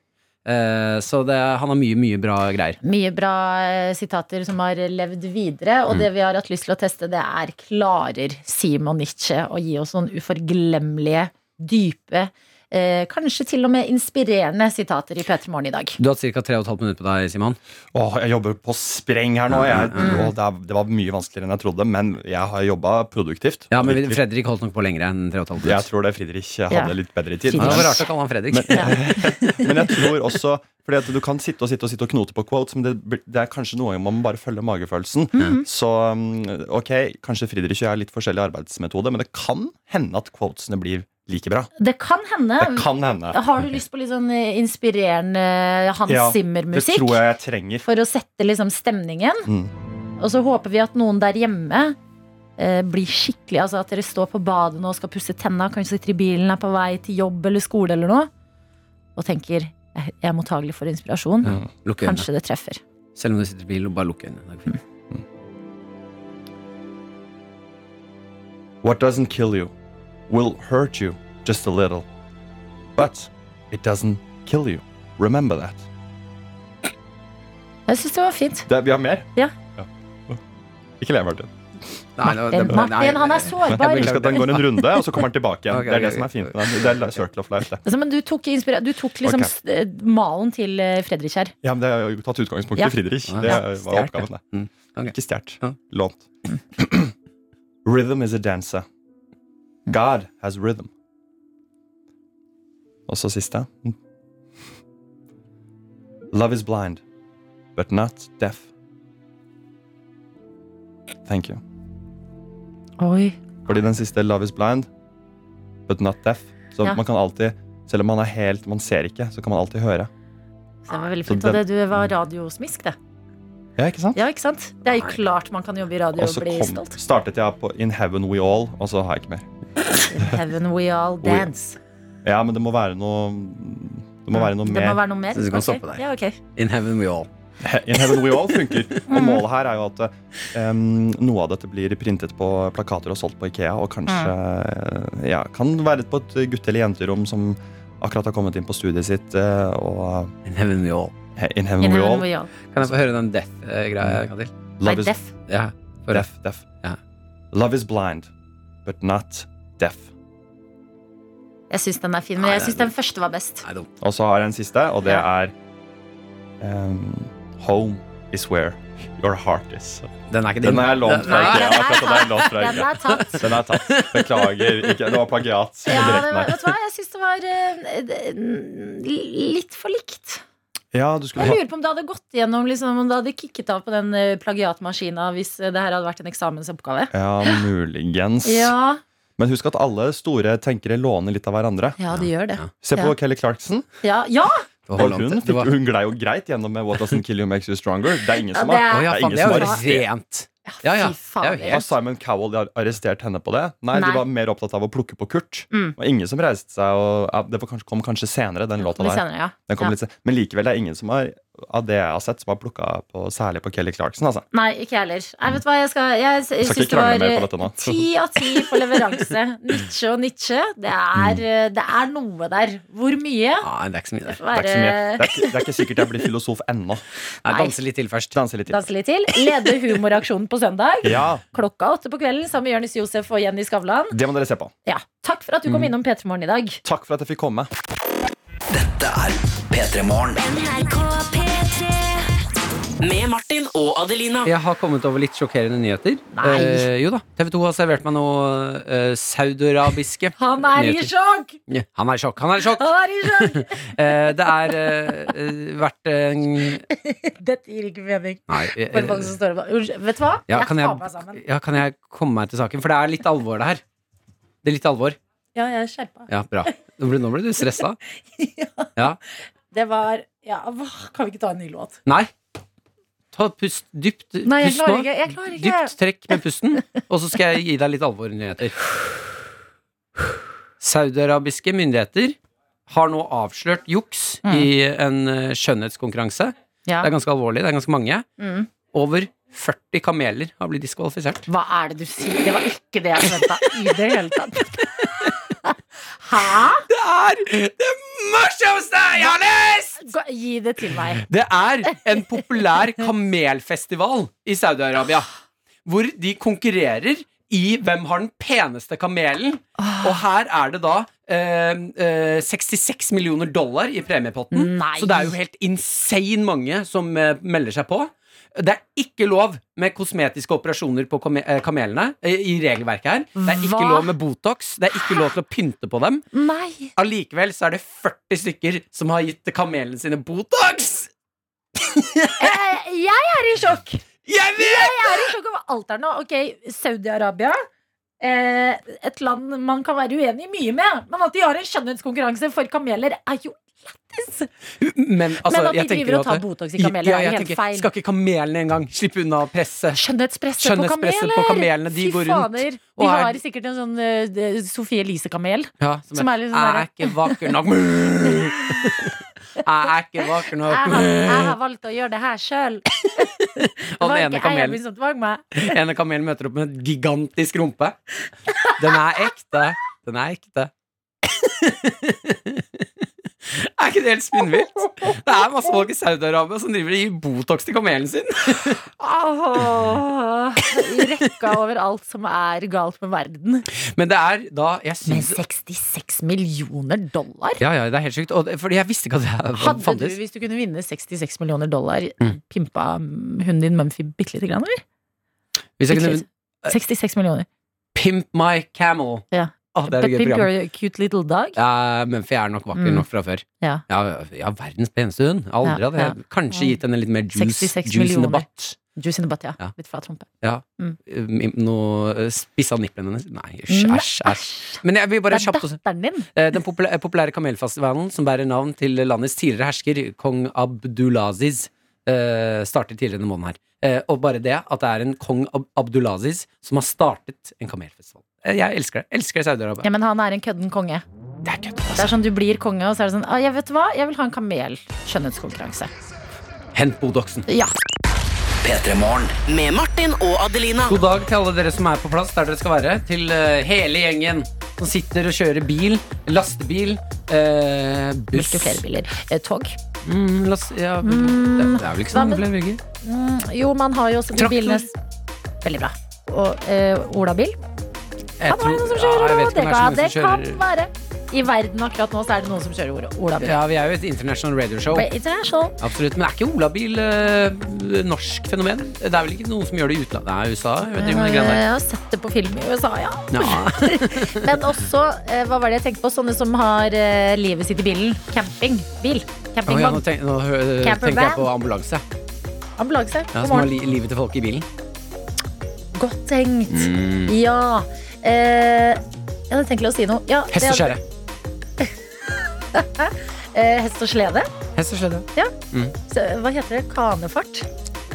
Speaker 2: Eh, Så det, han har mye, mye bra greier.
Speaker 3: Mye bra eh, sitater som har levd videre. Og
Speaker 2: Mm.
Speaker 3: det vi har hatt lyst til å teste, det er klarer Simon Nietzsche å gi oss noen uforglemmelige, dype, eh, kanskje til og med inspirerende sitater i P3 Morgen i dag.
Speaker 2: Du har hatt ca. 3,5 minutter på deg, Simon.
Speaker 11: Åh, jeg jobber på spreng her nå. Jeg, åh, det, er, det var mye vanskeligere enn jeg trodde, men jeg har jobba produktivt.
Speaker 2: Ja, men
Speaker 11: Virkelig.
Speaker 2: Fredrik holdt nok på lenger enn 3,5 minutter.
Speaker 11: Jeg tror det Fredrik
Speaker 2: Ja.
Speaker 11: hadde litt bedre tid.
Speaker 2: Ja, det var rart å kalle han Fredrik.
Speaker 11: Men jeg tror også Fordi at du kan sitte og sitte og sitte og knote på quotes, men det, blir- det er kanskje noe man bare følger magefølelsen.
Speaker 3: Mhm.
Speaker 11: Så mm, ok, kanskje Fredrik og jeg har litt forskjellig arbeidsmetode, men det kan hende at quotesene blir like bra.
Speaker 3: Det kan hende.
Speaker 11: Det kan hende.
Speaker 3: Har du lyst på litt sånn eh, inspirerende Hans
Speaker 11: Ja, Det
Speaker 3: Zimmer-musikk?
Speaker 11: tror jeg jeg trenger.
Speaker 3: For å sette liksom stemningen.
Speaker 11: Mm.
Speaker 3: Og så håper vi at noen der hjemme eh, blir skikkelig Altså at dere står på badet nå og skal pusse tenna, kanskje sitter i bilen, er på vei til jobb eller skole eller noe, og tenker jeg jeg er mottagelig for inspirasjon.
Speaker 2: Ja, lukk øynene.
Speaker 3: Kanskje Mm. det treffer.
Speaker 2: Selv om du sitter i bil, bare lukk øynene. Det er fint.
Speaker 11: What doesn't kill you will hurt you just a little. But it doesn't kill you. Remember that.
Speaker 3: Jeg syns det var fint.
Speaker 11: Det, vi har mer?
Speaker 3: Ja.
Speaker 11: Ikke le, Martin.
Speaker 2: Nei, det var- det-
Speaker 3: Martin,
Speaker 2: nei,
Speaker 3: han er sårbar.
Speaker 11: Jeg vil huske at den går en runde, og så kommer han tilbake igjen.
Speaker 2: Ok,
Speaker 11: det er
Speaker 2: ok,
Speaker 11: det som er fint med den. Det er circle of life, det.
Speaker 3: Altså, men du tok, inspira- du tok liksom
Speaker 11: Ok.
Speaker 3: s- eh, malen til eh, Fredrik her.
Speaker 11: Ja, men det er jo tatt utgangspunkt
Speaker 3: Ja.
Speaker 11: i Friedrich. Det
Speaker 3: Ja,
Speaker 11: var
Speaker 3: stjert det.
Speaker 11: oppgaven, det.
Speaker 2: Mm.
Speaker 11: Ikke stjålet. Lånt. rhythm is a dancer. God has rhythm. Og så siste. Mm. Love is blind, but not deaf. Thank you.
Speaker 3: Oi.
Speaker 11: Fordi den siste Love is blind, but not deaf. Så
Speaker 3: Ja.
Speaker 11: man kan alltid, selv om man er helt Man ser ikke, så kan man alltid høre.
Speaker 3: Så det var veldig
Speaker 11: Så
Speaker 3: fint. Og det
Speaker 11: den-
Speaker 3: du var radiosmisk, det.
Speaker 11: Ja, ikke sant?
Speaker 3: Ja, ikke sant? Det er jo klart man kan jobbe i radio og
Speaker 11: Og så
Speaker 3: bli
Speaker 11: kom,
Speaker 3: stolt.
Speaker 11: startet jeg på In Heaven We All, og så har jeg ikke mer.
Speaker 3: Heaven we all
Speaker 11: We-
Speaker 3: dance.
Speaker 11: Ja, men det må være noe Det må være noe
Speaker 3: Det
Speaker 11: mer.
Speaker 3: må være noe mer.
Speaker 11: Så du kan
Speaker 3: Ok.
Speaker 11: stoppe der.
Speaker 3: Ja, ok.
Speaker 2: In heaven we all.
Speaker 11: In Heaven We All funker. Og
Speaker 3: Mm.
Speaker 11: målet her er jo at em, noe av dette blir printet på plakater og solgt på Ikea, og kanskje
Speaker 3: Mm.
Speaker 11: eh, ja, kan være på et gutte- eller jenterom som akkurat har kommet inn på studiet sitt, eh, og
Speaker 2: In heaven we all.
Speaker 11: He- In Heaven, we, all.
Speaker 2: Kan jeg få høre den death-greia en gang til?
Speaker 11: Love is- deaf.
Speaker 2: Ja, for
Speaker 11: Deaf, deaf. Love is blind, but not deaf.
Speaker 3: Jeg syns den er fin, men jeg syns den første var best.
Speaker 11: Og så har jeg en siste, og det er em, Home is where your heart is.
Speaker 2: Den er ikke
Speaker 11: Den er lånt fra
Speaker 3: Nei,
Speaker 11: Ikea.
Speaker 3: den er
Speaker 11: akkurat som
Speaker 3: tatt.
Speaker 11: lånt fra
Speaker 3: Den
Speaker 11: Ikea.
Speaker 3: er tatt.
Speaker 11: Den er tatt. Beklager. Ikke, det var plagiat.
Speaker 3: Ja, det
Speaker 11: Direkten
Speaker 3: var,
Speaker 11: her.
Speaker 3: vet du hva, jeg syns det var eh, eh, litt for likt.
Speaker 11: ja, du skulle
Speaker 3: Jeg
Speaker 11: ha
Speaker 3: lurer på om det hadde gått igjennom, liksom, om det hadde kicket av på den eh, plagiatmaskina hvis eh, det her hadde vært en eksamensoppgave.
Speaker 11: Ja, muligens.
Speaker 3: Ja,
Speaker 11: Men husk at alle store tenkere låner litt av hverandre.
Speaker 3: ja det gjør det.
Speaker 11: Se på
Speaker 3: Ja.
Speaker 11: Kelly Clarkson.
Speaker 3: Ja! ja.
Speaker 11: Og hun, fikk, hun glei jo greit gjennom med What Doesn't Kill You Makes You Stronger. Det er ingen
Speaker 3: Ja,
Speaker 11: som
Speaker 3: det er-
Speaker 11: har
Speaker 3: Å ja,
Speaker 11: det er
Speaker 3: faen,
Speaker 11: ingen
Speaker 3: det er
Speaker 11: som
Speaker 3: jo
Speaker 11: har
Speaker 2: rent. Ja, ja.
Speaker 3: faen, Det er jo det er helt-
Speaker 11: Har Simon Cowell ar- arrestert henne på det? Nei,
Speaker 3: Nei.
Speaker 11: de var mer opptatt av å plukke på Kurt.
Speaker 3: Mm.
Speaker 11: Og ingen som reiste seg og, ja, Det var kanskje, kom kanskje senere, den låta
Speaker 3: litt
Speaker 11: der.
Speaker 3: senere, ja.
Speaker 11: Den kom
Speaker 3: Ja.
Speaker 11: litt sen- Men likevel, det er ingen som har av det jeg har sett, som har plukka på, særlig på Kelly Clarkson. Altså.
Speaker 3: Nei, ikke jeg heller. Nei, vet du hva, jeg, skal, jeg, s-
Speaker 11: Skal
Speaker 3: syns
Speaker 11: ikke
Speaker 3: det var
Speaker 11: krangle mer på
Speaker 3: eh,
Speaker 11: dette nå.
Speaker 3: ti av ti på leveranse. Nietzsche og Nietzsche. Det er, eh, det er noe der. Hvor mye?
Speaker 2: Nei, det er ikke så mye der.
Speaker 3: Det er ikke så mye.
Speaker 11: Det er, ikke, det er ikke sikkert jeg blir filosof ennå.
Speaker 2: Nei, danse litt til først.
Speaker 11: Danse litt til.
Speaker 3: Danse litt til. Leder humoraksjonen på søndag.
Speaker 11: Ja.
Speaker 3: Klokka åtte på kvelden sammen med Jonis Josef og Jenny Skavlan.
Speaker 11: Det må dere se på.
Speaker 3: Ja, takk for at du kom
Speaker 11: Mm.
Speaker 3: innom P3 Morgen i dag.
Speaker 11: Takk for at jeg fikk komme.
Speaker 13: Dette er P3 Morgen.
Speaker 14: NRK P3
Speaker 5: Med Martin og Adelina.
Speaker 2: Jeg har kommet over litt sjokkerende nyheter.
Speaker 5: Nei.
Speaker 2: Eh, jo da, TV 2 har servert meg noe eh, saudiarabiske
Speaker 15: Han er i
Speaker 2: nyheter.
Speaker 15: sjokk!
Speaker 2: Ja, han er i sjokk! Han er i sjokk!
Speaker 15: Han er i sjokk!
Speaker 2: Eh, det er eh, eh, vært en
Speaker 15: Dette gir ikke mening.
Speaker 2: Nei. eh,
Speaker 15: For folk som står og bare, Unnskyld, Vet du hva?
Speaker 2: ja, kan
Speaker 15: tar meg sammen.
Speaker 2: jeg, ja, kan jeg komme meg til saken? For det er litt alvor, det her. Det er litt alvor.
Speaker 15: Ja, jeg skjerpa.
Speaker 2: Ja, bra. Nå ble, nå ble du stressa. Ja.
Speaker 15: Det var Ja, hva- kan vi ikke ta en ny låt?
Speaker 2: Nei. Ta pust dypt.
Speaker 15: Nei, jeg
Speaker 2: pust
Speaker 15: klarer
Speaker 2: nå.
Speaker 15: ikke. Jeg klarer ikke.
Speaker 2: Dypt trekk med pusten, og så skal jeg gi deg litt alvornyheter. Saudiarabiske myndigheter har nå avslørt juks
Speaker 15: Mm.
Speaker 2: i en eh, skjønnhetskonkurranse.
Speaker 3: Ja.
Speaker 2: Det er ganske alvorlig. Det er ganske mange.
Speaker 3: Mm.
Speaker 2: Over 40 kameler har blitt diskvalifisert.
Speaker 3: Hva er det du sier? Det var ikke det jeg forventa i det hele tatt. Hæ?
Speaker 2: Det er det morsomste jeg har lest!
Speaker 3: Gå- Gi det til meg.
Speaker 2: Det er en populær kamelfestival i Saudi-Arabia. Hvor de konkurrerer i hvem har den peneste kamelen. Og her er det da eh, eh, 66 millioner dollar i premiepotten.
Speaker 3: Nei.
Speaker 2: Så det er jo helt insane mange som eh, melder seg på. Det er ikke lov med kosmetiske operasjoner på kame eh, kamelene. eh, I regelverket her Det er ikke
Speaker 3: Hva?
Speaker 2: lov med Botox. Det er ikke lov til å pynte på dem.
Speaker 3: Nei.
Speaker 2: Allikevel så er det 40 stykker som har gitt kamelene sine Botox!
Speaker 3: Eh, jeg er i sjokk.
Speaker 2: Jeg
Speaker 3: er i sjokk over alt her nå. Ok, Saudi-Arabia. Eh, et land man kan være uenig i mye med. Men at de har en skjønnhetskonkurranse for kameler, er jo
Speaker 2: Men, altså,
Speaker 3: Men at de
Speaker 2: jeg tenker
Speaker 3: driver og
Speaker 2: at-
Speaker 3: tar Botox i kameler, er jo
Speaker 2: jeg
Speaker 3: helt
Speaker 2: tenker,
Speaker 3: feil.
Speaker 2: Skal ikke kamelene engang slippe unna presset?
Speaker 3: Skjønnhetspresset,
Speaker 2: Skjønnhetspresset på kamelene, de
Speaker 3: Fy
Speaker 2: går rundt
Speaker 3: fader.
Speaker 2: og
Speaker 3: De
Speaker 2: er-
Speaker 3: har sikkert en sånn eh, Sofie Elise-kamel.
Speaker 2: Ja,
Speaker 3: Som er litt sånn
Speaker 2: liksom Jeg er ikke vakker nok. Jeg er ikke vakker
Speaker 3: Jeg har, jeg har
Speaker 2: nok.
Speaker 3: valgt å gjøre det her sjøl.
Speaker 2: Og den ene
Speaker 3: var ikke eieren
Speaker 2: kamelen,
Speaker 3: min som tvang sånn, meg.
Speaker 2: ene kamelen møter opp med en gigantisk rumpe. Den er ekte. Den er ekte. Er ikke det helt spinnvilt? Det er masse folk i Saudi-Arabia som driver og gir Botox til kamelen sin.
Speaker 3: Åh, I rekka over alt som er galt med verden.
Speaker 2: Men det er da jeg
Speaker 3: Med
Speaker 2: syns
Speaker 3: 66 millioner dollar?
Speaker 2: Ja, ja, det er helt sykt. Og det, fordi jeg visste ikke at det her
Speaker 3: Hadde du,
Speaker 2: fantes.
Speaker 3: hvis du kunne vinne 66 millioner dollar,
Speaker 2: Mm.
Speaker 3: pimpa mm, hunden din Mumphy bitte lite grann, eller?
Speaker 2: Hvis jeg kunne
Speaker 3: Bitte litt. 66 millioner.
Speaker 2: Pimp my camel.
Speaker 3: Ja.
Speaker 2: Å, det er et
Speaker 3: But
Speaker 2: gøy
Speaker 3: pimp
Speaker 2: program.
Speaker 3: your cute little dog.
Speaker 2: Ja, Mumphy er nok vakker
Speaker 3: Mm.
Speaker 2: nok fra før.
Speaker 3: Ja.
Speaker 2: Ja, ja, verdens peneste hund. Aldri
Speaker 3: Ja,
Speaker 2: hadde jeg kanskje
Speaker 3: Ja.
Speaker 2: gitt henne litt mer juice,
Speaker 3: 66
Speaker 2: juice in the
Speaker 3: millioner.
Speaker 2: butt.
Speaker 3: Juice in the butt, ja.
Speaker 2: Ja.
Speaker 3: Litt flat rumpe.
Speaker 2: Ja.
Speaker 3: Mm.
Speaker 2: Mm, Noe spissa nipplene hennes. Nei, æsj, æsj, æsj. Men jeg vil
Speaker 3: Det
Speaker 2: bare
Speaker 3: er
Speaker 2: kjapt også
Speaker 3: datteren din.
Speaker 2: Eh, Den populære, populære kamelfestivalen som bærer navn til landets tidligere hersker, kong Abdulaziz, eh, startet tidligere denne måneden her. Eh, og bare det at det er en kong Ab Abdulaziz som har startet en kamelfestival. Eh, jeg elsker det. Elsker Saudi-Arabia.
Speaker 3: Ja, men han er en kødden konge.
Speaker 2: Det er altså. kødd.
Speaker 3: Det er sånn du blir konge, og så er det sånn ah, jeg vet hva, jeg vil ha en kamel. Skjønnhetskonkurranse.
Speaker 2: Hent Bodoksen.
Speaker 3: Ja.
Speaker 5: Med Martin og Adelina.
Speaker 2: God dag til alle dere som er på plass der dere skal være. Til eh, hele gjengen som sitter og kjører bil, lastebil, eh, buss
Speaker 3: Hvilke flere biler? Eh, tog?
Speaker 2: Mm, las ja, det, det er vel ikke så
Speaker 3: Hva med-
Speaker 2: mange flere bygger?
Speaker 3: Mm, jo, man har jo også de
Speaker 2: Traktor.
Speaker 3: bilene Veldig bra. Og eh, olabil?
Speaker 2: Jeg
Speaker 3: Han har jo
Speaker 2: tror-
Speaker 3: noen som kjører
Speaker 2: ja, jeg
Speaker 3: Ola.
Speaker 2: vet ikke
Speaker 3: Det
Speaker 2: om
Speaker 3: kan,
Speaker 2: det
Speaker 3: det
Speaker 2: er så mange
Speaker 3: kan
Speaker 2: som kjører-
Speaker 3: være. I verden akkurat nå så er det noen som kjører Ola- olabil.
Speaker 2: Ja, vi er jo et international radioshow.
Speaker 3: But international.
Speaker 2: Absolutt, Men er ikke olabil eh, norsk fenomen? Det er vel ikke noen som gjør det i utlandet? Nei, USA? Jeg vet ikke om det
Speaker 3: Jeg
Speaker 2: greiene der.
Speaker 3: har Eh, sett det på film i USA, ja.
Speaker 2: Ja.
Speaker 3: Men også, eh, hva var det jeg tenkte på? Sånne som har eh, livet sitt i bilen. Campingbil.
Speaker 2: Å, ja, nå
Speaker 3: Campingvogn.
Speaker 2: tenk, nå hø, eh,
Speaker 3: Camper
Speaker 2: tenker jeg
Speaker 3: van.
Speaker 2: på ambulanse. Ja,
Speaker 3: Ambulanse. God
Speaker 2: som har
Speaker 3: morgen.
Speaker 2: li livet til folk i bilen.
Speaker 3: Godt tenkt.
Speaker 2: Mm.
Speaker 3: Ja. Eh, jeg hadde tenkt å si noe. Ja,
Speaker 2: Hest og
Speaker 3: det-
Speaker 2: kjerre.
Speaker 3: Eh, hest og slede.
Speaker 2: Hest og kjerre.
Speaker 3: Ja.
Speaker 2: Mm.
Speaker 3: Så, hva heter det? Kanefart?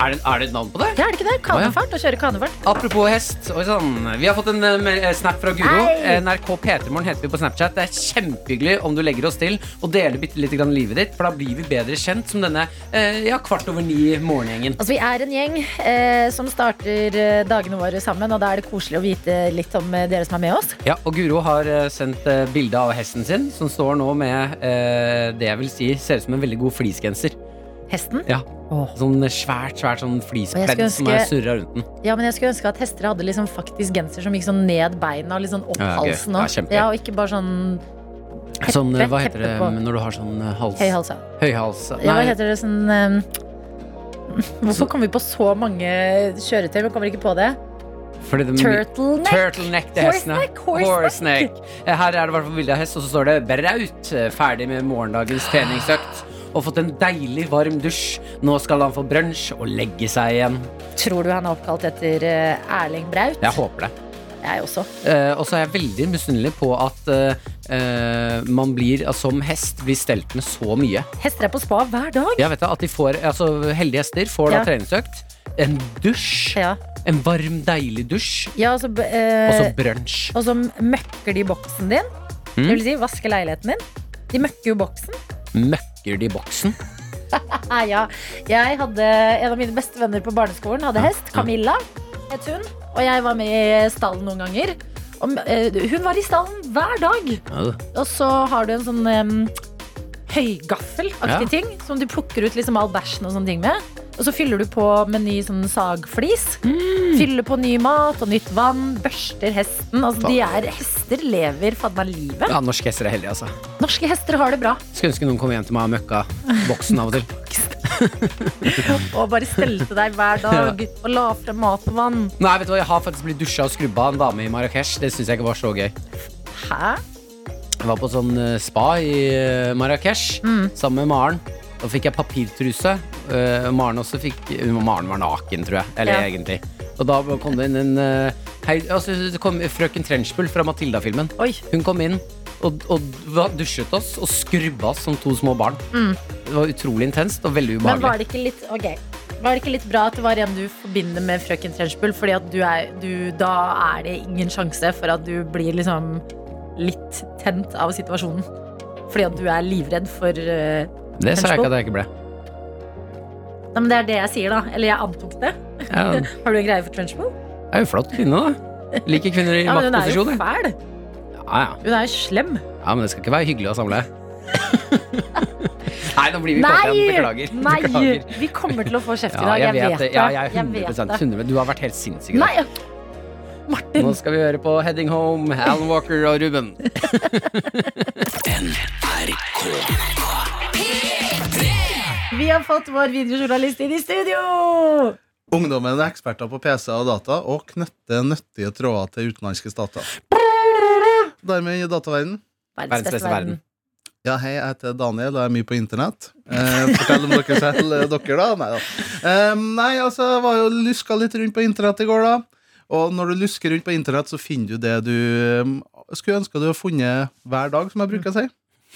Speaker 2: Er, det, er det et navn på det?
Speaker 3: Ja, er det ikke det? Kanefart? Å kjøre kanefart?
Speaker 2: Apropos hest. Oi sann. Vi har fått en eh, me- eh, snap fra Guro.
Speaker 3: Hei.
Speaker 2: NRK P3morgen heter vi på Snapchat. Det er kjempehyggelig om du legger oss til og deler bitte lite grann livet ditt, for da blir vi bedre kjent som denne eh, ja, kvart over ni-morgengjengen.
Speaker 3: Altså, vi er en gjeng eh, som starter eh, dagene våre sammen, og da er det koselig å vite litt om eh, dere som er med oss.
Speaker 2: Ja, og Guro har eh, sendt eh, bilde av hesten sin, som står nå med eh, det jeg vil si ser ut som en veldig god fleecegenser.
Speaker 3: Hesten.
Speaker 2: Ja. Sånn svært, svært sånn
Speaker 3: Og jeg
Speaker 2: fleecepledd
Speaker 3: skulle
Speaker 2: som er
Speaker 3: ønske-
Speaker 2: surra rundt den.
Speaker 3: Ja, men jeg skulle ønske at hester hadde liksom faktisk genser som gikk sånn ned beina og litt sånn opp
Speaker 2: Ja, ok.
Speaker 3: halsen òg.
Speaker 2: Ja, kjempegøy.
Speaker 3: Ja, og ikke bare sånn teppe.
Speaker 2: Sånn, eh, hva heter
Speaker 3: teppe
Speaker 2: det
Speaker 3: på.
Speaker 2: når du har sånn eh, hals?
Speaker 3: Høy hals, ja.
Speaker 2: Høyhals.
Speaker 3: Ja, hva
Speaker 2: Nei,
Speaker 3: heter det sånn eh, Hvorfor kom vi på så mange kjøretøy? Man kommer ikke på det.
Speaker 2: Fordi det-
Speaker 3: Turtleneck.
Speaker 2: Turtleneck til hestene.
Speaker 3: Horseneck, horseneck.
Speaker 2: Horseneck. Eh, Her er det i hvert fall bilde av hest, og så står det 'Braut'. eh, Ferdig med morgendagens treningsøkt. Og fått en deilig, varm dusj. Nå skal han få brunsj og legge seg igjen.
Speaker 3: Tror du han er oppkalt etter eh, Erling Braut?
Speaker 2: Jeg håper det.
Speaker 3: Jeg også.
Speaker 2: Eh, og så er jeg veldig misunnelig på at eh, eh, man blir, altså, som hest blir stelt med så mye.
Speaker 3: Hester er på spa hver dag.
Speaker 2: Jeg vet da, at de får, altså, Heldige hester får da
Speaker 3: Ja.
Speaker 2: treningsøkt, en dusj, en varm, deilig dusj,
Speaker 3: Ja, og så, b-
Speaker 2: og så
Speaker 3: eh,
Speaker 2: brunsj.
Speaker 3: og så møkker de boksen din.
Speaker 2: Mm.
Speaker 3: Det vil si, vasker leiligheten din. De møkker jo boksen.
Speaker 2: Møkker de boksen?
Speaker 3: Ah, ja. Jeg hadde En av mine beste venner på barneskolen hadde hest. Camilla het hun. Og jeg var med i stallen noen ganger. Og, eh, hun var i stallen hver dag. Og så har du en sånn em,
Speaker 16: Ja.
Speaker 3: høygaffelaktig ting som du plukker ut liksom all bæsjen og sånne ting med. Og så fyller du på med ny sånn sagflis. Fyller på ny mat og nytt vann. Børster hesten. Altså, de er, hester lever fadder livet.
Speaker 2: Ja, norske hester er heldige, altså.
Speaker 3: Norske hester har det bra.
Speaker 2: Skulle ønske noen kom hjem til meg og møkka boksen av og til.
Speaker 3: Og bare stelte deg hver dag og la frem mat og vann.
Speaker 2: Nei, vet du hva, Jeg har faktisk blitt dusja og skrubba av en dame i Marrakech. Det syns jeg ikke var så gøy.
Speaker 3: Hæ?
Speaker 2: Jeg var på sånn eh, spa i eh, Marrakech
Speaker 3: Mm.
Speaker 2: sammen med Maren. Da fikk jeg papirtruse. Eh, Maren også fikk hun- Maren var naken, tror jeg. Eller
Speaker 17: Ja.
Speaker 2: egentlig. Og da kom det inn en eh, hei, altså, det kom Frøken Trenchbull fra Matilda-filmen. Hun kom inn og, og va- dusjet oss og skrubba oss som to små barn.
Speaker 3: Mm.
Speaker 2: Det var utrolig intenst og veldig
Speaker 3: Men var
Speaker 2: ubehagelig.
Speaker 3: det ikke litt ok. Var det ikke litt bra at det var en du forbinder med frøken Trenchbull? Fordi at du er, du, da er det ingen sjanse for at du blir liksom litt tent av situasjonen. Fordi at du er livredd for eh,
Speaker 2: Det, sa jeg
Speaker 3: Trenchbull.
Speaker 2: ikke at jeg ikke ble.
Speaker 3: Nei, men det er det jeg sier, da. Eller jeg antok det.
Speaker 2: Ja.
Speaker 3: Har du en greie for Trenchbull?
Speaker 2: Jeg er jo flott kvinne, da. Liker kvinner i
Speaker 3: Ja, men hun er jo
Speaker 2: maktposisjoner.
Speaker 3: fæl.
Speaker 2: Ja, ja.
Speaker 3: Hun er jo slem.
Speaker 2: Ja, men det skal ikke være hyggelig å samle. Nei, nå blir vi kåte igjen.
Speaker 3: Nei!
Speaker 2: Beklager.
Speaker 3: Nei!
Speaker 2: Beklager.
Speaker 3: Vi kommer til å få kjeft i
Speaker 2: Ja,
Speaker 3: dag.
Speaker 2: jeg vet det. Ja, jeg er
Speaker 3: Jeg vet
Speaker 2: 100,
Speaker 3: det.
Speaker 2: 100 Du har vært helt sinnssyk. i dag.
Speaker 3: Nei!
Speaker 2: Nå skal vi høre på Heading Home, Alan Walker og Ruben.
Speaker 3: Vi har fått vår videojournalist inn i studio!
Speaker 11: Ungdommen er eksperter på PC og data og knytter nyttige tråder til utenlandske stater. Dermed i dataverden.
Speaker 3: Verdens beste verden.
Speaker 11: Ja, hei, jeg heter Daniel, og jeg er mye på internett. Eh, fortell om dere selv, eh, dere, da. Nei da. Eh, nei, altså, jeg var jo luska litt rundt på internett i går, da. Og når du lusker rundt på internett, så finner du det du eh, skulle ønske du hadde funnet hver dag, som jeg bruker å si.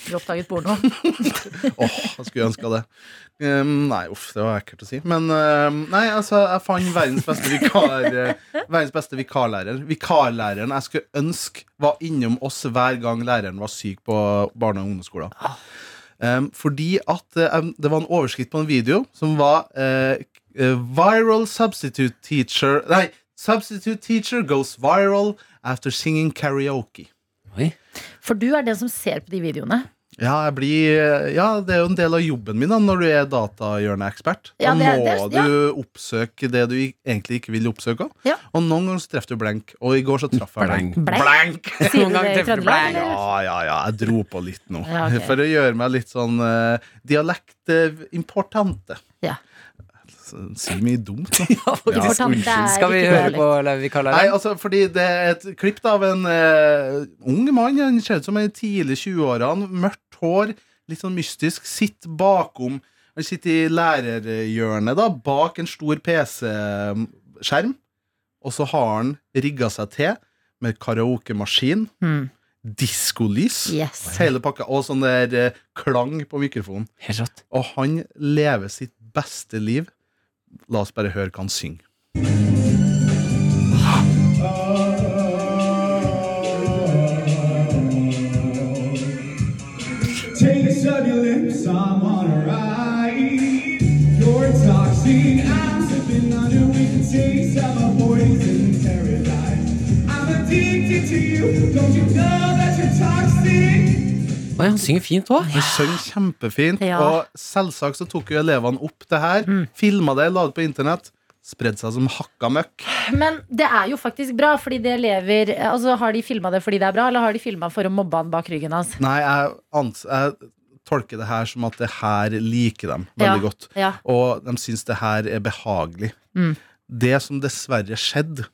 Speaker 3: Du oppdaget porno.
Speaker 11: Jeg skulle ønska det. Ehm, nei, uff, det var ekkelt å si. Men ehm, nei, altså, jeg fant verdens beste, vikar, eh, verdens beste vikarlærer. Vikarlæreren jeg skulle ønske var innom oss hver gang læreren var syk på barne- og ungdomsskolen. Ehm, fordi at eh, em, det var en overskrift på en video som var eh, eh, Viral substitute teacher Nei, substitute teacher goes viral after singing karaoke.
Speaker 3: For du er den som ser på de videoene.
Speaker 11: Ja, jeg blir, eh, ja, det er jo en del av jobben min da, når du er datahjørneekspert. Da
Speaker 3: Ja, det er-
Speaker 11: må
Speaker 3: det er- ja.
Speaker 11: du oppsøke det du i- egentlig ikke vil oppsøke.
Speaker 3: Ja.
Speaker 11: Og noen ganger så treffer du blank, og i går så traff jeg blank.
Speaker 3: Blank? Sier du Noen ganger det i treffer du Trøndelag, blank. eller?
Speaker 11: Ja, Ah, ja, ja, jeg dro på litt nå.
Speaker 3: Ja, ok.
Speaker 11: For å gjøre meg litt sånn eh, dialekt eh, importante.
Speaker 3: Ja.
Speaker 11: Så- Sier mye dumt nå.
Speaker 2: Importante er Unnskyld. Skal vi ikke høre dialekt. på eller vi kaller det?
Speaker 11: Nei, altså, fordi det er et klipp da av en eh, ung mann. Han ser ut som en tidlig 20-årene. Mørkt hår, litt sånn mystisk. Sitt bakom Han sitter i lærerhjørnet, da, bak en stor PC-skjerm. Og så har han rigga seg til med karaokemaskin,
Speaker 3: Mm.
Speaker 11: diskolys,
Speaker 3: Yes.
Speaker 11: hele pakka, og sånn der eh, klang på mikrofonen. Og han lever sitt beste liv. La oss bare høre hva han synger.
Speaker 6: Taste of your lips, I'm on a ride. You're toxic, I'm sipping on it with the taste of a poison paradise. I'm addicted to you, don't you know that you're toxic?
Speaker 2: Oi, han synger fint òg.
Speaker 11: Han synger kjempefint. Og selvsagt så tok jo elevene opp det her,
Speaker 3: Mm.
Speaker 11: filma det, la det på internett. Spredde seg som hakka møkk.
Speaker 3: Men det er jo faktisk bra, fordi det lever Altså, har de filma det fordi det er bra, eller har de filma for å mobbe han bak ryggen hans?
Speaker 11: Nei, jeg, ans jeg tolker det her som at det her liker dem
Speaker 3: Ja,
Speaker 11: veldig godt.
Speaker 3: ja.
Speaker 11: Og de syns det her er behagelig.
Speaker 3: Mm.
Speaker 11: Det som dessverre skjedde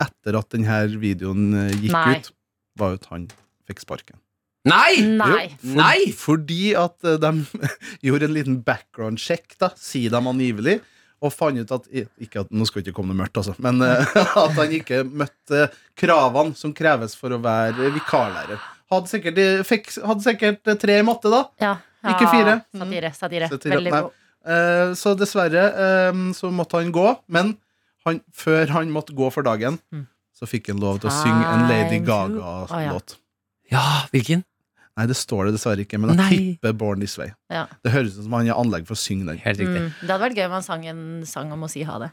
Speaker 11: etter at denne videoen eh, gikk
Speaker 3: Nei.
Speaker 11: ut, var jo at han fikk sparken.
Speaker 2: Nei!
Speaker 3: Nei.
Speaker 11: Jo, for, Fordi at eh, de gjorde en liten background check, da, sier de angivelig, og fant ut at ikke at, Nå skal det ikke komme noe mørkt, altså. Men eh, at han ikke møtte kravene som kreves for å være vikarlærer. Hadde sikkert, eh, fikk, hadde sikkert eh, tre i matte, da. Ikke fire.
Speaker 3: Ja, Satire. satire.
Speaker 11: Så til-
Speaker 3: Veldig
Speaker 11: nei.
Speaker 3: god.
Speaker 11: Eh, Så dessverre eh, så måtte han gå, men han, før han måtte gå for dagen, så fikk han lov til å synge en Lady
Speaker 2: Time to- Å, ja.
Speaker 11: Gaga-låt.
Speaker 2: Ja, hvilken?
Speaker 11: Nei, det står det dessverre ikke, men jeg tipper Born This Way.
Speaker 3: Ja.
Speaker 11: Det høres ut som han har anlegg for å synge den.
Speaker 3: Mm. Det hadde vært gøy om han sang en sang om å si ha det.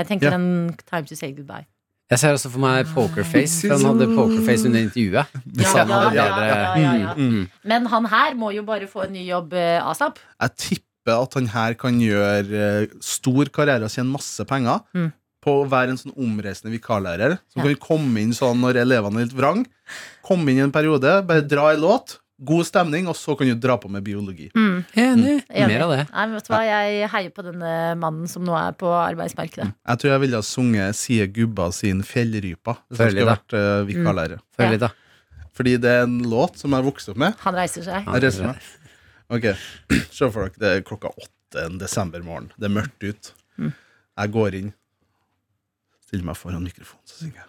Speaker 3: Jeg tenker
Speaker 2: Ja.
Speaker 3: en Time to say goodbye.
Speaker 2: Jeg ser også for meg pokerface. for Han hadde pokerface under intervjuet. Hvis han hadde
Speaker 3: ja,
Speaker 2: bedre
Speaker 3: ja, ja, ja.
Speaker 2: Mm, mm.
Speaker 3: Men han her må jo bare få en ny jobb eh, asap.
Speaker 11: Jeg tipper at han her kan gjøre eh, stor karriere og tjene masse penger
Speaker 3: Mm.
Speaker 11: på å være en sånn omreisende vikarlærer som kan komme inn sånn når elevene er litt vrang. Komme inn i en periode, bare dra i låt, god stemning, og så kan du dra på med biologi.
Speaker 2: Enig.
Speaker 3: Enig.
Speaker 11: Mer av det.
Speaker 3: Nei, men vet du hva? Jeg heier på denne mannen som nå er på arbeidsmarkedet.
Speaker 11: Jeg tror jeg ville ha sunget Sier gubba sin Fjellrypa hvis
Speaker 2: Få
Speaker 11: jeg
Speaker 2: høre
Speaker 11: skulle
Speaker 2: litt,
Speaker 11: vært eh, vikarlærer.
Speaker 2: Få høre litt, da.
Speaker 11: Fordi det er en låt som jeg vokste opp med.
Speaker 3: Han reiser seg.
Speaker 11: Jeg reiser meg. Ok, Se for dere det er klokka åtte en desembermorgen. Det er mørkt ut. Jeg går inn, stiller meg foran mikrofonen, så synger jeg.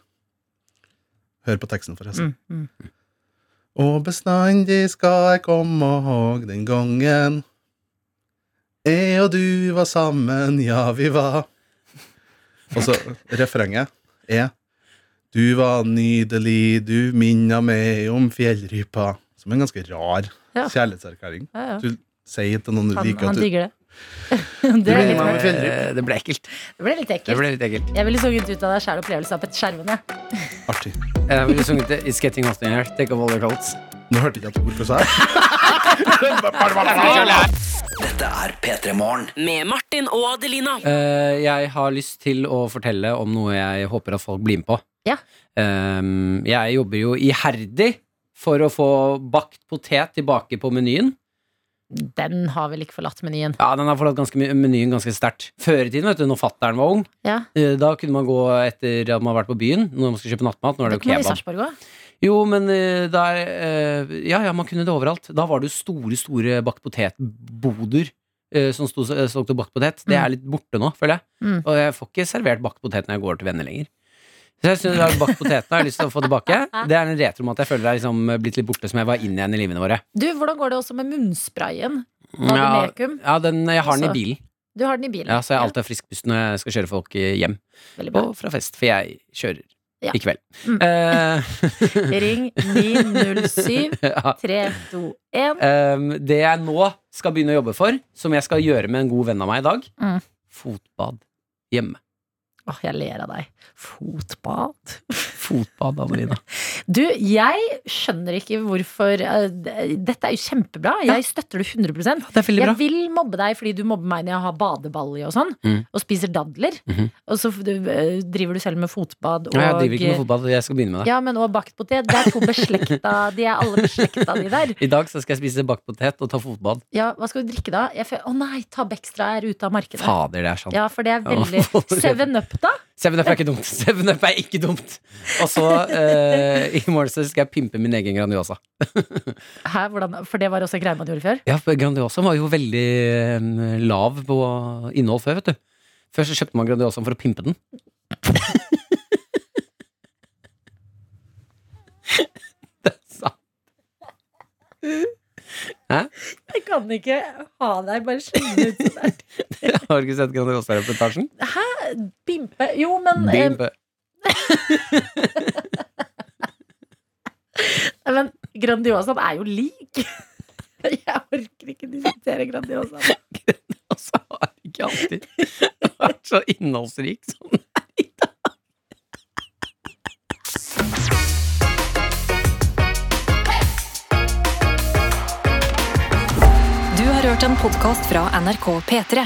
Speaker 11: Hør på teksten, forresten. Og bestandig skal jeg komme og den gangen jeg og du var sammen, ja, vi var Og så refrenget er Du var nydelig, du minna meg om fjellrypa. Som er en ganske rar
Speaker 3: Ja.
Speaker 11: kjærlighetserklæring.
Speaker 3: Ja, ja.
Speaker 11: Du sier til noen du
Speaker 3: Han,
Speaker 11: liker
Speaker 3: han
Speaker 11: at du
Speaker 3: digger det. det, er litt,
Speaker 2: Eh,
Speaker 3: rart.
Speaker 2: Det ble ekkelt.
Speaker 3: det ble litt
Speaker 2: Det
Speaker 3: ekkelt.
Speaker 2: ble litt ekkelt.
Speaker 3: Jeg ville sunget ut av deg sjæl opplevelse av et skjervende.
Speaker 2: Jeg ville Eh, sunget det, It's getting hot in here. Take off all your clothes.
Speaker 11: Nå hørte jeg ikke at ordet sa
Speaker 18: Dette er P3 Morgen.
Speaker 5: Med Martin og Adelina.
Speaker 2: Eh, jeg har lyst til å fortelle om noe jeg håper at folk blir med på.
Speaker 3: Ja.
Speaker 2: Ehm, jeg jobber jo iherdig for å få bakt potet tilbake på menyen.
Speaker 3: Den har vel ikke forlatt menyen.
Speaker 2: Ja, den har forlatt ganske, my- menyen ganske sterkt. Før i tiden, vet du, når fattern var ung,
Speaker 3: Ja.
Speaker 2: eh, da kunne man gå etter at man har vært på byen, når man skulle kjøpe nattmat. Nå er
Speaker 3: Det
Speaker 2: det jo
Speaker 3: kommer i
Speaker 2: kebab.
Speaker 3: Sarpsborg òg.
Speaker 2: Jo, men eh, der eh, Ja, ja, man kunne det overalt. Da var det jo store, store bakt potet-boder eh, som sto- eh, solgte bakt potet. Det er litt borte nå, føler jeg.
Speaker 3: Mm.
Speaker 2: Og jeg får ikke servert bakt potet når jeg går til venner lenger. Så jeg synes at bakt potetene har jeg lyst til å få tilbake. Det er en retro med at jeg føler det er liksom blitt litt borte som jeg var inn igjen i livene våre.
Speaker 3: Du, hvordan går det også med munnsprayen? Var det
Speaker 2: Ja,
Speaker 3: Mekum?
Speaker 2: ja den, jeg har den i
Speaker 3: Altså,
Speaker 2: bilen.
Speaker 3: Du har den i bilen.
Speaker 2: Ja, så jeg alltid er friskpust når jeg skal kjøre folk eh, hjem. Og fra fest, for jeg kjører
Speaker 3: Ja. Mm.
Speaker 2: i kveld. Eh,
Speaker 3: Ring 907
Speaker 2: Ja.
Speaker 3: 321.
Speaker 2: Ehm, det jeg nå skal begynne å jobbe for, som jeg skal gjøre med en god venn av meg i dag,
Speaker 3: Mm.
Speaker 2: fotbad hjemme.
Speaker 3: Åh, jeg ler av deg. Fotbad.
Speaker 2: Fotbad, Adelina.
Speaker 3: Du, jeg skjønner ikke hvorfor eh, d- Dette er jo kjempebra. Jeg støtter det 100
Speaker 2: veldig bra.
Speaker 3: Jeg vil mobbe deg fordi du mobber meg når jeg har badeball i og sånn,
Speaker 2: Mm.
Speaker 3: og spiser dadler.
Speaker 2: Mhm.
Speaker 3: Og så f- du, eh, driver du selv med fotbad og
Speaker 2: Nei, jeg driver ikke med fotball, jeg skal begynne med det.
Speaker 3: Ja, men og bakt potet. Det er to beslekta De er alle beslekta, de der.
Speaker 2: I dag så skal jeg spise bakt potet og ta fotbad.
Speaker 3: Ja, Hva skal du drikke da? Jeg føler, Å nei, Tabextra er ute av markedet.
Speaker 2: Fader, det er sant.
Speaker 3: Ja, for det er veldig Seven Up, da?
Speaker 2: Seven Up er ikke dumt. Seven Up er ikke dumt. Og så eh, i morgen så skal jeg pimpe min egen Grandiosa.
Speaker 3: Hæ, hvordan, for det var også en greie man gjorde før?
Speaker 2: Ja, for Grandiosa var jo veldig eh, lav på innhold før, vet du. Før så kjøpte man Grandiosa for å pimpe den. det er sant. Hæ?
Speaker 3: Jeg kan ikke ha deg bare slenge ut sånn der.
Speaker 2: Har du ikke sett Grandiosa-reportasjen?
Speaker 3: Hæ? Bimpe? Jo, men, eh,
Speaker 2: Pimpe.
Speaker 3: men Grandiosaen er jo lik. Jeg orker ikke diskutere Grandiosaen.
Speaker 2: Grandiosa har ikke alltid vært så innholdsrik som den er i dag.
Speaker 1: Du har hørt en podkast fra NRK P3.